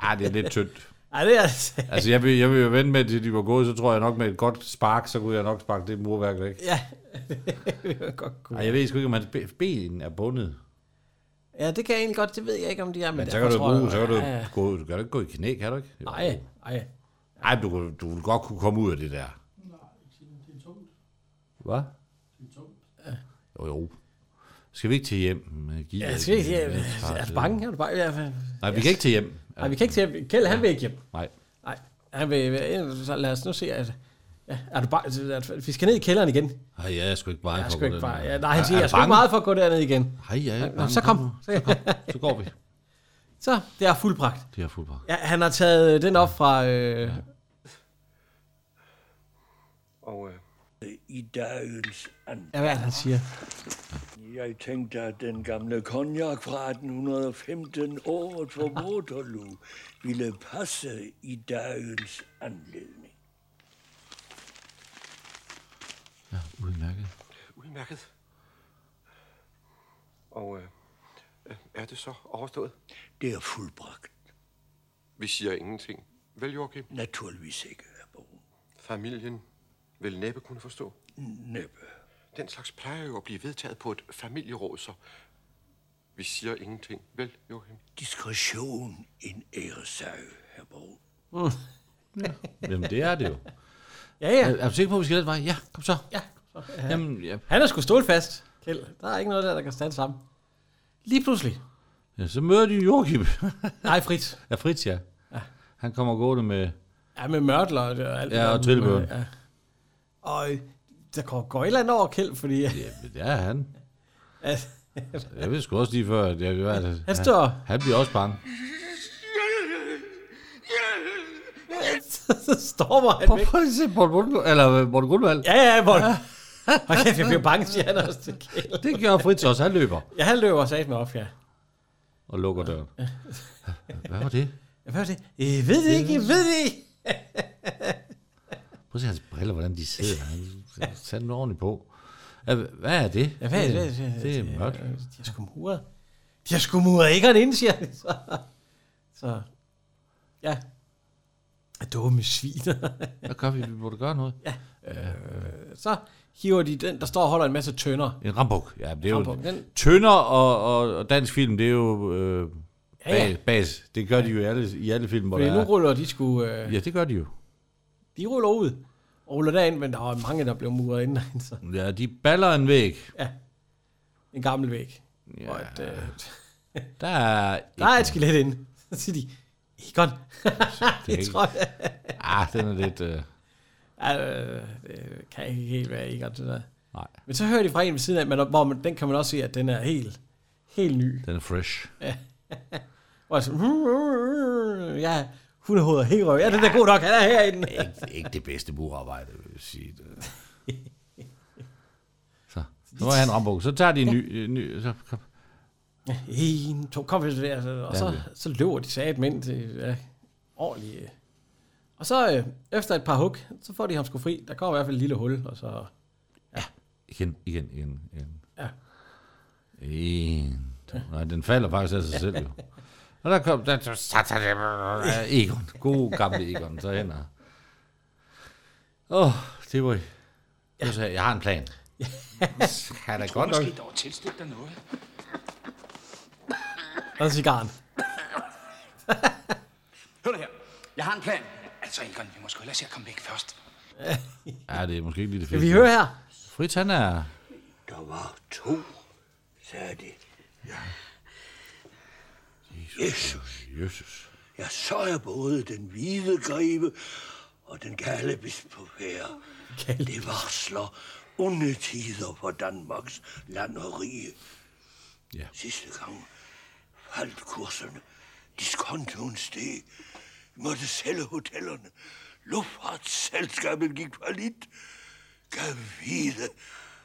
[SPEAKER 1] ah, det er lidt tyndt.
[SPEAKER 2] Ej, det er altså...
[SPEAKER 1] Altså, jeg vil, jeg vil jo vente med, at de var gået, så tror jeg nok med et godt spark, så kunne jeg nok sparke det murværk væk.
[SPEAKER 2] Ja, det vil jeg godt kunne.
[SPEAKER 1] Ej, jeg ved sgu ikke, om hans be- ben er bundet.
[SPEAKER 2] Ja, det kan jeg egentlig godt. Det ved jeg ikke, om de er, men,
[SPEAKER 1] Men så
[SPEAKER 2] derfor
[SPEAKER 1] kan du,
[SPEAKER 2] tror
[SPEAKER 1] bruge, så kan du,
[SPEAKER 2] Ja, ja.
[SPEAKER 1] gå, du kan du ikke gå i knæ, kan du ikke? Jo.
[SPEAKER 2] Nej, nej.
[SPEAKER 1] Ej, men du, kunne- du ville godt kunne komme ud af det der. Hvad? Jo, jo. Skal vi ikke til hjem? Jeg gider
[SPEAKER 2] Ja, skal vi,
[SPEAKER 1] ikke.
[SPEAKER 2] ja, er du bange? Er du bange? Ja, for-
[SPEAKER 1] øh. Nej, vi kan ikke til hjem.
[SPEAKER 2] Nej, vi kan ikke til hjem. Kjeld, han vil ikke hjem.
[SPEAKER 1] Nej.
[SPEAKER 2] Nej, han vil, vil- så lad os nu se. Altså. Ja, er du bare, at vi skal ned i kælderen igen.
[SPEAKER 1] Ej, ja, jeg er sgu ikke bare.
[SPEAKER 2] Jeg er sgu ikke bare, ja, nej, han siger, jeg er sgu ikke meget for at gå derned igen.
[SPEAKER 1] Ej, ja, jeg er
[SPEAKER 2] Nå,
[SPEAKER 1] bange.
[SPEAKER 2] Så kom.
[SPEAKER 1] Så, kom. så går vi.
[SPEAKER 2] Så, det er fuldbragt.
[SPEAKER 1] Det er fuldbragt.
[SPEAKER 2] Ja, han har taget øh, den op fra... Øh,
[SPEAKER 13] Og øh, i dagens anden.
[SPEAKER 2] ja, hvad er det, han siger?
[SPEAKER 13] Jeg tænkte, at den gamle konjak fra 1815 året for Waterloo ville passe i dagens anledning.
[SPEAKER 1] Ja, udmærket.
[SPEAKER 9] Udmærket. Og øh, øh, er det så overstået?
[SPEAKER 13] Det er fuldbragt.
[SPEAKER 9] Vi siger ingenting. Vel, Joachim?
[SPEAKER 13] Naturligvis ikke, herr
[SPEAKER 9] Familien vil næppe kunne forstå.
[SPEAKER 13] Næppe.
[SPEAKER 9] Den slags plejer jo at blive vedtaget på et familieråd, så vi siger ingenting. Vel, Joachim?
[SPEAKER 13] Diskretion en æresag, herr Borg.
[SPEAKER 1] Jamen, det er det jo.
[SPEAKER 2] Mm. Ja, ja.
[SPEAKER 1] Er, er du sikker på, at vi skal den vej? Ja, kom så.
[SPEAKER 2] Ja.
[SPEAKER 1] Jamen, ja.
[SPEAKER 2] Han er sgu stålfast, Kjeld. Der er ikke noget der, der kan stande sammen. Lige pludselig.
[SPEAKER 1] ja så møder de Joachim.
[SPEAKER 2] Nej, Fritz.
[SPEAKER 1] Ja, Fritz, ja. Han kommer gående med...
[SPEAKER 2] Ja, med mørtler og det- og alt. det
[SPEAKER 1] Ja,
[SPEAKER 2] der.
[SPEAKER 1] og trillebøren.
[SPEAKER 2] Ja. Og øh, der går, går et eller andet over Kjeld, fordi...
[SPEAKER 1] Ja, han.
[SPEAKER 2] Altså,
[SPEAKER 1] Jeg ved sgu også lige før, at jeg, at
[SPEAKER 2] Han står-
[SPEAKER 1] Han bliver også bange.
[SPEAKER 2] så stormer han
[SPEAKER 1] Prøv,
[SPEAKER 2] væk.
[SPEAKER 1] prøv lige at se Morten Grundvald. Eller øh, Morten Grundvald.
[SPEAKER 2] Ja, ja, hvor... Hold kæft, jeg bliver bange, siger han også til Kjeld.
[SPEAKER 1] Det gør Fritz også. Han løber
[SPEAKER 2] Ja, han løber sat med op, ja.
[SPEAKER 1] og lukker døren. Hvad var det?
[SPEAKER 2] Ja, Hvad er det? Jeg ved det ikke, jeg ved det ikke.
[SPEAKER 1] Prøv at se hans briller, hvordan de sidder. Han sat den ordentligt på. Ja, Hvad er det?
[SPEAKER 2] Ja, hvad er det?
[SPEAKER 1] Det, er- det er mørkt.
[SPEAKER 2] De har sgu muret. De har sgu muret æggerne ind, siger han. Så, så ja. Dumme sviner.
[SPEAKER 1] Hvad gør vi? Vi burde gøre noget.
[SPEAKER 2] Ja. Øh, så hiver de den, der står og holder en masse tønder.
[SPEAKER 1] En rambuk. Ja, det er jo...
[SPEAKER 2] Rambuk, den-
[SPEAKER 1] Tønder og, og, og dansk film, det er jo... Øh,
[SPEAKER 2] Ja, ja.
[SPEAKER 1] bas, bas. Det gør de jo i alle, i alle film, hvor
[SPEAKER 2] Fordi
[SPEAKER 1] der
[SPEAKER 2] nu
[SPEAKER 1] er...
[SPEAKER 2] ruller de sgu... Øh,
[SPEAKER 1] Ja, det gør de jo.
[SPEAKER 2] de ruller ud. Og ruller derind, men der var mange, der blev muret ind. Så
[SPEAKER 1] Ja, de baller en væg.
[SPEAKER 2] en gammel væg. Ja. Og et, øh,
[SPEAKER 1] Der er...
[SPEAKER 2] der er et skelet inde. Så siger de, Egon. det
[SPEAKER 1] ikke-
[SPEAKER 2] tror jeg.
[SPEAKER 1] Ah, den er lidt... Øh,
[SPEAKER 2] Ja, øh, det kan ikke helt være Egon, det der.
[SPEAKER 1] Nej.
[SPEAKER 2] Men så hører de fra en ved siden af, men, hvor man, den kan man også se, at den er helt, helt ny.
[SPEAKER 1] den er fresh.
[SPEAKER 2] Og jeg så, ja, hundehovedet er helt røv. Ja, den er god nok, han er herinde.
[SPEAKER 1] ikke, ikke det bedste murarbejde, vil jeg sige. Så, nu er han rambuk. Så tager de en ny... en ny så, kom.
[SPEAKER 2] Ja, En, to, kom, og så, og
[SPEAKER 1] Ja,
[SPEAKER 2] så,
[SPEAKER 1] det.
[SPEAKER 2] så løber de sat ind til ja, ordentligt. øh. Og så øh, efter et par hug, så får de ham sgu fri. Der kommer i hvert fald et lille hul, og så...
[SPEAKER 1] Igen, igen, igen, igen.
[SPEAKER 2] Ja.
[SPEAKER 1] En, to. Nej, den falder faktisk af sig selv jo. Og der kom, der, så satte han Ja, Egon. God gamle Egon. Så hen og... Åh, oh, det var... Jeg, sagde, jeg har en plan. Han er
[SPEAKER 8] Jeg tror
[SPEAKER 1] godt nok...
[SPEAKER 8] måske, der var tilstødt dig noget.
[SPEAKER 2] Og så cigaren.
[SPEAKER 8] Hør nu her. Jeg har en plan. Altså, Egon, vi må sgu hellere se at komme væk først.
[SPEAKER 1] Ja, det er måske ikke lige det
[SPEAKER 2] Skal vi høre her?
[SPEAKER 1] Fritz, han er...
[SPEAKER 13] Der var to, sagde de. Ja. Jesus.
[SPEAKER 1] Jesus.
[SPEAKER 13] Ja, så er både den hvide gribe og den gale bispefære. Det varsler onde tider for Danmarks land og rige.
[SPEAKER 1] Ja.
[SPEAKER 13] Sidste gang faldt kurserne. Diskontoen steg. Vi måtte sælge hotellerne. Luftfartsselskabet gik fallit. Gav vide,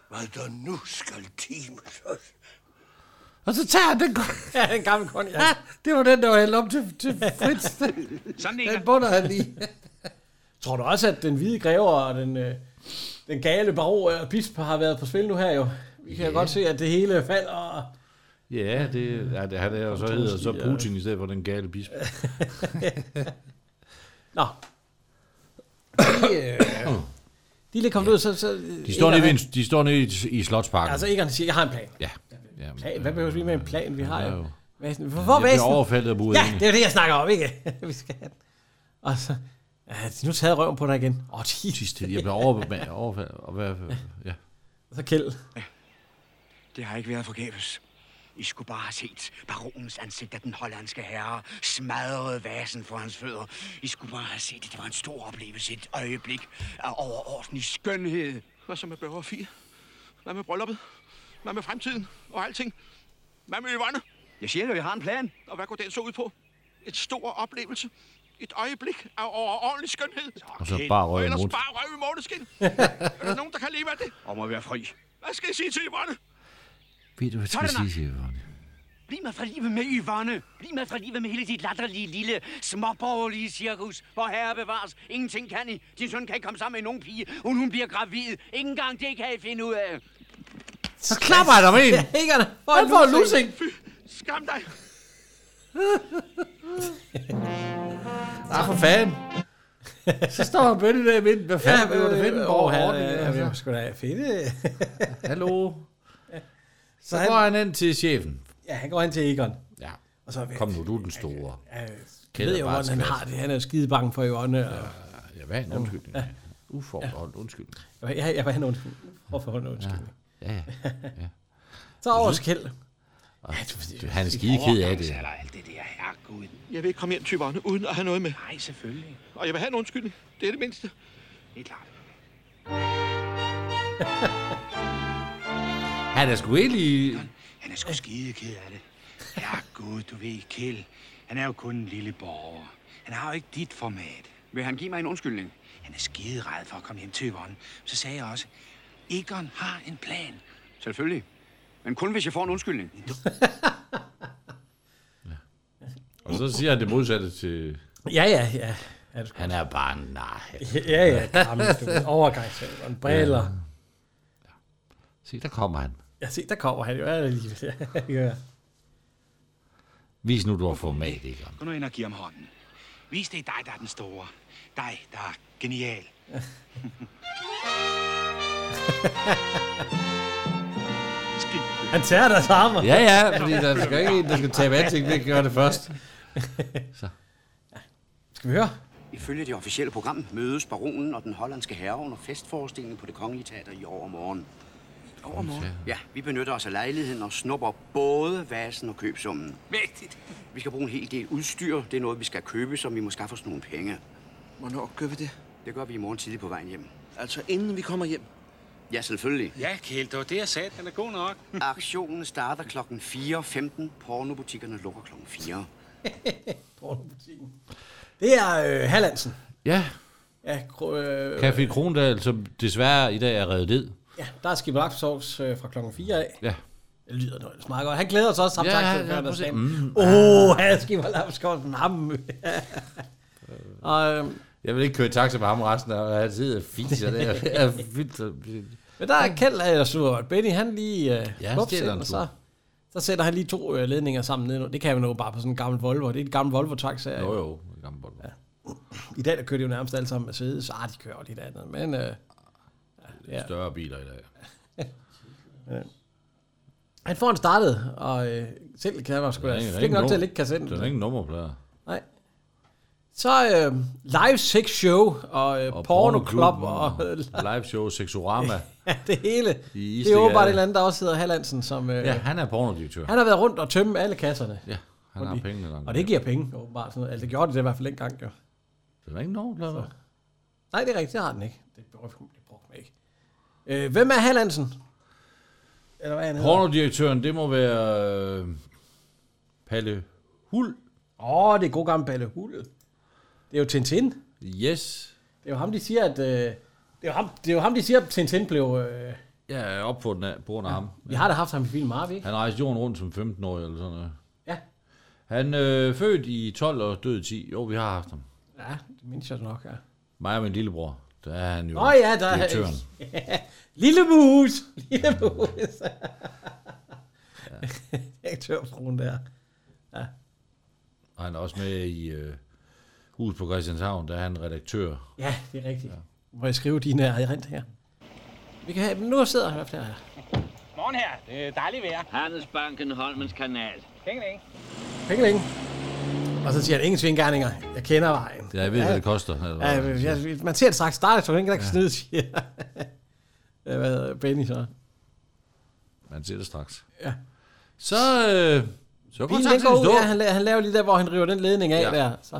[SPEAKER 13] hvad der nu skal times os.
[SPEAKER 1] Og så tager han den
[SPEAKER 2] Ja, den gamle konjak.
[SPEAKER 1] Ja, det var den, der var hældt op til, til Fritz.
[SPEAKER 8] Sådan
[SPEAKER 1] den bunder han lige.
[SPEAKER 2] Tror du også, at den hvide greve og den, øh, den gale baro og bisp har været på spil nu her jo? Vi kan yeah. godt se, at det hele falder. Og...
[SPEAKER 1] Ja, det,
[SPEAKER 2] Mm.
[SPEAKER 1] ja, det han er jo så hedder så Putin i stedet for den gale bisp.
[SPEAKER 2] Nå. De, øh, de er lidt kommet ud, så... så
[SPEAKER 1] De står nede, ved en, de står nede i, i Slotsparken.
[SPEAKER 2] Altså, Egon siger, jeg har en plan.
[SPEAKER 1] Ja. ja men,
[SPEAKER 2] plan. Hvad behøver vi med en plan? Vi har
[SPEAKER 1] Ja,
[SPEAKER 2] jo...
[SPEAKER 1] jo.
[SPEAKER 2] Væsen.
[SPEAKER 1] Jeg
[SPEAKER 2] Hvorfor
[SPEAKER 1] bliver
[SPEAKER 2] væsen?
[SPEAKER 1] overfaldet af buddingen.
[SPEAKER 2] Ja, det er det, jeg snakker om, ikke? vi skal have den. Og så... altså, Ja, de nu taget røven på dig igen. Åh, oh,
[SPEAKER 1] Sidst, jeg blev over, overfaldet. Og hvad, ja.
[SPEAKER 2] Så Kjeld.
[SPEAKER 4] Det har ikke været forgæves. I skulle bare have set baronens ansigt af den hollandske herre smadrede vasen for hans fødder. I skulle bare have set, at det var en stor oplevelse, et øjeblik af overordentlig skønhed.
[SPEAKER 9] Hvad så med Børge og Fie? Hvad med brylluppet? Hvad med fremtiden og alting? Hvad med øverne?
[SPEAKER 4] Jeg siger jo, jeg har en plan.
[SPEAKER 9] Og hvad går den så ud på? Et stor oplevelse. Et øjeblik af overordentlig skønhed.
[SPEAKER 1] Og så bare røv i
[SPEAKER 9] Og ellers
[SPEAKER 1] måneskin.
[SPEAKER 9] bare røv i måneskin. er der nogen, der kan leve af det?
[SPEAKER 4] Om at være fri.
[SPEAKER 9] Hvad skal jeg sige til Yvonne?
[SPEAKER 1] Ved du, hvad jeg skal sige til Yvonne?
[SPEAKER 4] Bliv mig fra livet med Yvonne. Bliv mig fra livet med hele dit latterlige, lille, småborgerlige cirkus. Hvor herre bevares. Ingenting kan I. Din søn kan ikke komme sammen med nogen pige, uden hun bliver gravid. Ingen gang det kan I finde ud af.
[SPEAKER 1] Så klapper han om en.
[SPEAKER 2] Egon,
[SPEAKER 1] Han får en lussing.
[SPEAKER 9] Fy, skam dig.
[SPEAKER 1] Ah, for fanden. Så står han bønne der i midten. Hvad fanden blev det øh, fedt? Hvor
[SPEAKER 2] øh, Åh, han
[SPEAKER 1] hårdt Altså.
[SPEAKER 2] er jo sgu da fedt.
[SPEAKER 1] Hallo. Så
[SPEAKER 2] han-
[SPEAKER 1] går han ind til chefen.
[SPEAKER 2] Ja, han går ind til Egon.
[SPEAKER 1] Ja.
[SPEAKER 2] Og så
[SPEAKER 1] Kom nu, du er den store.
[SPEAKER 2] Jeg ved jo,
[SPEAKER 1] bare
[SPEAKER 2] hvordan han
[SPEAKER 1] tilbage.
[SPEAKER 2] har det. Han er jo skide bange for Yvonne. Ja.
[SPEAKER 1] Ja, hvad er en undskyldning? Uforbeholdt undskyldning.
[SPEAKER 2] Jeg, jeg, jeg var han undskyld. Hvorfor han undskyld?
[SPEAKER 1] Ja, ja. ja.
[SPEAKER 2] Så over skæld.
[SPEAKER 1] Og han er skide ked af det.
[SPEAKER 2] altså.
[SPEAKER 8] Eller alt det der, herregud.
[SPEAKER 9] Jeg vil ikke komme hjem til Yvonne, uden at have noget med.
[SPEAKER 8] Nej, selvfølgelig.
[SPEAKER 9] Og jeg vil have en undskyldning. Det er det mindste.
[SPEAKER 8] Det er klart.
[SPEAKER 1] Han er sgu egentlig...
[SPEAKER 8] Han er sgu skide ked af det. Herregud, du ved, Kjeld. Han er jo kun en lille borger. Han har jo ikke dit format.
[SPEAKER 4] Vil han give mig en undskyldning?
[SPEAKER 8] Han er skide ræd for at komme hjem til Yvonne. Så sagde jeg også, Egon har en plan.
[SPEAKER 4] Selvfølgelig. Men kun hvis jeg får en undskyldning.
[SPEAKER 1] Og så siger han det modsatte til...
[SPEAKER 2] Ja, ja, ja. Er det sgu.
[SPEAKER 1] Han er bare nej.
[SPEAKER 2] Ja, ja. Gammel, du ved. Overgangsfag. Og en briller. Ja.
[SPEAKER 1] Se, der kommer han.
[SPEAKER 2] Jeg se, der kommer han jo alligevel. ja.
[SPEAKER 1] Vis nu, du har format, Egon.
[SPEAKER 8] Gå nu ind og giv ham hånden. Vis det er dig, der er den store. Dig, der er genial.
[SPEAKER 2] Han tager deres armer.
[SPEAKER 1] Ja, ja, fordi der skal ikke en, der skal tabe ansigt, vi gør det først. Så.
[SPEAKER 2] Skal vi høre?
[SPEAKER 4] Ifølge det officielle program mødes baronen og den hollandske herre under festforestillingen på det kongelige teater i overmorgen.
[SPEAKER 8] Overmorgen?
[SPEAKER 4] Ja, vi benytter os af lejligheden og snupper både vasen og købsummen.
[SPEAKER 8] Vigtigt.
[SPEAKER 4] Vi skal bruge en hel del udstyr. Det er noget, vi skal købe, som vi må skaffe os nogle penge.
[SPEAKER 13] Hvornår gør vi det?
[SPEAKER 4] Det gør vi i morgen tidlig på vejen hjem.
[SPEAKER 13] Altså, inden vi kommer hjem.
[SPEAKER 4] Ja, selvfølgelig.
[SPEAKER 8] Ja, Kjeld, det var det, jeg sagde. Den er god nok.
[SPEAKER 4] Aktionen starter kl. 4.15. Pornobutikkerne lukker kl. 4.
[SPEAKER 2] Pornobutikken. Det er øh, Hallandsen.
[SPEAKER 1] Ja,
[SPEAKER 2] Ja, kro, øh,
[SPEAKER 1] Café Krondal, som desværre i dag er reddet ned.
[SPEAKER 2] ja, der er skibelagssovs øh, fra klokken 4 af.
[SPEAKER 1] Ja.
[SPEAKER 2] Det lyder nu ellers meget godt. Han glæder sig også
[SPEAKER 1] Ja,
[SPEAKER 2] samtidig ja,
[SPEAKER 1] ja,
[SPEAKER 2] til
[SPEAKER 1] ja,
[SPEAKER 2] ja,
[SPEAKER 1] præcis.
[SPEAKER 2] færdagsdagen.
[SPEAKER 1] Mm.
[SPEAKER 2] Åh, oh, han skibelagssovsen ham. og, øh,
[SPEAKER 1] Jeg vil ikke køre i taxa med ham resten af han sidder og fiser der. Jeg er vildt.
[SPEAKER 2] Men der er Kjeld, der sur, at Benny han lige øh,
[SPEAKER 1] Ja,
[SPEAKER 2] ja,
[SPEAKER 1] han
[SPEAKER 2] ind,
[SPEAKER 1] stjæler en
[SPEAKER 2] og
[SPEAKER 1] tur.
[SPEAKER 2] så, så sætter han lige to øh, ledninger sammen nedenunder. Det kan man jo bare på sådan en gammel Volvo. Det er et gammelt Volvo-taxa.
[SPEAKER 1] Jo, jo. en Gammel Volvo. Ja.
[SPEAKER 2] I dag der kører de jo nærmest alle sammen Mercedes. Ah, de kører jo lidt andet. Men øh,
[SPEAKER 1] Ja. Større biler i dag.
[SPEAKER 2] Ja. Han får en startet, og øh, selv kan han sgu
[SPEAKER 1] Der er
[SPEAKER 2] da
[SPEAKER 1] ingen- der er
[SPEAKER 2] flink
[SPEAKER 1] ingen
[SPEAKER 2] nok til
[SPEAKER 1] nummer-
[SPEAKER 2] at lægge kassetten.
[SPEAKER 1] Der er ingen nummerplader.
[SPEAKER 2] Nej. Så øh, live sex show og, øh, og pornoklub og øh,
[SPEAKER 1] live show Sexorama.
[SPEAKER 2] det hele.
[SPEAKER 1] I
[SPEAKER 2] det er åbenbart
[SPEAKER 1] Istegade.
[SPEAKER 2] et eller andet, der også hedder Hallandsen, som... Øh,
[SPEAKER 1] Ja, han er pornodirektør.
[SPEAKER 2] Han har været rundt og tømme alle kasserne.
[SPEAKER 1] Ja, han har
[SPEAKER 2] Fordi-
[SPEAKER 1] pengene langt.
[SPEAKER 2] Og det giver penge, åbenbart. Sådan noget. Altså, det gjorde det, det i hvert fald dengang, jo.
[SPEAKER 1] Det var ikke nogen, der
[SPEAKER 2] Nej, det er rigtigt, det har den ikke. Det brugte det brugte man ikke. Øh, hvem er Hallandsen? Eller hvad er han hedder?
[SPEAKER 1] Pornodirektøren, det må være øh, Palle Hul.
[SPEAKER 2] Åh, oh, det er god gammel Palle Hul. Det er jo Tintin.
[SPEAKER 1] Yes.
[SPEAKER 2] Det er jo ham, de siger, at... Øh, det, er jo ham, det er jo ham, de siger, at Tintin blev... Øh,
[SPEAKER 1] Ja, op på den af, på grund af ham.
[SPEAKER 2] vi har da haft ham i film, har vi ikke?
[SPEAKER 1] Han rejste jorden rundt som 15-årig eller sådan noget.
[SPEAKER 2] Ja.
[SPEAKER 1] Han øh, født i 12 og død i 10. Jo, vi har haft ham.
[SPEAKER 2] Ja, det mindes jeg nok, ja.
[SPEAKER 1] Mig og min lillebror. Der er han jo
[SPEAKER 2] Nå ja, der er...
[SPEAKER 1] direktøren.
[SPEAKER 2] Ja. Lille mus! Lille mus! Direktørfruen der. Ja.
[SPEAKER 1] Og han er også med i øh, Hus på Christianshavn, der er han redaktør.
[SPEAKER 2] ja, det er rigtigt. Ja. Må jeg skrive dine her? Vi kan have, men nu sidder han i hvert fald her.
[SPEAKER 8] Morgen her. Det er dejligt vejr.
[SPEAKER 16] Handelsbanken Holmens Kanal.
[SPEAKER 8] Penge ikke?
[SPEAKER 2] Pingeling. Og så siger han, ingen svingerninger. Jeg kender vejen.
[SPEAKER 1] Ja, jeg ved, hvad det koster.
[SPEAKER 2] Ja, jeg, jeg, man ser det straks starte, så ingen der kan ja. snyde, siger Ja, Hvad hedder Benny så?
[SPEAKER 1] Man ser det straks.
[SPEAKER 2] Ja.
[SPEAKER 1] Så, øh, så går
[SPEAKER 2] Bilen
[SPEAKER 1] taxaen
[SPEAKER 2] den går ud,
[SPEAKER 1] stå.
[SPEAKER 2] ja, han, la- han laver lige der, hvor han river den ledning af
[SPEAKER 1] Ja.
[SPEAKER 2] ja. der. Så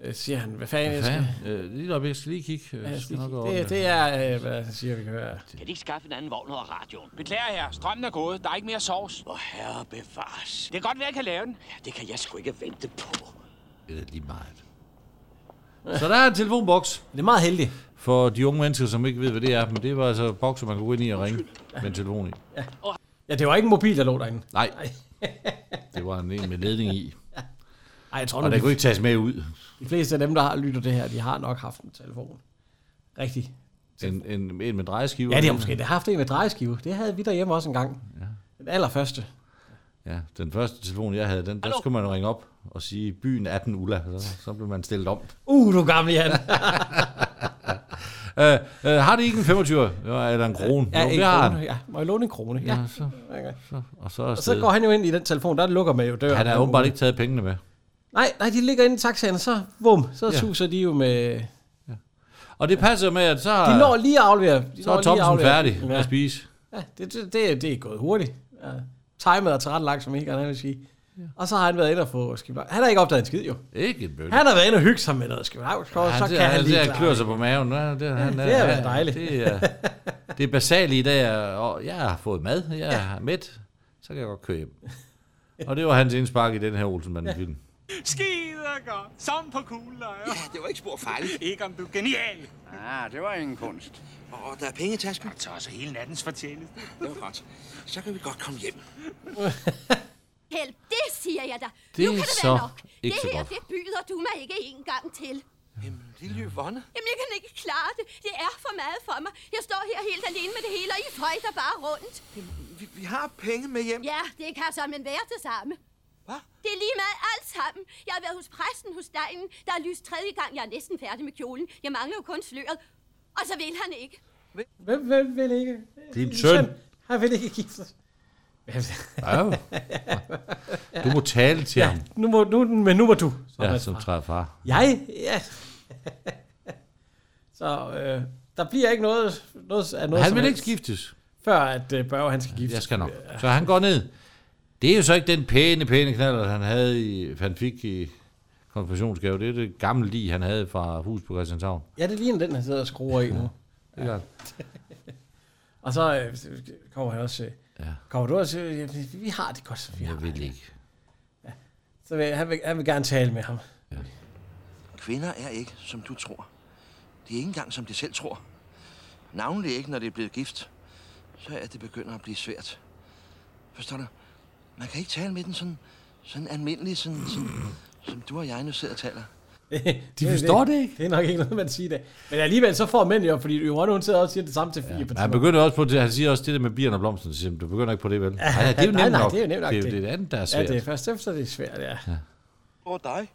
[SPEAKER 2] øh, siger han, hvad fanden
[SPEAKER 1] Hvad
[SPEAKER 2] jeg skal...
[SPEAKER 1] fanden? Øh, lige op, jeg skal lige kigge. Øh,
[SPEAKER 2] Ja, jeg
[SPEAKER 1] skal
[SPEAKER 2] skal
[SPEAKER 1] nok gå
[SPEAKER 2] kigge.
[SPEAKER 1] over
[SPEAKER 2] det, det er, øh, hvad siger vi kan høre.
[SPEAKER 8] Kan de ikke skaffe en anden vogn over radioen? Beklager her. Strømmen er gået. Der er ikke mere sovs. Hvor herre bevares. Det kan godt være, jeg kan lave den. Ja, det kan jeg sgu ikke vente på.
[SPEAKER 1] Det er lige meget. Så der er en telefonboks.
[SPEAKER 2] Det er meget heldigt.
[SPEAKER 1] For de unge mennesker, som ikke ved, hvad det er, men det var altså bokser, man kunne gå ind i og ringe med en telefon i.
[SPEAKER 2] Ja, det var ikke en mobil, der lå derinde.
[SPEAKER 1] Nej. Det var en en med ledning i.
[SPEAKER 2] Ej, jeg tror,
[SPEAKER 1] Og
[SPEAKER 2] nu,
[SPEAKER 1] den
[SPEAKER 2] de-
[SPEAKER 1] kunne ikke tages med ud.
[SPEAKER 2] De fleste af dem, der har lytter det her, de har nok haft en telefon. Rigtig.
[SPEAKER 1] En, en, en med drejeskive.
[SPEAKER 2] Ja, de har måske endda haft en med drejeskive. Det havde vi derhjemme også engang.
[SPEAKER 1] Ja.
[SPEAKER 2] Den allerførste.
[SPEAKER 1] Ja, den første telefon, jeg havde, den, der skulle man ringe op og sige, byen er den Ulla. Så, så blev man stillet om.
[SPEAKER 2] Uh, du gammel, Jan.
[SPEAKER 1] Øh, øh, har det ikke en 25 eller en krone?
[SPEAKER 2] Ja,
[SPEAKER 1] Jo,
[SPEAKER 2] en
[SPEAKER 1] det har
[SPEAKER 2] krone.
[SPEAKER 1] han.
[SPEAKER 2] Ja, må jeg låne en krone? Ja.
[SPEAKER 1] så,
[SPEAKER 2] så,
[SPEAKER 1] og så, er
[SPEAKER 2] og så
[SPEAKER 1] stedet.
[SPEAKER 2] går han jo ind i den telefon, der lukker man jo døren.
[SPEAKER 1] Han har
[SPEAKER 2] Den
[SPEAKER 1] åbenbart
[SPEAKER 2] uge.
[SPEAKER 1] ikke taget pengene med.
[SPEAKER 2] Nej, nej, de ligger inde i taxaen, og så vum, så
[SPEAKER 1] Ja.
[SPEAKER 2] ja. suser de jo med...
[SPEAKER 1] Og det passer med, at så,
[SPEAKER 2] De når lige at aflevere. De
[SPEAKER 1] så
[SPEAKER 2] når
[SPEAKER 1] er
[SPEAKER 2] lige
[SPEAKER 1] Thomsen
[SPEAKER 2] aflevere.
[SPEAKER 1] færdig at spise.
[SPEAKER 2] Ja, det, det, det, det er gået hurtigt. Ja. Timet er tilrettelagt, som ikke han vil sige. Ja. Og så har han været inde og få skibet. Han har ikke opdaget en skid, jo.
[SPEAKER 1] Ikke en bøtte.
[SPEAKER 2] Han har været inde og hygge sig med noget skibet. Ja, så
[SPEAKER 1] Ja,
[SPEAKER 2] kan
[SPEAKER 1] ser-
[SPEAKER 2] han, lige
[SPEAKER 1] ser
[SPEAKER 2] klare
[SPEAKER 1] klør
[SPEAKER 2] det.
[SPEAKER 1] sig på maven. Ja, det, han,
[SPEAKER 2] det
[SPEAKER 1] er-
[SPEAKER 2] har
[SPEAKER 1] ja,
[SPEAKER 2] været dejligt.
[SPEAKER 1] Det er, det er basalt i dag, og jeg har fået mad, jeg er mæt, så kan jeg godt køre hjem. Og det var hans indspark i den her Olsenmanden-film.
[SPEAKER 3] Skider godt. Som på kugler. Ja, det var ikke spor fejl. Ikke om du er genial.
[SPEAKER 12] Ah, det var ingen kunst. Og oh, der er penge i tasken.
[SPEAKER 8] Så også hele nattens fortjeneste.
[SPEAKER 12] Det var godt. Så kan vi godt komme hjem.
[SPEAKER 5] Held, det siger jeg dig.
[SPEAKER 12] Det
[SPEAKER 5] nu
[SPEAKER 12] er
[SPEAKER 5] kan det
[SPEAKER 12] så
[SPEAKER 5] være nok.
[SPEAKER 12] ikke
[SPEAKER 5] det
[SPEAKER 12] så
[SPEAKER 5] her,
[SPEAKER 12] godt.
[SPEAKER 5] det byder du mig ikke en gang til.
[SPEAKER 12] Jamen, lille Yvonne.
[SPEAKER 5] Jamen, jeg kan ikke klare det. Det er for meget for mig. Jeg står her helt alene med det hele, og I føjter bare rundt.
[SPEAKER 12] Vi, vi har penge med hjem.
[SPEAKER 5] Ja, det kan som en være det samme.
[SPEAKER 12] Hvad?
[SPEAKER 5] Det er lige meget alt sammen. Jeg har været hos præsten hos dejen. Der er lyst tredje gang. Jeg er næsten færdig med kjolen. Jeg mangler jo kun sløret. Og så vil han ikke.
[SPEAKER 2] Hvem, hvem vil ikke?
[SPEAKER 1] Din søn.
[SPEAKER 2] Han vil ikke gifte sig.
[SPEAKER 1] Ja, jo. Du må tale til ham.
[SPEAKER 2] Nu må, nu, men nu må du. Sådan
[SPEAKER 1] Ja,
[SPEAKER 2] er
[SPEAKER 1] som
[SPEAKER 2] det.
[SPEAKER 1] træder far.
[SPEAKER 2] Jeg? Ja. så øh, der bliver ikke noget, noget af noget
[SPEAKER 1] Han
[SPEAKER 2] som
[SPEAKER 1] vil
[SPEAKER 2] helst,
[SPEAKER 1] ikke giftes.
[SPEAKER 2] Før at øh, Børge han skal gifte
[SPEAKER 1] Jeg skal nok.
[SPEAKER 2] sig.
[SPEAKER 1] Så han går ned. Det er jo så ikke den pæne, pæne knaller, han, havde i, han fik i konfirmationsgave. Det er det gamle lig, han havde fra hus på Christianshavn.
[SPEAKER 2] Ja, det ligner den, han sidder og skruer i nu.
[SPEAKER 1] Det er godt.
[SPEAKER 2] Og så øh, kommer han også... Øh, ja. Kommer du også... Øh, ja, vi- vi har det godt, som vi har.
[SPEAKER 1] Jeg vil ikke.
[SPEAKER 2] Så vil, han, vil, han vil gerne tale med ham.
[SPEAKER 12] Kvinder er ikke, som du tror. De er ikke engang, som de selv tror. Navnlig ikke, når det er blevet gift. Så er det begynder at blive svært. Forstår du? Man kan ikke tale med den sådan, sådan almindelig, sådan, sådan, som du og jeg nu sidder og taler.
[SPEAKER 1] De forstår det ikke.
[SPEAKER 2] Det er nok ikke noget, man siger i dag. Men alligevel så får mænd jo, fordi Yvonne hun sidder også og siger det samme til fire ja,
[SPEAKER 1] Men han begynder også på det, han siger også det der med bierne og blomsten, så siger, han, du begynder ikke på det, vel? Ja, ja, det er jo nemt nok.
[SPEAKER 2] det er jo nemt nok.
[SPEAKER 1] Det er jo det andet, der er
[SPEAKER 2] Ja,
[SPEAKER 1] svært.
[SPEAKER 2] det er først efter, det er svært, ja.
[SPEAKER 1] Ja.
[SPEAKER 12] Over dig.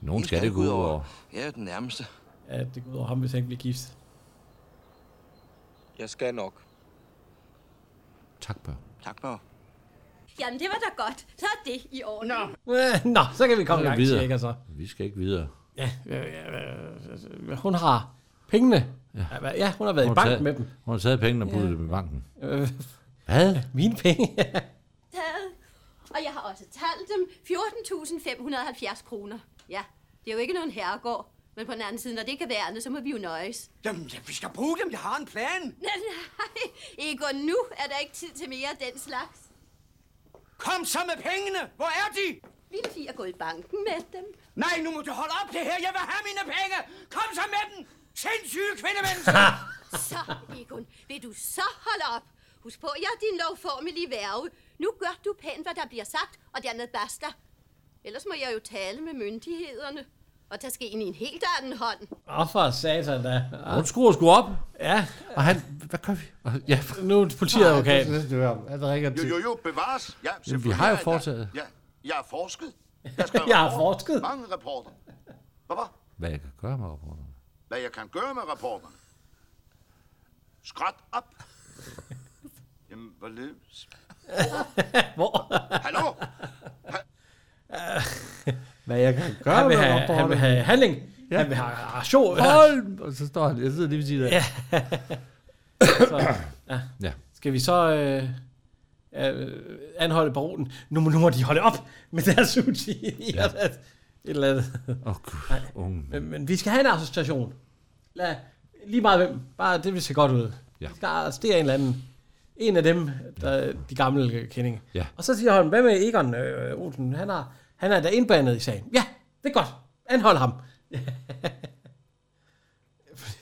[SPEAKER 1] Nogen skal det gå ud over.
[SPEAKER 12] Jeg er den nærmeste.
[SPEAKER 2] Ja, det går ud over ham, hvis han ikke bliver gift.
[SPEAKER 12] Jeg skal nok.
[SPEAKER 1] Tak, Bør.
[SPEAKER 12] Tak, Bør.
[SPEAKER 5] Jamen, det var da godt. Så er det i orden. Nå.
[SPEAKER 2] Øh, Nå, så kan vi komme i
[SPEAKER 1] Så
[SPEAKER 2] gang,
[SPEAKER 1] er vi videre.
[SPEAKER 2] siger ikke, altså.
[SPEAKER 1] Vi skal ikke videre.
[SPEAKER 2] Ja, ja, ja, ja, hun har pengene. Ja, hvad- ja hun har været hun i
[SPEAKER 1] har
[SPEAKER 2] bank
[SPEAKER 1] taget-
[SPEAKER 2] med dem.
[SPEAKER 1] Hun har taget pengene og puttet
[SPEAKER 2] Ja.
[SPEAKER 1] dem i banken.
[SPEAKER 2] Øh,
[SPEAKER 1] Hvad?
[SPEAKER 2] Mine penge?
[SPEAKER 5] Taget. Og jeg har også talt dem. 14.570 kroner. Ja, det er jo ikke nogen herregård. Men på den anden side, når det ikke er værende, så må vi jo nøjes.
[SPEAKER 17] Jamen, ja, vi skal bruge dem. Jeg har en plan.
[SPEAKER 5] Nej, nej. Egon, nu er der ikke tid til mere af den slags.
[SPEAKER 17] Kom så med pengene. Hvor er de?
[SPEAKER 5] Lille Fie er gået i banken med dem.
[SPEAKER 17] Nej, nu må du holde op det her. Jeg vil have mine penge. Kom så med dem. Sindssyge kvindemennesker.
[SPEAKER 5] Så, Egon, vil du så holde op? Husk på, jeg er din lovformelige værve. Nu gør du pænt, hvad der bliver sagt, og dermed basta. Ellers må jeg jo tale med myndighederne og tage skeen i en helt anden hånd.
[SPEAKER 2] Åh, for satan da. Ah,
[SPEAKER 1] Hun skruer sgu op.
[SPEAKER 2] Ja.
[SPEAKER 1] Og han, hvad gør vi? Og- Ja,
[SPEAKER 2] nu er politiadvokat.
[SPEAKER 1] Han ringer
[SPEAKER 9] Jo, jo, jo, bevares. Ja, selvfølgelig
[SPEAKER 1] vi har jo
[SPEAKER 9] er jeg-
[SPEAKER 1] foretaget.
[SPEAKER 9] Ja, jeg har forsket. Jeg, skrev
[SPEAKER 2] Jeg har
[SPEAKER 9] rapporter.
[SPEAKER 2] forsket.
[SPEAKER 9] Mange rapporter. Hvad var?
[SPEAKER 1] Hvad jeg kan gøre med rapporterne?
[SPEAKER 9] Hvad jeg kan gøre med rapporterne? Skræt op. Jamen, hvor ledes?
[SPEAKER 2] Hvor?
[SPEAKER 9] Hallo?
[SPEAKER 1] Hvad jeg kan
[SPEAKER 2] gøre Han vil med have- rapporterne? han vil have handling. Han vil have aktion.
[SPEAKER 1] Hold! Og så står han, jeg sidder lige ved siden af.
[SPEAKER 2] Ja. Så, ja.
[SPEAKER 1] Ja.
[SPEAKER 2] Skal vi så øh, øh, anholde baronen? Nu, må- nu må de holde op med deres sushi. Ja. Et eller andet.
[SPEAKER 1] Åh, gud,
[SPEAKER 2] Nej.
[SPEAKER 1] unge
[SPEAKER 2] Men, men vi skal have en association. Lad, lige meget hvem. Bare det, vi ser godt ud.
[SPEAKER 1] Ja.
[SPEAKER 2] Vi skal arrestere en eller anden. En af dem, der, de gamle kendinge.
[SPEAKER 1] Ja.
[SPEAKER 2] Og så siger han, hvad med Egon øh, Olsen? Han er, han er da indblandet i sagen. Ja, det er godt. Anhold ham.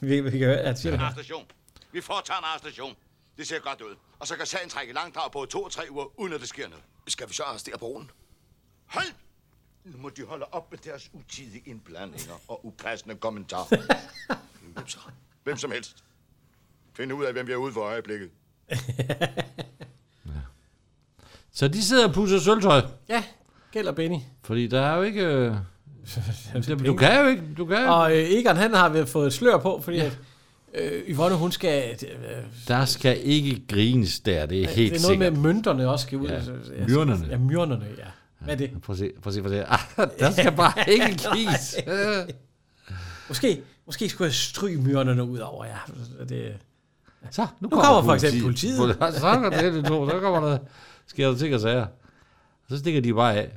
[SPEAKER 2] vi, vi kan høre, at siger
[SPEAKER 9] En
[SPEAKER 2] det.
[SPEAKER 9] arrestation. Vi foretager en arrestation. Det ser godt ud. Og så kan sagen trække i langdrag på to og tre uger, uden at det sker noget. Skal vi så arrestere broen? Hold! Nu må de holde op med deres utidige indblandinger og upassende kommentarer. hvem så? Hvem som helst. Find ud af, hvem vi er ude for øjeblikket.
[SPEAKER 1] Så de sidder og pusser sølvtøj.
[SPEAKER 2] Ja, gælder Benny.
[SPEAKER 1] Fordi der er jo ikke... øh, du kan jo ikke. Du kan jo.
[SPEAKER 2] Og øh, Egon, han har vel fået slør på, fordi ja. at, øh, Yvonne, hun skal... Øh,
[SPEAKER 1] Der skal ikke grines der, det er
[SPEAKER 2] Ja,
[SPEAKER 1] helt
[SPEAKER 2] det er noget
[SPEAKER 1] sikkert.
[SPEAKER 2] med, at mønterne også skal ud.
[SPEAKER 1] Ja,
[SPEAKER 2] Så- så- jeg-
[SPEAKER 1] myrnerne.
[SPEAKER 2] Ja, myrnerne, ja. Hvad er det?
[SPEAKER 1] Prøv at se, prøv at se, prøv at se. Ah, der skal bare ikke kis.
[SPEAKER 2] Nej. måske, måske skulle jeg stryge myrnerne ud over jer. Ja. Det,
[SPEAKER 1] så,
[SPEAKER 2] nu, kommer, kommer for eksempel politiet.
[SPEAKER 1] Så er der det, du tror. Så kommer der, sker der ting og sager. Så stikker de bare af.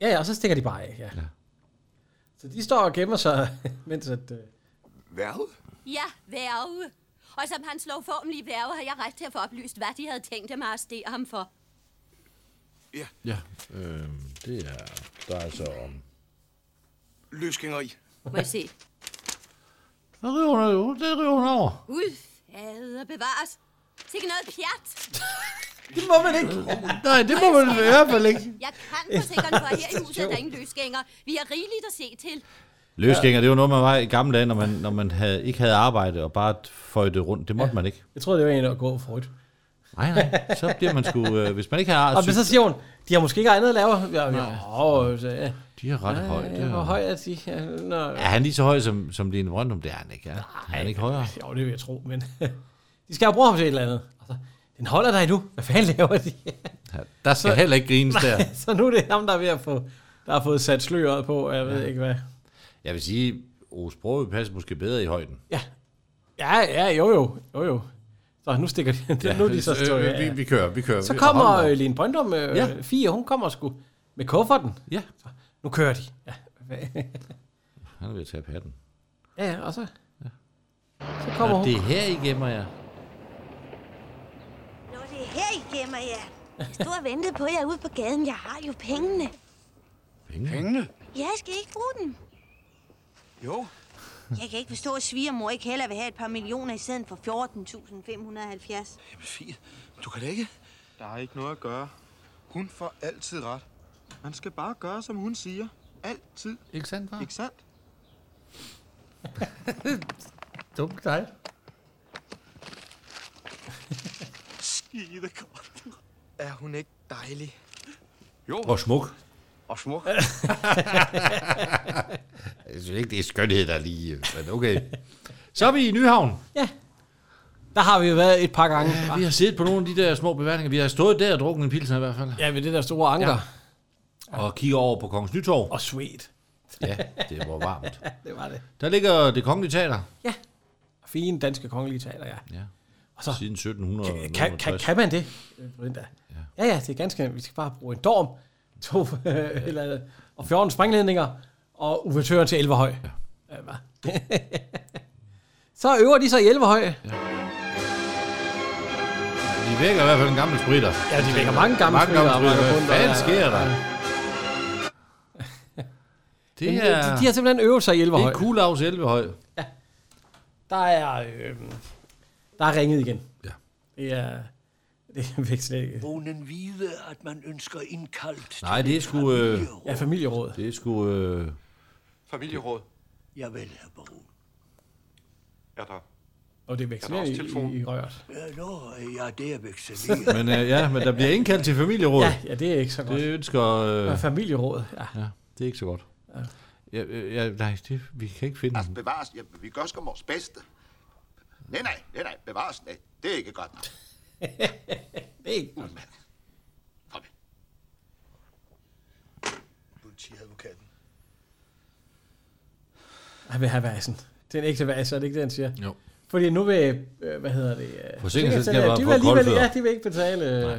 [SPEAKER 2] ja, ja, og så stikker de bare af. Ja.
[SPEAKER 1] Ja.
[SPEAKER 2] Så de står og gemmer sig, mens at... Øh,
[SPEAKER 9] Hvad?
[SPEAKER 5] Ja, værve. Og som hans lovformelige værve har jeg ret til at få oplyst, hvad de havde tænkt dem at arrestere ham for.
[SPEAKER 1] Ja, øh, det er... Der er så om...
[SPEAKER 9] Løsgængeri.
[SPEAKER 5] Må jeg se.
[SPEAKER 1] Så river hun, over. det river hun over.
[SPEAKER 5] Gud, fader bevares. Sikke noget pjat.
[SPEAKER 2] Det må man ikke.
[SPEAKER 1] Nej, det må man i hvert fald ikke.
[SPEAKER 5] Jeg kan forsikre for, at her i huset er der ingen løsgænger. Vi har rigeligt at se til.
[SPEAKER 1] Løsgænger, det var noget, man var i gamle dage, når man, når man havde, ikke havde arbejde og bare føjte rundt. Det måtte ja. man ikke.
[SPEAKER 2] jeg troede, det var en, der går for rødt.
[SPEAKER 1] Nej, nej. Så bliver man sgu... Øh, hvis man ikke har...
[SPEAKER 2] Og men så siger hun, de har måske ikke andet at lave. Ja,
[SPEAKER 1] Nej.
[SPEAKER 2] jo, så, ja.
[SPEAKER 1] De er ret
[SPEAKER 2] Ja,
[SPEAKER 1] højde,
[SPEAKER 2] Ja, hvor
[SPEAKER 1] og-
[SPEAKER 2] høj er de? Ja, nå,
[SPEAKER 1] Er han lige så høj som, som Line Brøndum? Det er han ikke, ja. Nej. Er han ikke højere?
[SPEAKER 2] Jo, det vil jeg tro, men... de skal jo bruge ham til et eller andet. Altså, den holder dig nu. Hvad fanden laver de?
[SPEAKER 1] Ja, der skal heller ikke grines
[SPEAKER 2] Nej,
[SPEAKER 1] der.
[SPEAKER 2] Så nu er det ham, der er ved at få, der har fået sat sløret på, og jeg ved ikke hvad.
[SPEAKER 1] Jeg vil sige, Ove Sprogøe passer måske bedre i højden.
[SPEAKER 2] Ja, ja, jo jo, jo jo. Så nu stikker de, ja,
[SPEAKER 1] Ja,
[SPEAKER 2] nu er de så
[SPEAKER 1] så, øh,
[SPEAKER 2] stået.
[SPEAKER 1] vi- vi kører, vi kører.
[SPEAKER 2] Så
[SPEAKER 1] Vi-
[SPEAKER 2] kommer
[SPEAKER 1] hold da op.
[SPEAKER 2] øh, Lene Brøndum, øh, ja.
[SPEAKER 1] Ja.
[SPEAKER 2] Fie, hun kommer sgu med kufferten.
[SPEAKER 1] Ja.
[SPEAKER 2] Så, nu kører de. Ja.
[SPEAKER 1] Han er ved at tage patten.
[SPEAKER 2] ja, ja, og så, så kommer
[SPEAKER 1] Nå,
[SPEAKER 2] hun.
[SPEAKER 1] det er her, I gemmer jer.
[SPEAKER 6] Nå, det er her, I gemmer jer. Jeg stod og ventede på jer ude på gaden. Jeg har jo pengene.
[SPEAKER 1] Penge?
[SPEAKER 9] Pengene?
[SPEAKER 6] Ja, jeg skal I ikke bruge dem.
[SPEAKER 9] Jo.
[SPEAKER 6] Jeg kan ikke forstå, at svigermor ikke heller vil have et par millioner i stedet for 14.570.
[SPEAKER 12] Jamen, Fie, du kan da ikke.
[SPEAKER 18] Der er ikke noget at gøre. Hun får altid ret. Man skal bare gøre, som hun siger.
[SPEAKER 9] Altid.
[SPEAKER 19] Ikke sandt, far?
[SPEAKER 9] Ikke sandt?
[SPEAKER 19] Dumt dig.
[SPEAKER 18] Skide godt. Er hun ikke dejlig?
[SPEAKER 1] Jo. Og smuk.
[SPEAKER 18] Og smuk.
[SPEAKER 1] Jeg synes ikke, det er skønhed, der er lige... Men okay. Så er vi i Nyhavn.
[SPEAKER 2] Ja. Der har vi jo været et par gange.
[SPEAKER 1] Ja, vi har siddet på nogle af de der små beværtninger. Vi har stået der og drukket en pilsner i hvert fald.
[SPEAKER 2] Ja, ved det der store anker.
[SPEAKER 1] Og kigger over på Kongens Nytorv.
[SPEAKER 2] Og sweet.
[SPEAKER 1] Ja, det var varmt.
[SPEAKER 2] det var det.
[SPEAKER 1] Der ligger det kongelige teater.
[SPEAKER 2] Fine danske kongelige teater, ja.
[SPEAKER 1] Ja.
[SPEAKER 2] Og så,
[SPEAKER 1] Siden 1700.
[SPEAKER 2] kan, kan, kan man det, øh, Brinda? Ja. ja, ja, det er ganske nemt. Vi skal bare bruge en dorm, to, øh, eller, og 14 sprængledninger, og uvertøren til Elverhøj. Ja. Øh, hvad? så øver de sig i Elverhøj. Ja,
[SPEAKER 1] De vækker i hvert fald en gammel spritter.
[SPEAKER 2] Ja, de vækker mange gamle spritter og
[SPEAKER 1] Hvad
[SPEAKER 2] vagabunder.
[SPEAKER 1] fanden sker der? Det
[SPEAKER 2] Jamen,
[SPEAKER 1] er...
[SPEAKER 2] de- de har simpelthen øvet sig i Elverhøj.
[SPEAKER 1] Det er Kulavs Elverhøj.
[SPEAKER 2] Der er, øh, der er ringet igen.
[SPEAKER 1] Ja.
[SPEAKER 2] Det er, det er øh, væk slet ikke.
[SPEAKER 13] Bonen vide, at man ønsker indkaldt.
[SPEAKER 1] Nej, det er sgu... Øh,
[SPEAKER 2] ja, familieråd.
[SPEAKER 1] Det er sgu... Øh,
[SPEAKER 13] Familieråd. Ja vel, herr baron.
[SPEAKER 9] Er der
[SPEAKER 2] Og det er
[SPEAKER 9] Er der
[SPEAKER 2] vekseleret
[SPEAKER 9] også
[SPEAKER 2] i,
[SPEAKER 9] telefon?
[SPEAKER 2] i, i røret.
[SPEAKER 13] Ja, nå, ja, det er vekseleret.
[SPEAKER 1] men øh, ja, men der bliver indkaldt til familieråd.
[SPEAKER 2] Ja, ja, det er ikke så godt.
[SPEAKER 1] Det ønsker... Øh,
[SPEAKER 2] Øh. Familierådet, ja.
[SPEAKER 1] ja, det er ikke så godt. Ja, øh, ja, nej, det, vi kan ikke finde den.
[SPEAKER 10] Bevares, ja, vi gør sgu vores bedste. Nej, nej, nej, nej, bevares, nej, det er ikke godt nok.
[SPEAKER 2] det er ikke
[SPEAKER 10] godt nok.
[SPEAKER 13] Politiadvokaten.
[SPEAKER 2] Han vil have vasen. Det er en ægte vas, er det ikke det, han siger?
[SPEAKER 1] Jo.
[SPEAKER 2] Fordi nu vil, øh, hvad hedder det? øh,
[SPEAKER 1] Forsikringsselskabet har
[SPEAKER 2] de vil
[SPEAKER 1] fået
[SPEAKER 2] alligevel,
[SPEAKER 1] koldfødder.
[SPEAKER 2] ja, de vil ikke betale. Nej.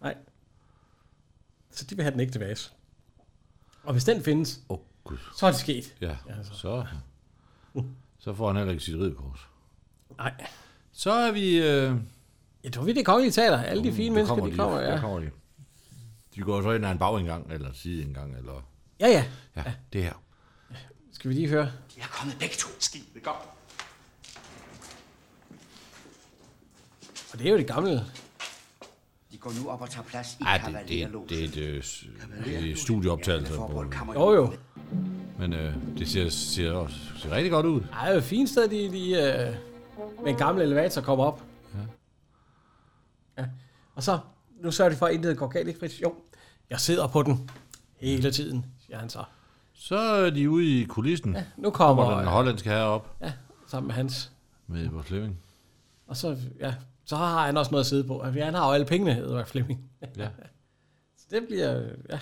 [SPEAKER 2] Nej. Så de vil have den ægte vas. Og hvis den findes,
[SPEAKER 1] oh, Gud.
[SPEAKER 2] så er det sket.
[SPEAKER 1] Ja,
[SPEAKER 2] altså.
[SPEAKER 1] så... Så får han heller ikke sit ridekors.
[SPEAKER 2] Nej.
[SPEAKER 1] Så er vi... Øh,
[SPEAKER 2] Ja, du ved, det er kongelige teater. Alle de
[SPEAKER 1] Uh,
[SPEAKER 2] fine
[SPEAKER 1] der
[SPEAKER 2] mennesker, de kommer,
[SPEAKER 1] Der
[SPEAKER 2] ja.
[SPEAKER 1] kommer de. De går så ind ad en bagindgang, eller sideindgang, eller...
[SPEAKER 2] Ja, ja.
[SPEAKER 1] Ja, det her.
[SPEAKER 2] Skal vi lige høre?
[SPEAKER 13] De er kommet begge to. Skide godt.
[SPEAKER 2] Og det er jo det gamle.
[SPEAKER 4] De går nu op og tager plads i
[SPEAKER 1] Ej, det, det,
[SPEAKER 4] kavalerlåsen.
[SPEAKER 1] det, det, det, det er studieoptagelser. på-
[SPEAKER 2] Jo, jo.
[SPEAKER 1] Men øh, det ser, ser, også, ser rigtig godt ud.
[SPEAKER 2] Ej, det er et fint sted, de, de øh, med en gammel elevator kommer op. Ja. ja. Og så, nu sørger de for, at intet går galt, ikke Fritz? Jo, jeg sidder på den hele tiden, siger han så.
[SPEAKER 1] Så er de ude i kulissen. Ja,
[SPEAKER 2] nu kommer-
[SPEAKER 1] den hollandske herre op
[SPEAKER 2] Ja, sammen med hans.
[SPEAKER 1] med vores Flemming.
[SPEAKER 2] Og så, ja, så har han også noget at sidde på. Ja, han har jo alle pengene, Edvard Flemming.
[SPEAKER 1] Ja.
[SPEAKER 2] så det bliver, øh, ja.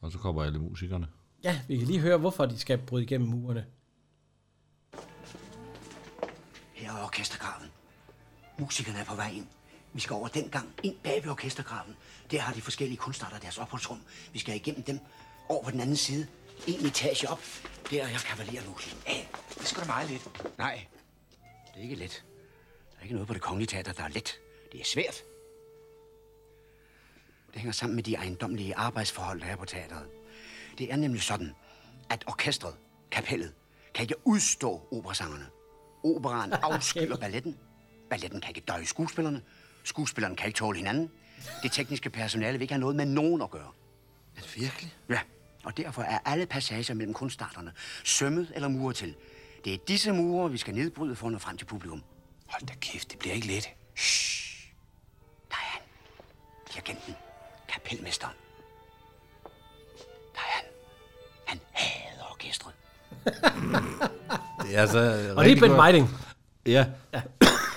[SPEAKER 1] Og så kommer alle musikerne.
[SPEAKER 2] ja, vi kan lige høre, hvorfor de skal bryde igennem murene.
[SPEAKER 4] Her er orkestergraven. Musikerne er på vej ind. Vi skal over den gang ind bag ved orkestergraven. Der har de forskellige kunstarter deres opholdsrum. Vi skal igennem dem over på den anden side. En etage op. Der er jeg kavalermusikken af. Det skal da meget lidt. Nej, det er ikke let. Der er ikke noget på det kongelige teater, der er let. Det er svært. Det hænger sammen med de ejendomlige arbejdsforhold, der er på teateret. Det er nemlig sådan, at orkestret, kapellet, kan ikke udstå operasangerne. Operaen afskyer balletten. Balletten kan ikke døje skuespillerne. Skuespillerne kan ikke tåle hinanden. Det tekniske personale vil ikke have noget med nogen at gøre. Virkelig? Ja, og derfor er alle passager mellem kunstarterne sømmet eller muret til. Det er disse mure, vi skal nedbryde for at nå frem til publikum. Hold da kæft, det bliver ikke let. Shh. Der er han. Dirigenten. Kapelmesteren. Der er han. Han hader orkestret.
[SPEAKER 1] Det er altså
[SPEAKER 2] Og det er Ben Meiding.
[SPEAKER 1] Ja.
[SPEAKER 2] ja.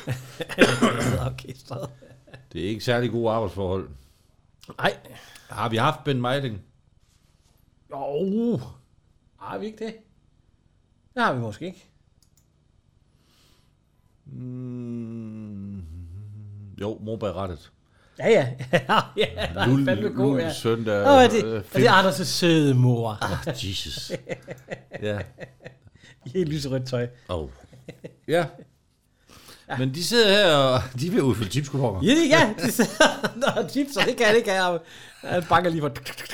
[SPEAKER 2] orkestret.
[SPEAKER 1] Det er ikke særlig gode arbejdsforhold.
[SPEAKER 2] Nej.
[SPEAKER 1] Har vi haft Ben Meiding?
[SPEAKER 2] Jo. Har vi ikke det? Det har vi måske ikke.
[SPEAKER 1] Mm, jo, Morberg rettet.
[SPEAKER 2] Ja, ja. ja, der er
[SPEAKER 1] Lul-
[SPEAKER 2] fandme god, ja.
[SPEAKER 1] Lul søndag,
[SPEAKER 2] Åh, er det,
[SPEAKER 1] øh,
[SPEAKER 2] er
[SPEAKER 1] Finn.
[SPEAKER 2] det Anders' søde mor?
[SPEAKER 1] Ah, Jesus. Ja.
[SPEAKER 2] I helt lyserødt tøj.
[SPEAKER 1] Oh. Ja. Men de sidder her, og de vil udfylde tipskuponger.
[SPEAKER 2] Ja, det- ja. De sidder- Nå, chips, og det kan det kan jeg. Han banker lige på.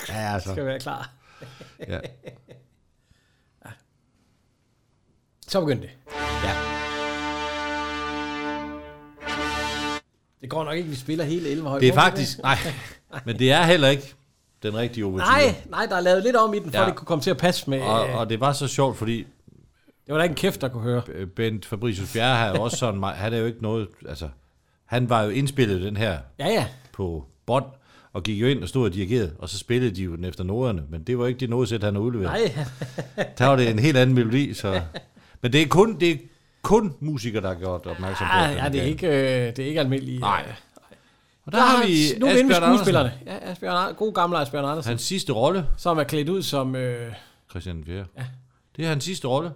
[SPEAKER 1] Ja, altså.
[SPEAKER 2] Skal være klar.
[SPEAKER 1] Ja.
[SPEAKER 2] Så begyndte det. Ja. Det går nok ikke, vi spiller hele 11 højt.
[SPEAKER 1] Det er faktisk... Nej, men det er heller ikke Den rigtige overture.
[SPEAKER 2] Nej, nej, der er lavet lidt om i den, for
[SPEAKER 1] Ja.
[SPEAKER 2] ja. det kunne komme til at passe med...
[SPEAKER 1] Og,
[SPEAKER 2] øh,
[SPEAKER 1] og det var så sjovt, fordi...
[SPEAKER 2] Det var da ikke en kæft, der kunne høre.
[SPEAKER 1] Bent Fabricius Bjerre havde også sådan... meget- Han er jo ikke noget... Altså, han var jo indspillet den her
[SPEAKER 2] Ja, ja.
[SPEAKER 1] på bånd, og gik jo ind og stod og dirigerede, og så spillede de jo den efter noderne, men det var ikke det nodesæt, han havde udleveret.
[SPEAKER 2] Nej.
[SPEAKER 1] Der var det en helt anden melodi, så... Men det er kun, det er kun musikere, der har gjort opmærksom på
[SPEAKER 2] Ah, Ja,
[SPEAKER 1] den
[SPEAKER 2] ja, det er
[SPEAKER 1] her.
[SPEAKER 2] ikke, øh, det er ikke almindeligt. Nej.
[SPEAKER 1] Og der har vi
[SPEAKER 2] Nu vinder vi
[SPEAKER 1] Asbjørn Andersen.
[SPEAKER 2] skuespillerne. Ja, Asbjørn Andersen. God gammel Asbjørn Andersen.
[SPEAKER 1] Hans sidste rolle.
[SPEAKER 2] Som er klædt ud som... Øh,
[SPEAKER 1] Christian IV. Ja. Det er hans sidste rolle.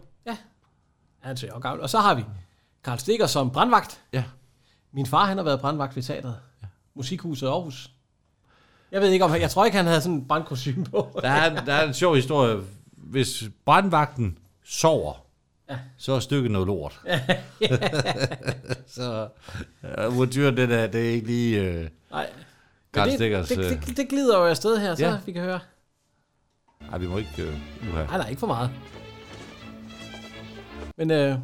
[SPEAKER 2] han ser jo gammel. Og så har vi Karl Stikker som brandvagt.
[SPEAKER 1] Ja.
[SPEAKER 2] Min far, han har været brandvagt ved teateret. Ja. Musikhuset Aarhus. Jeg ved ikke om han, Jeg tror ikke, han havde sådan en brandkostyme på.
[SPEAKER 1] Der er, der er en sjov historie. Hvis brandvagten sover,
[SPEAKER 2] Ja.
[SPEAKER 1] ja. så er stykket noget lort. så uh, Mortyr, det, der, det er ikke lige... Øh,
[SPEAKER 2] Nej.
[SPEAKER 1] Karl
[SPEAKER 2] Men det,
[SPEAKER 1] Stikkers...
[SPEAKER 2] det,
[SPEAKER 1] Øh,
[SPEAKER 2] det, det, glider jo afsted her, så
[SPEAKER 1] Ja.
[SPEAKER 2] vi kan høre.
[SPEAKER 1] nej, vi må ikke... Øh, uha.
[SPEAKER 2] Nej, nej, ikke for meget. Men øh,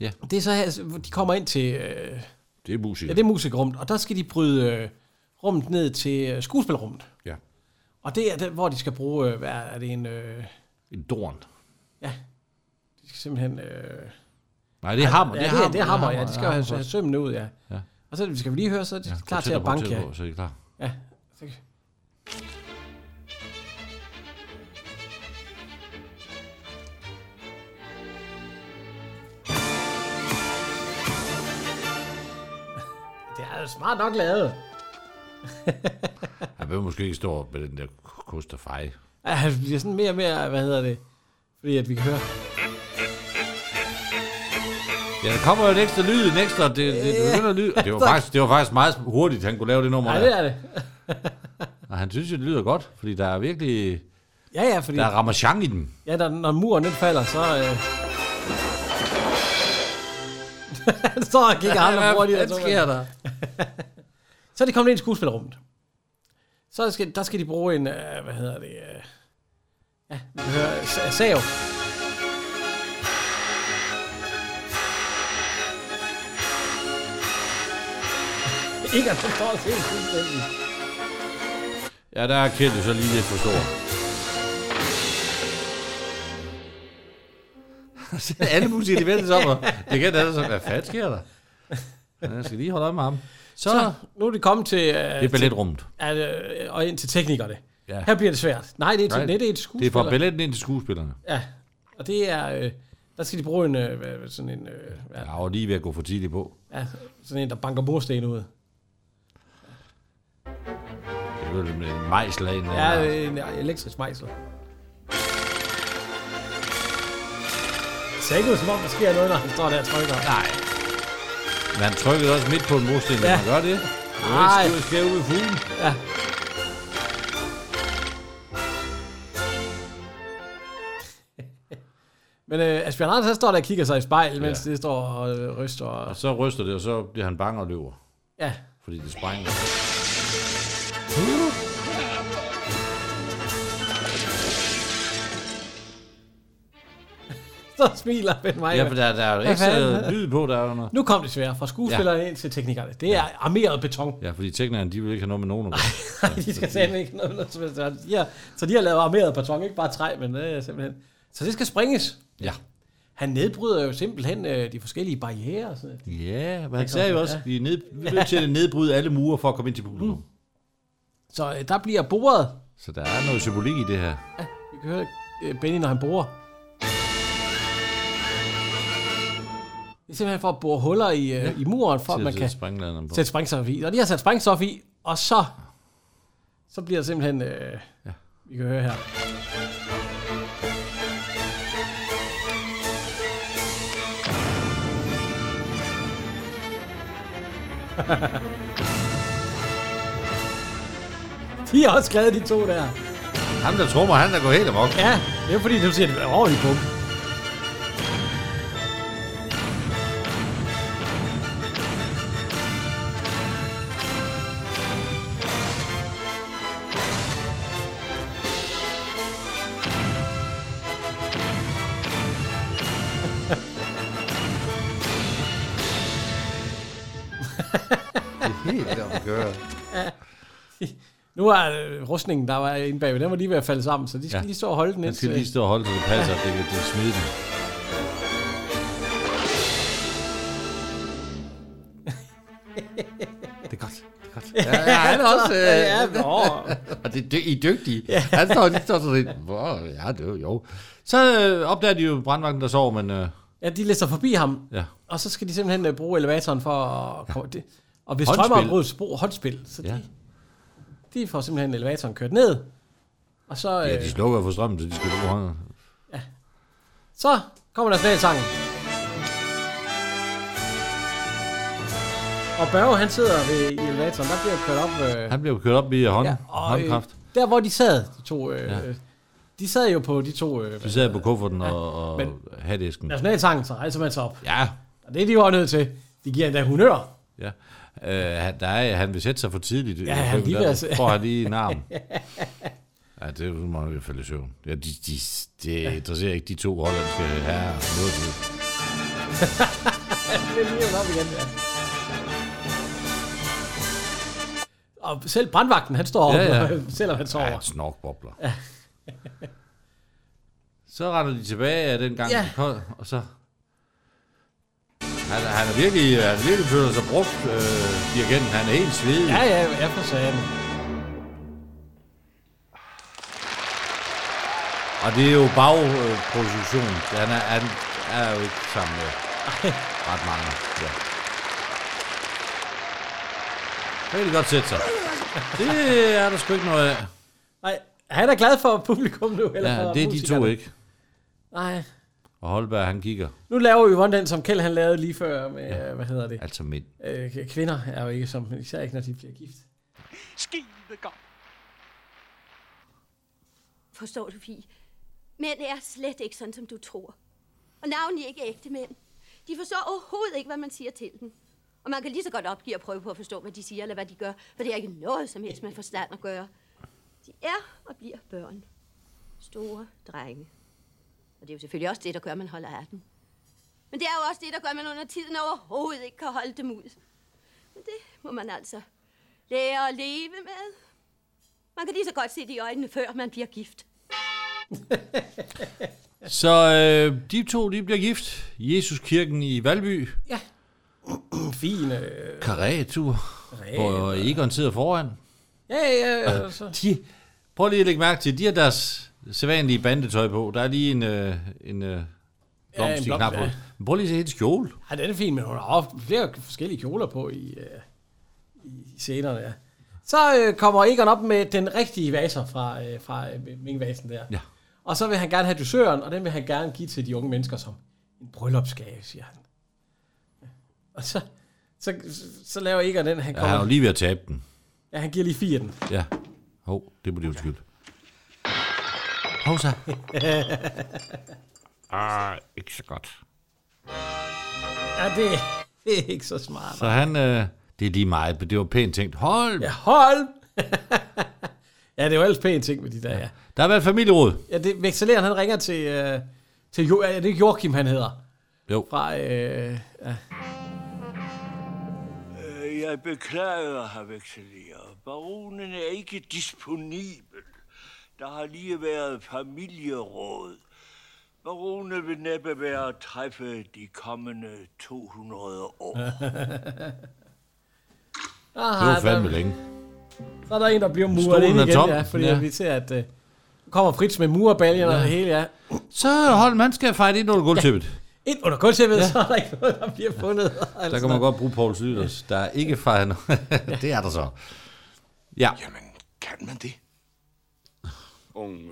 [SPEAKER 1] Ja.
[SPEAKER 2] det er så her, hvor de kommer ind til... Øh,
[SPEAKER 1] Det er musik.
[SPEAKER 2] ja, det er musikrummet, og der skal de bryde øh, rummet ned til øh, skuespilrummet.
[SPEAKER 1] Ja.
[SPEAKER 2] Og det er der, hvor de skal bruge... Øh, hvad er det en... Øh,
[SPEAKER 1] En dorn.
[SPEAKER 2] Ja. De skal simpelthen... Øh,
[SPEAKER 1] Nej, det er hammer.
[SPEAKER 2] Ja,
[SPEAKER 1] det er
[SPEAKER 2] det,
[SPEAKER 1] hammer.
[SPEAKER 2] er, det er hammer, ja. De skal jo have,
[SPEAKER 1] hammer
[SPEAKER 2] have
[SPEAKER 1] først.
[SPEAKER 2] sømmene ud, ja.
[SPEAKER 1] Ja.
[SPEAKER 2] Og så skal vi lige høre, så er de
[SPEAKER 1] Ja,
[SPEAKER 2] ja,
[SPEAKER 1] gå
[SPEAKER 2] klar til
[SPEAKER 1] tættere
[SPEAKER 2] at
[SPEAKER 1] på,
[SPEAKER 2] banke.
[SPEAKER 1] tættere
[SPEAKER 2] Ja.
[SPEAKER 1] på, Så er de klar.
[SPEAKER 2] ja. Det er jo smart nok lavet.
[SPEAKER 1] Han vil måske ikke stå med den der kost og fej.
[SPEAKER 2] Ja, han bliver sådan mere og mere, hvad hedder det? Fordi at vi kan høre.
[SPEAKER 1] Ja, der kommer jo en ekstra lyd, en ekstra... Det, det, det, begynder at lyde. Og Det var, faktisk, det var faktisk meget hurtigt, han kunne lave det nummer.
[SPEAKER 2] Nej,
[SPEAKER 1] der.
[SPEAKER 2] det er det.
[SPEAKER 1] Og han synes jo, det lyder godt, fordi der er virkelig...
[SPEAKER 2] Ja, ja, fordi...
[SPEAKER 1] Der er ramachan i den.
[SPEAKER 2] Ja, der, når muren den falder, så... Øh... så gik han og hurtigt.
[SPEAKER 1] Hvad sker der?
[SPEAKER 2] så er de kommet ind i skuespillerummet. Så skal, der skal de bruge en... Øh, hvad hedder det? Øh... Ja, vi kan høre... øh, sa- Sav. Ikke at forstå det helt fuldstændig.
[SPEAKER 1] Ja, der er Kjeld jo så lige lidt for stor. Så Alle musikere, de vender sig om, og det kan da sådan, hvad fanden sker der? Ja, Jeg skal lige holde øje med ham.
[SPEAKER 2] Så, så nu er de kommet til... Øh,
[SPEAKER 1] Det er balletrummet.
[SPEAKER 2] Øh, og ind til teknikerne.
[SPEAKER 1] Ja.
[SPEAKER 2] Ja. Her bliver det svært. Nej, det er, til,
[SPEAKER 1] Nej,
[SPEAKER 2] nej, det er et
[SPEAKER 1] Det er
[SPEAKER 2] skuespiller.
[SPEAKER 1] fra balletten ind til skuespillerne.
[SPEAKER 2] Ja, og det er... Øh, der skal de bruge en, øh, hvad- hvad- sådan en, øh, hvad-
[SPEAKER 1] Jeg var lige ved at gå for tidligt på.
[SPEAKER 2] ja, sådan en, der banker mursten ud.
[SPEAKER 1] Det var lidt med en mejsel af en eller
[SPEAKER 2] Ja,
[SPEAKER 1] anden
[SPEAKER 2] øh, en elektrisk mejsel. Det ser ikke ud som om, der sker noget, når han står der og trykker.
[SPEAKER 1] Nej. Men han trykkede også midt på en mursten, ja.
[SPEAKER 2] Ja.
[SPEAKER 1] man gør det. Det er jo
[SPEAKER 2] Nej.
[SPEAKER 1] ikke skæv ud i fuglen.
[SPEAKER 2] Ja. Men øh, Asbjørn Andersen, han står der og kigger sig i spejlet, mens det står og øh, ryster. Og...
[SPEAKER 1] Og så ryster det, og så bliver han bange og løber.
[SPEAKER 2] Ja.
[SPEAKER 1] Fordi det sprænger.
[SPEAKER 2] Så smiler Ben Meyer.
[SPEAKER 1] Ja, for der, der er jo
[SPEAKER 2] Hvad
[SPEAKER 1] ekstra
[SPEAKER 2] fanden?
[SPEAKER 1] lyd på, der er jo noget.
[SPEAKER 2] Nu kom det svært fra skuespillerne ja. ind til teknikerne. Det er armeret beton.
[SPEAKER 1] Ja, fordi teknikerne, de vil ikke have noget med nogen at gøre.
[SPEAKER 2] Nej, de skal simpelthen ikke noget, noget som helst. de har, Så de har lavet armeret beton, ikke bare træ, men øh, simpelthen. Så det skal springes.
[SPEAKER 1] Ja.
[SPEAKER 2] Han nedbryder jo simpelthen øh, de forskellige barriere. og Sådan.
[SPEAKER 1] Ja, men
[SPEAKER 2] Der
[SPEAKER 1] han sagde
[SPEAKER 2] kom-
[SPEAKER 1] jo også,
[SPEAKER 2] ja.
[SPEAKER 1] vi er, ned, vi er nødt til at nedbryde alle mure for at komme ind til publikum. Mm.
[SPEAKER 2] Så øh, der bliver boret.
[SPEAKER 1] Så der er noget symbolik i det her.
[SPEAKER 2] Vi kan høre øh, Benny, når han borer. Det er simpelthen for at bore huller i, øh, ja. i muren,
[SPEAKER 1] Til
[SPEAKER 2] for at
[SPEAKER 1] at
[SPEAKER 2] man
[SPEAKER 1] sætte
[SPEAKER 2] kan
[SPEAKER 1] sprængladeren på.
[SPEAKER 2] sætte sprængstof i. Og de har sat sprængstof i, og så, så bliver det simpelthen... Øh, ja. Vi kan høre her. De har også skrevet de to der.
[SPEAKER 1] Ham der trummer, han der går helt amok.
[SPEAKER 2] Ja, det er fordi, du siger, at det er ordentligt bum.
[SPEAKER 1] Det er helt amok.
[SPEAKER 2] Nu er øh, rustningen, der var inde bagved, den var lige ved at falde sammen, så de skal ja.
[SPEAKER 1] Ja.
[SPEAKER 2] lige stå og holde den
[SPEAKER 1] Han skal
[SPEAKER 2] indtil-
[SPEAKER 1] lige stå og holde, så det passer, at det kan det smide den. Det er godt. Det er godt. Ja, ja, han er også... Øh,
[SPEAKER 2] Ja,
[SPEAKER 1] ja,
[SPEAKER 2] ja, nå.
[SPEAKER 1] og det, det, I er dygtige. Ja. Han står, de står sådan lidt... Hvor, ja, det er jo- jo. Så øh, opdager de jo brandvagten, der sover, men... Øh,
[SPEAKER 2] Ja, de lister forbi ham,
[SPEAKER 1] Ja.
[SPEAKER 2] og så skal de simpelthen øh, bruge elevatoren for at komme... Det. Og hvis
[SPEAKER 1] Håndspil.
[SPEAKER 2] strømmeafbruddet bruger håndspil, så de, ja. de får simpelthen elevatoren kørt ned. Og så,
[SPEAKER 1] ja,
[SPEAKER 2] øh,
[SPEAKER 1] de slukker for strømmen, så de skal bruge hånden.
[SPEAKER 2] så kommer nationalsangen. Og Børge, han sidder ved, i elevatoren, der bliver kørt op... Øh,
[SPEAKER 1] Han bliver jo kørt op i hånd, ja,
[SPEAKER 2] og, øh,
[SPEAKER 1] håndkraft.
[SPEAKER 2] der hvor de sad, de to... Øh,
[SPEAKER 1] Ja.
[SPEAKER 2] ja. De sad jo på de to... Øh,
[SPEAKER 1] Så sidder jeg på kufferten og, og
[SPEAKER 2] men-
[SPEAKER 1] hatdisken.
[SPEAKER 2] nationalsangen, så rejser man sig op.
[SPEAKER 1] Ja.
[SPEAKER 2] Og det er de jo også nødt til. De giver endda honør.
[SPEAKER 1] Ja. Øh, han, der er, han vil sætte sig for tidligt. øh,
[SPEAKER 2] Ja, han altså. lige ved at se-
[SPEAKER 1] der, får han lige en arm. Ja, det må jo falde i søvn. Ja, de, de, det interesserer ikke de to hollandske herrer. Noget til.
[SPEAKER 2] det er lige op igen, ja. Og selv brandvagten, han står
[SPEAKER 1] Ja,
[SPEAKER 2] ja, ja.
[SPEAKER 1] ja.
[SPEAKER 2] selvom han sover.
[SPEAKER 1] Ja, han snorkbobler. Så render de tilbage af den gang,
[SPEAKER 2] Ja.
[SPEAKER 1] ja. kold, og så... Han, han er virkelig, han er virkelig føler sig brugt, øh, dirigenten. Han er helt svedig.
[SPEAKER 2] Ja, ja, jeg for satan.
[SPEAKER 1] Og det er jo bagproduktion. Han er, han er jo ikke sammen med ret mange. Ja. Det kan de godt sætte sig. Det er der sgu ikke noget af.
[SPEAKER 2] Nej, han er glad for publikum nu. Eller
[SPEAKER 1] Ja,
[SPEAKER 2] for
[SPEAKER 1] det er de to
[SPEAKER 2] musikerne.
[SPEAKER 1] ikke.
[SPEAKER 2] Nej.
[SPEAKER 1] Og Holberg, han kigger.
[SPEAKER 2] Nu laver Yvonne den, som Kjeld han lavede lige før med, ja. hvad hedder det?
[SPEAKER 1] Altså mænd.
[SPEAKER 2] Øh, k- kvinder er jo ikke som, især ikke når de bliver gift.
[SPEAKER 3] Skide godt.
[SPEAKER 5] Forstår du, Fie? Mænd er slet ikke sådan, som du tror. Og navnlig ikke ægte mænd. De forstår overhovedet ikke, hvad man siger til dem. Og man kan lige så godt opgive at prøve på at forstå, hvad de siger eller hvad de gør, for det er ikke noget som helst med forstand at gøre. De er og bliver børn. Store drenge. Og det er jo selvfølgelig også det, der gør, at man holder af dem. Men det er jo også det, der gør, at man under tiden overhovedet ikke kan holde dem ud. Men det må man altså lære at leve med. Man kan lige så godt se det i øjnene, før man bliver gift.
[SPEAKER 1] Så øh, de to, de bliver gift. Jesuskirken i Valby.
[SPEAKER 2] Ja. Fin. Øh,
[SPEAKER 1] Karætur.
[SPEAKER 2] Karé.
[SPEAKER 1] Hvor Egon sidder foran.
[SPEAKER 2] ja, ja, ja. Så.
[SPEAKER 1] Altså, De, prøv lige at lægge mærke til, de har deres sædvanlige bandetøj på. Der er lige en, øh, en øh, blomst ja,
[SPEAKER 2] en
[SPEAKER 1] en i
[SPEAKER 2] blomst,
[SPEAKER 1] knap på.
[SPEAKER 2] ja.
[SPEAKER 1] Men prøv lige at se hendes kjole.
[SPEAKER 2] Ja, den er fin, men hun har ofte flere forskellige kjoler på i, øh, i scenerne, ja. Så øh, kommer Egon op med den rigtige vaser fra, øh, fra øh, minkvasen der.
[SPEAKER 1] Ja.
[SPEAKER 2] Og så vil han gerne have dusøren, og den vil han gerne give til de unge mennesker som en bryllupsgave, siger han. Og så, så, så laver Egon den, han
[SPEAKER 1] Ja, han er
[SPEAKER 2] kommer...
[SPEAKER 1] jo lige ved at tabe den.
[SPEAKER 2] Ja, han giver lige fire af den.
[SPEAKER 1] Ja. Hov, det må de undskylde. Hov så. ah, ikke så godt.
[SPEAKER 2] Ja, det, det er ikke så smart.
[SPEAKER 1] Så han, øh, det er lige meget, men det var pænt tænkt. Hold!
[SPEAKER 2] Ja, hold! ja, det er jo ellers pænt ting med de der, ja.
[SPEAKER 1] Der har været familieråd.
[SPEAKER 2] Ja, det vekseleren, han ringer til, øh, til jo, er det ikke Joachim, han hedder?
[SPEAKER 1] Jo.
[SPEAKER 2] Fra, øh, ja.
[SPEAKER 13] Øh, Jeg beklager, herr Vekselier. Baronen er ikke disponibel. Der har lige været familieråd. Baronen vil næppe være at træffe de kommende 200 år.
[SPEAKER 2] Aha,
[SPEAKER 1] Det var
[SPEAKER 2] der,
[SPEAKER 1] fandme længe.
[SPEAKER 2] Så er der en, der bliver muret
[SPEAKER 1] Stolen
[SPEAKER 2] ind
[SPEAKER 1] er
[SPEAKER 2] igen,
[SPEAKER 1] tom.
[SPEAKER 2] ja, fordi ja.
[SPEAKER 1] Ja.
[SPEAKER 2] vi ser, at øh, kommer Fritz med murbaljen ja. og
[SPEAKER 1] Ja.
[SPEAKER 2] det hele, ja.
[SPEAKER 1] Så Holm, han skal fejle ind under gulvtæppet. Ja,
[SPEAKER 2] Ind under gulvtæppet, ja. så er der ikke noget, der bliver fundet. Altså,
[SPEAKER 1] der kan man godt bruge Paul Syders. Der er ikke fejl. det er der så. Ja. Jamen,
[SPEAKER 13] Kan man det?
[SPEAKER 10] Unge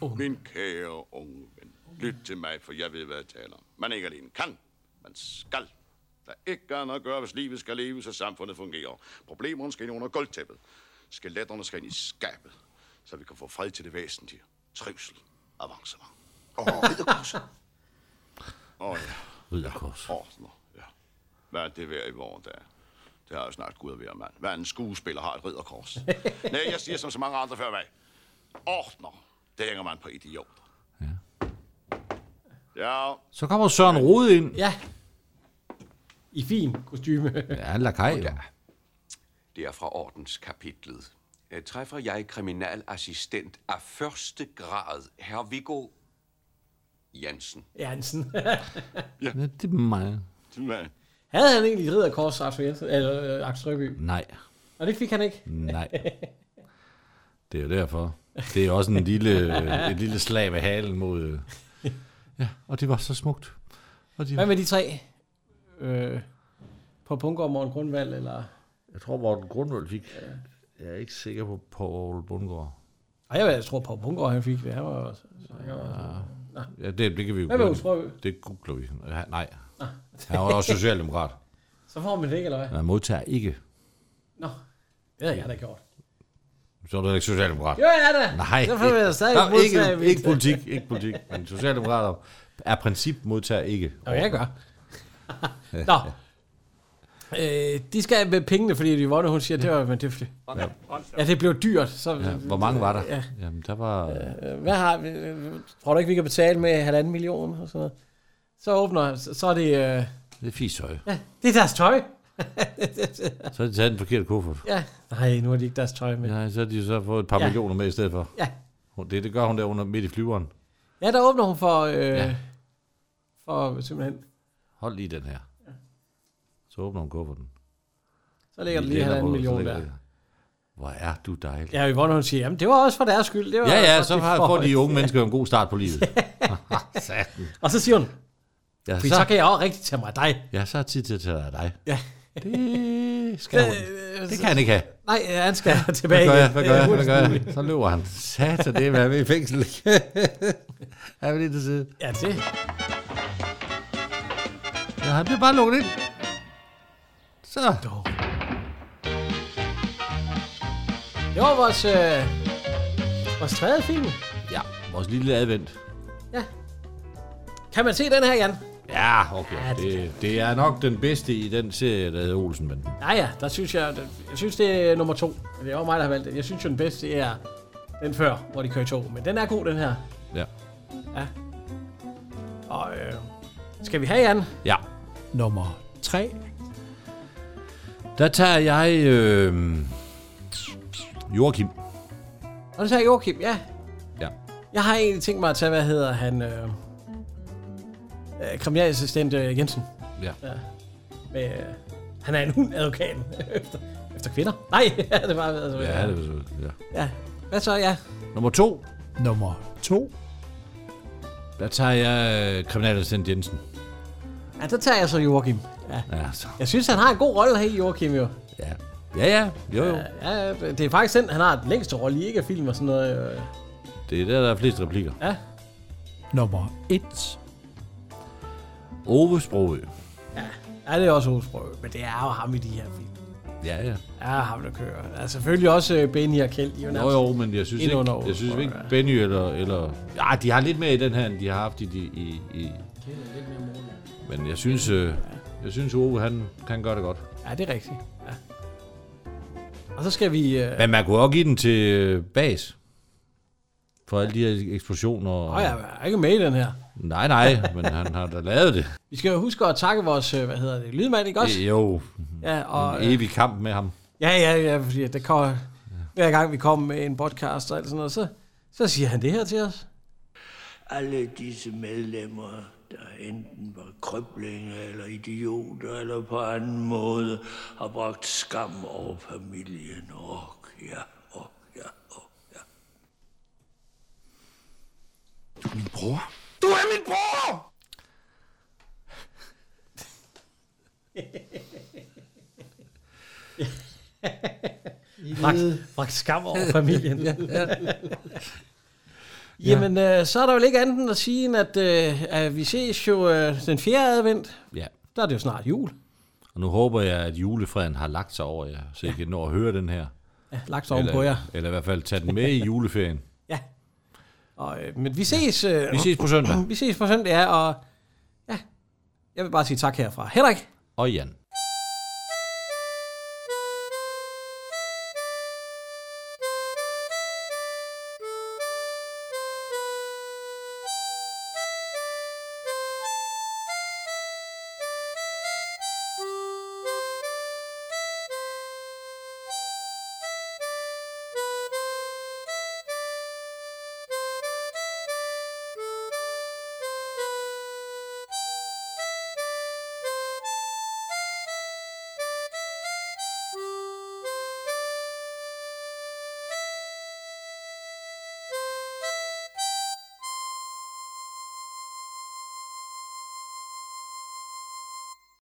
[SPEAKER 10] ven. Min kære unge ven. Lyt til mig, for jeg ved, hvad jeg taler om. Man ikke alene kan, man skal. Der er ikke andet at gøre, hvis livet skal leves og samfundet fungerer. Problemerne skal ind under gulvtæppet. Skeletterne skal ind i skabet, så vi kan få fred til det væsentlige. Trivsel. Avancement. Åh, oh, ridderkurser. Åh, oh, ja.
[SPEAKER 1] Ridderkors.
[SPEAKER 10] Ordner, ja. Hvad er det værd i vore dage? Det har jo snart gud at være, mand. Hvad en skuespiller har et ridderkors. Nej, jeg siger som så mange andre før mig. Ordner, det hænger man på idioter. Ja. ja.
[SPEAKER 1] Så kommer Søren Rode ind.
[SPEAKER 2] Ja. I fin kostyme.
[SPEAKER 1] Ja, han er lakaj. jo.
[SPEAKER 10] Det er fra ordenskapitlet.
[SPEAKER 11] øh, træffer jeg kriminalassistent af første grad, herr Viggo Jensen.
[SPEAKER 2] Jansen.
[SPEAKER 19] Ja. Det er mig.
[SPEAKER 10] Det er mig.
[SPEAKER 2] Havde han egentlig et ridderkors, Axel, Jensen, eller, øh, Axel Røby?
[SPEAKER 1] Nej.
[SPEAKER 2] Og det fik han ikke?
[SPEAKER 1] Nej. Det er jo derfor. Det er også en lille, øh, et lille slag ved halen mod... øh. Ja, og det var så smukt. Og de...
[SPEAKER 2] Hvad med de tre? Øh, på Punker og Morten Grundvald, eller...
[SPEAKER 1] Jeg tror, Morten Grundvald fik... Jeg er ikke sikker på Paul Bundgaard.
[SPEAKER 2] Ej, jeg, jeg tror, på Punker han fik det. Han var også...
[SPEAKER 1] Ja, ja det, det kan vi jo
[SPEAKER 2] Hvad med Ah.
[SPEAKER 1] google.
[SPEAKER 2] Uffe Rø?
[SPEAKER 1] Det googler vi. Ja, nej. Han var også socialdemokrat.
[SPEAKER 2] Så får man det ikke, eller hvad?
[SPEAKER 1] Men Han modtager ikke.
[SPEAKER 2] Nå, det havde jeg da gjort.
[SPEAKER 1] Så er du ikke socialdemokrat.
[SPEAKER 2] Jo, jeg er da.
[SPEAKER 1] Nej.
[SPEAKER 2] Derfor vil jeg stadig
[SPEAKER 1] Nå,
[SPEAKER 2] modtage
[SPEAKER 1] ikke,
[SPEAKER 2] mit-
[SPEAKER 1] ikke politik, ikke politik. Men socialdemokrater er princip modtager ikke.
[SPEAKER 2] Og jeg gør. Nå. Øh, de skal med pengene, fordi de vundet, hun siger, det var, men det, var-
[SPEAKER 1] Ja.
[SPEAKER 2] ja, det blev dyrt. Så,
[SPEAKER 1] Ja, hvor mange var der?
[SPEAKER 2] Ja. Øh,
[SPEAKER 1] Jamen, der var...
[SPEAKER 2] Hvad har vi? Tror du ikke, vi kan betale med halvanden million? Og sådan noget? Så åbner, så så er det... Øh,
[SPEAKER 1] Det er fistøj.
[SPEAKER 2] ja, det er deres tøj.
[SPEAKER 1] Så har de taget den forkerte kuffert.
[SPEAKER 2] ja. Nej, nu har de ikke deres tøj med.
[SPEAKER 1] Nej, så har de jo så fået et par
[SPEAKER 2] Ja.
[SPEAKER 1] ja. millioner med i stedet for.
[SPEAKER 2] Ja.
[SPEAKER 1] Hun- Det, det gør hun der under midt i flyveren.
[SPEAKER 2] Ja, der åbner hun for... Øh, ja.
[SPEAKER 1] Ja.
[SPEAKER 2] For simpelthen...
[SPEAKER 1] Hold lige den her. Så åbner hun kufferten.
[SPEAKER 2] Så ligger der
[SPEAKER 1] I
[SPEAKER 2] lige
[SPEAKER 1] lænder
[SPEAKER 2] halvanden
[SPEAKER 1] på, så
[SPEAKER 2] million
[SPEAKER 1] ligger
[SPEAKER 2] der.
[SPEAKER 1] det. Hvor er du dejlig.
[SPEAKER 2] Ja, Yvonne, hun siger, jamen det var også for deres skyld. Det var
[SPEAKER 1] Ja, ja,
[SPEAKER 2] også
[SPEAKER 1] så
[SPEAKER 2] det
[SPEAKER 1] har, får
[SPEAKER 2] forhold."
[SPEAKER 1] de unge mennesker jo en god start på livet. Satan.
[SPEAKER 2] Og så siger hun,
[SPEAKER 1] Ja,
[SPEAKER 2] fordi så, så kan jeg også rigtig tage mig af dig.
[SPEAKER 1] Ja, så er tid til at tage dig af dig.
[SPEAKER 2] Ja.
[SPEAKER 1] Det skal hun. Det kan han ikke have.
[SPEAKER 2] Øh, Nej, ja, han skal tilbage
[SPEAKER 1] Hvad gør jeg? Hvad
[SPEAKER 2] igen.
[SPEAKER 1] gør jeg? Hvad
[SPEAKER 2] Hurtigst
[SPEAKER 1] gør jeg?
[SPEAKER 2] muligt.
[SPEAKER 1] Så løber han. Satan, det er, hvad jeg vil i fængsel. Han vil lige til side.
[SPEAKER 2] Ja, det.
[SPEAKER 1] Ja, han bliver bare lukket ind. Så.
[SPEAKER 2] Det var vores, øh, vores tredje film.
[SPEAKER 1] Ja, vores lille advent.
[SPEAKER 2] Kan man se den her, Jan?
[SPEAKER 1] Ja, okay. Det, det er nok den bedste i den serie, der hedder Olsenbanden.
[SPEAKER 2] Ja, ja, der synes jeg, jeg synes, det er nummer to. Det er jo mig, der har valgt den. Jeg synes jo, den bedste det er den før, hvor de kører i tog. Men den er god, den her.
[SPEAKER 1] Ja.
[SPEAKER 2] Ja. Og øh, skal vi have, Jan?
[SPEAKER 1] Ja.
[SPEAKER 19] Nummer 3.
[SPEAKER 1] Der tager jeg øh, Joachim.
[SPEAKER 2] Og det sagde Joachim, ja.
[SPEAKER 1] Ja.
[SPEAKER 2] Jeg har egentlig tænkt mig at tage, hvad hedder han? Øh, øh, kriminalassistent øh, Jensen.
[SPEAKER 1] Ja.
[SPEAKER 2] Med, øh, han er en hund, advokaten. efter, efter kvinder. Nej, ja, det var... Altså,
[SPEAKER 1] Ja, det er så. Ja.
[SPEAKER 2] ja. Hvad så, ja?
[SPEAKER 1] Nummer to.
[SPEAKER 19] Nummer 2.
[SPEAKER 1] Der tager jeg øh, kriminalassistent Jensen.
[SPEAKER 2] Ja, der tager jeg så Joachim. Ja.
[SPEAKER 1] Ja, så.
[SPEAKER 2] Jeg synes, han har en god rolle her i Joachim, jo.
[SPEAKER 1] Ja. Ja, ja. Jo, jo.
[SPEAKER 2] Ja, det er faktisk den, han har den længste rolle i ikke af film og sådan noget. øh.
[SPEAKER 1] Det er der, der er flest replikker.
[SPEAKER 2] Ja.
[SPEAKER 19] Nummer 1.
[SPEAKER 1] Ove Sprogø.
[SPEAKER 2] Ja, det er også Osbrø, men det er jo ham i de her film.
[SPEAKER 1] Ja, ja.
[SPEAKER 2] Ja, ham der kører. Ja, selvfølgelig også øh, Benny og Kjeld. De er
[SPEAKER 1] Nå
[SPEAKER 2] nærmest
[SPEAKER 1] jo, men jeg synes
[SPEAKER 2] ind
[SPEAKER 1] ikke,
[SPEAKER 2] under Ove
[SPEAKER 1] jeg synes
[SPEAKER 2] Sprogøe,
[SPEAKER 1] ikke
[SPEAKER 2] ja.
[SPEAKER 1] Benny eller, eller... Ja, de har lidt mere i den her, end de har haft i... de- i, i. Men jeg synes, øh, jeg synes Ove, han, han gør det godt.
[SPEAKER 2] Ja, det er rigtigt. Ja. Og så skal vi... Øh,
[SPEAKER 1] Men man kunne også give den til øh, Bas. For alle de her eksplosioner.
[SPEAKER 2] Åh ja, jeg er ikke med i den her.
[SPEAKER 1] Nej, nej, men han har da lavet det.
[SPEAKER 2] Vi skal jo huske at takke vores, øh, hvad hedder det, lydmand, ikke også?
[SPEAKER 1] Øh, Jo,
[SPEAKER 2] Ja, og, øh,
[SPEAKER 1] en evig kamp med ham.
[SPEAKER 2] Ja, ja, ja, fordi det kommer, hver gang vi kommer med en podcast og alt sådan noget, så, så siger han det her til os.
[SPEAKER 13] Alle disse medlemmer, der enten var krøblinger eller idioter eller på anden måde, har bragt skam over familien. Og ja, og ja, og ja.
[SPEAKER 12] Du er min bror.
[SPEAKER 13] Du er min bror!
[SPEAKER 2] Bragt, bragt skam over familien.
[SPEAKER 1] Ja, ja.
[SPEAKER 2] Jamen, øh, så er der vel ikke andet end at sige, end at, øh, at vi ses jo øh, den fjerde advent.
[SPEAKER 1] Ja.
[SPEAKER 2] Der er det jo snart jul.
[SPEAKER 1] Og nu håber jeg, at julefreden har lagt sig over jer, så I kan nå at høre den her.
[SPEAKER 2] Ja, lagt sig oven
[SPEAKER 1] Eller-
[SPEAKER 2] på jer.
[SPEAKER 1] Eller i hvert fald tage den med i juleferien.
[SPEAKER 2] Og, øh, men vi ses... Øh,
[SPEAKER 1] Vi ses på søndag.
[SPEAKER 2] Vi ses på søndag, ja, og... Ja, jeg vil bare sige tak herfra. Henrik,
[SPEAKER 1] Og Jan.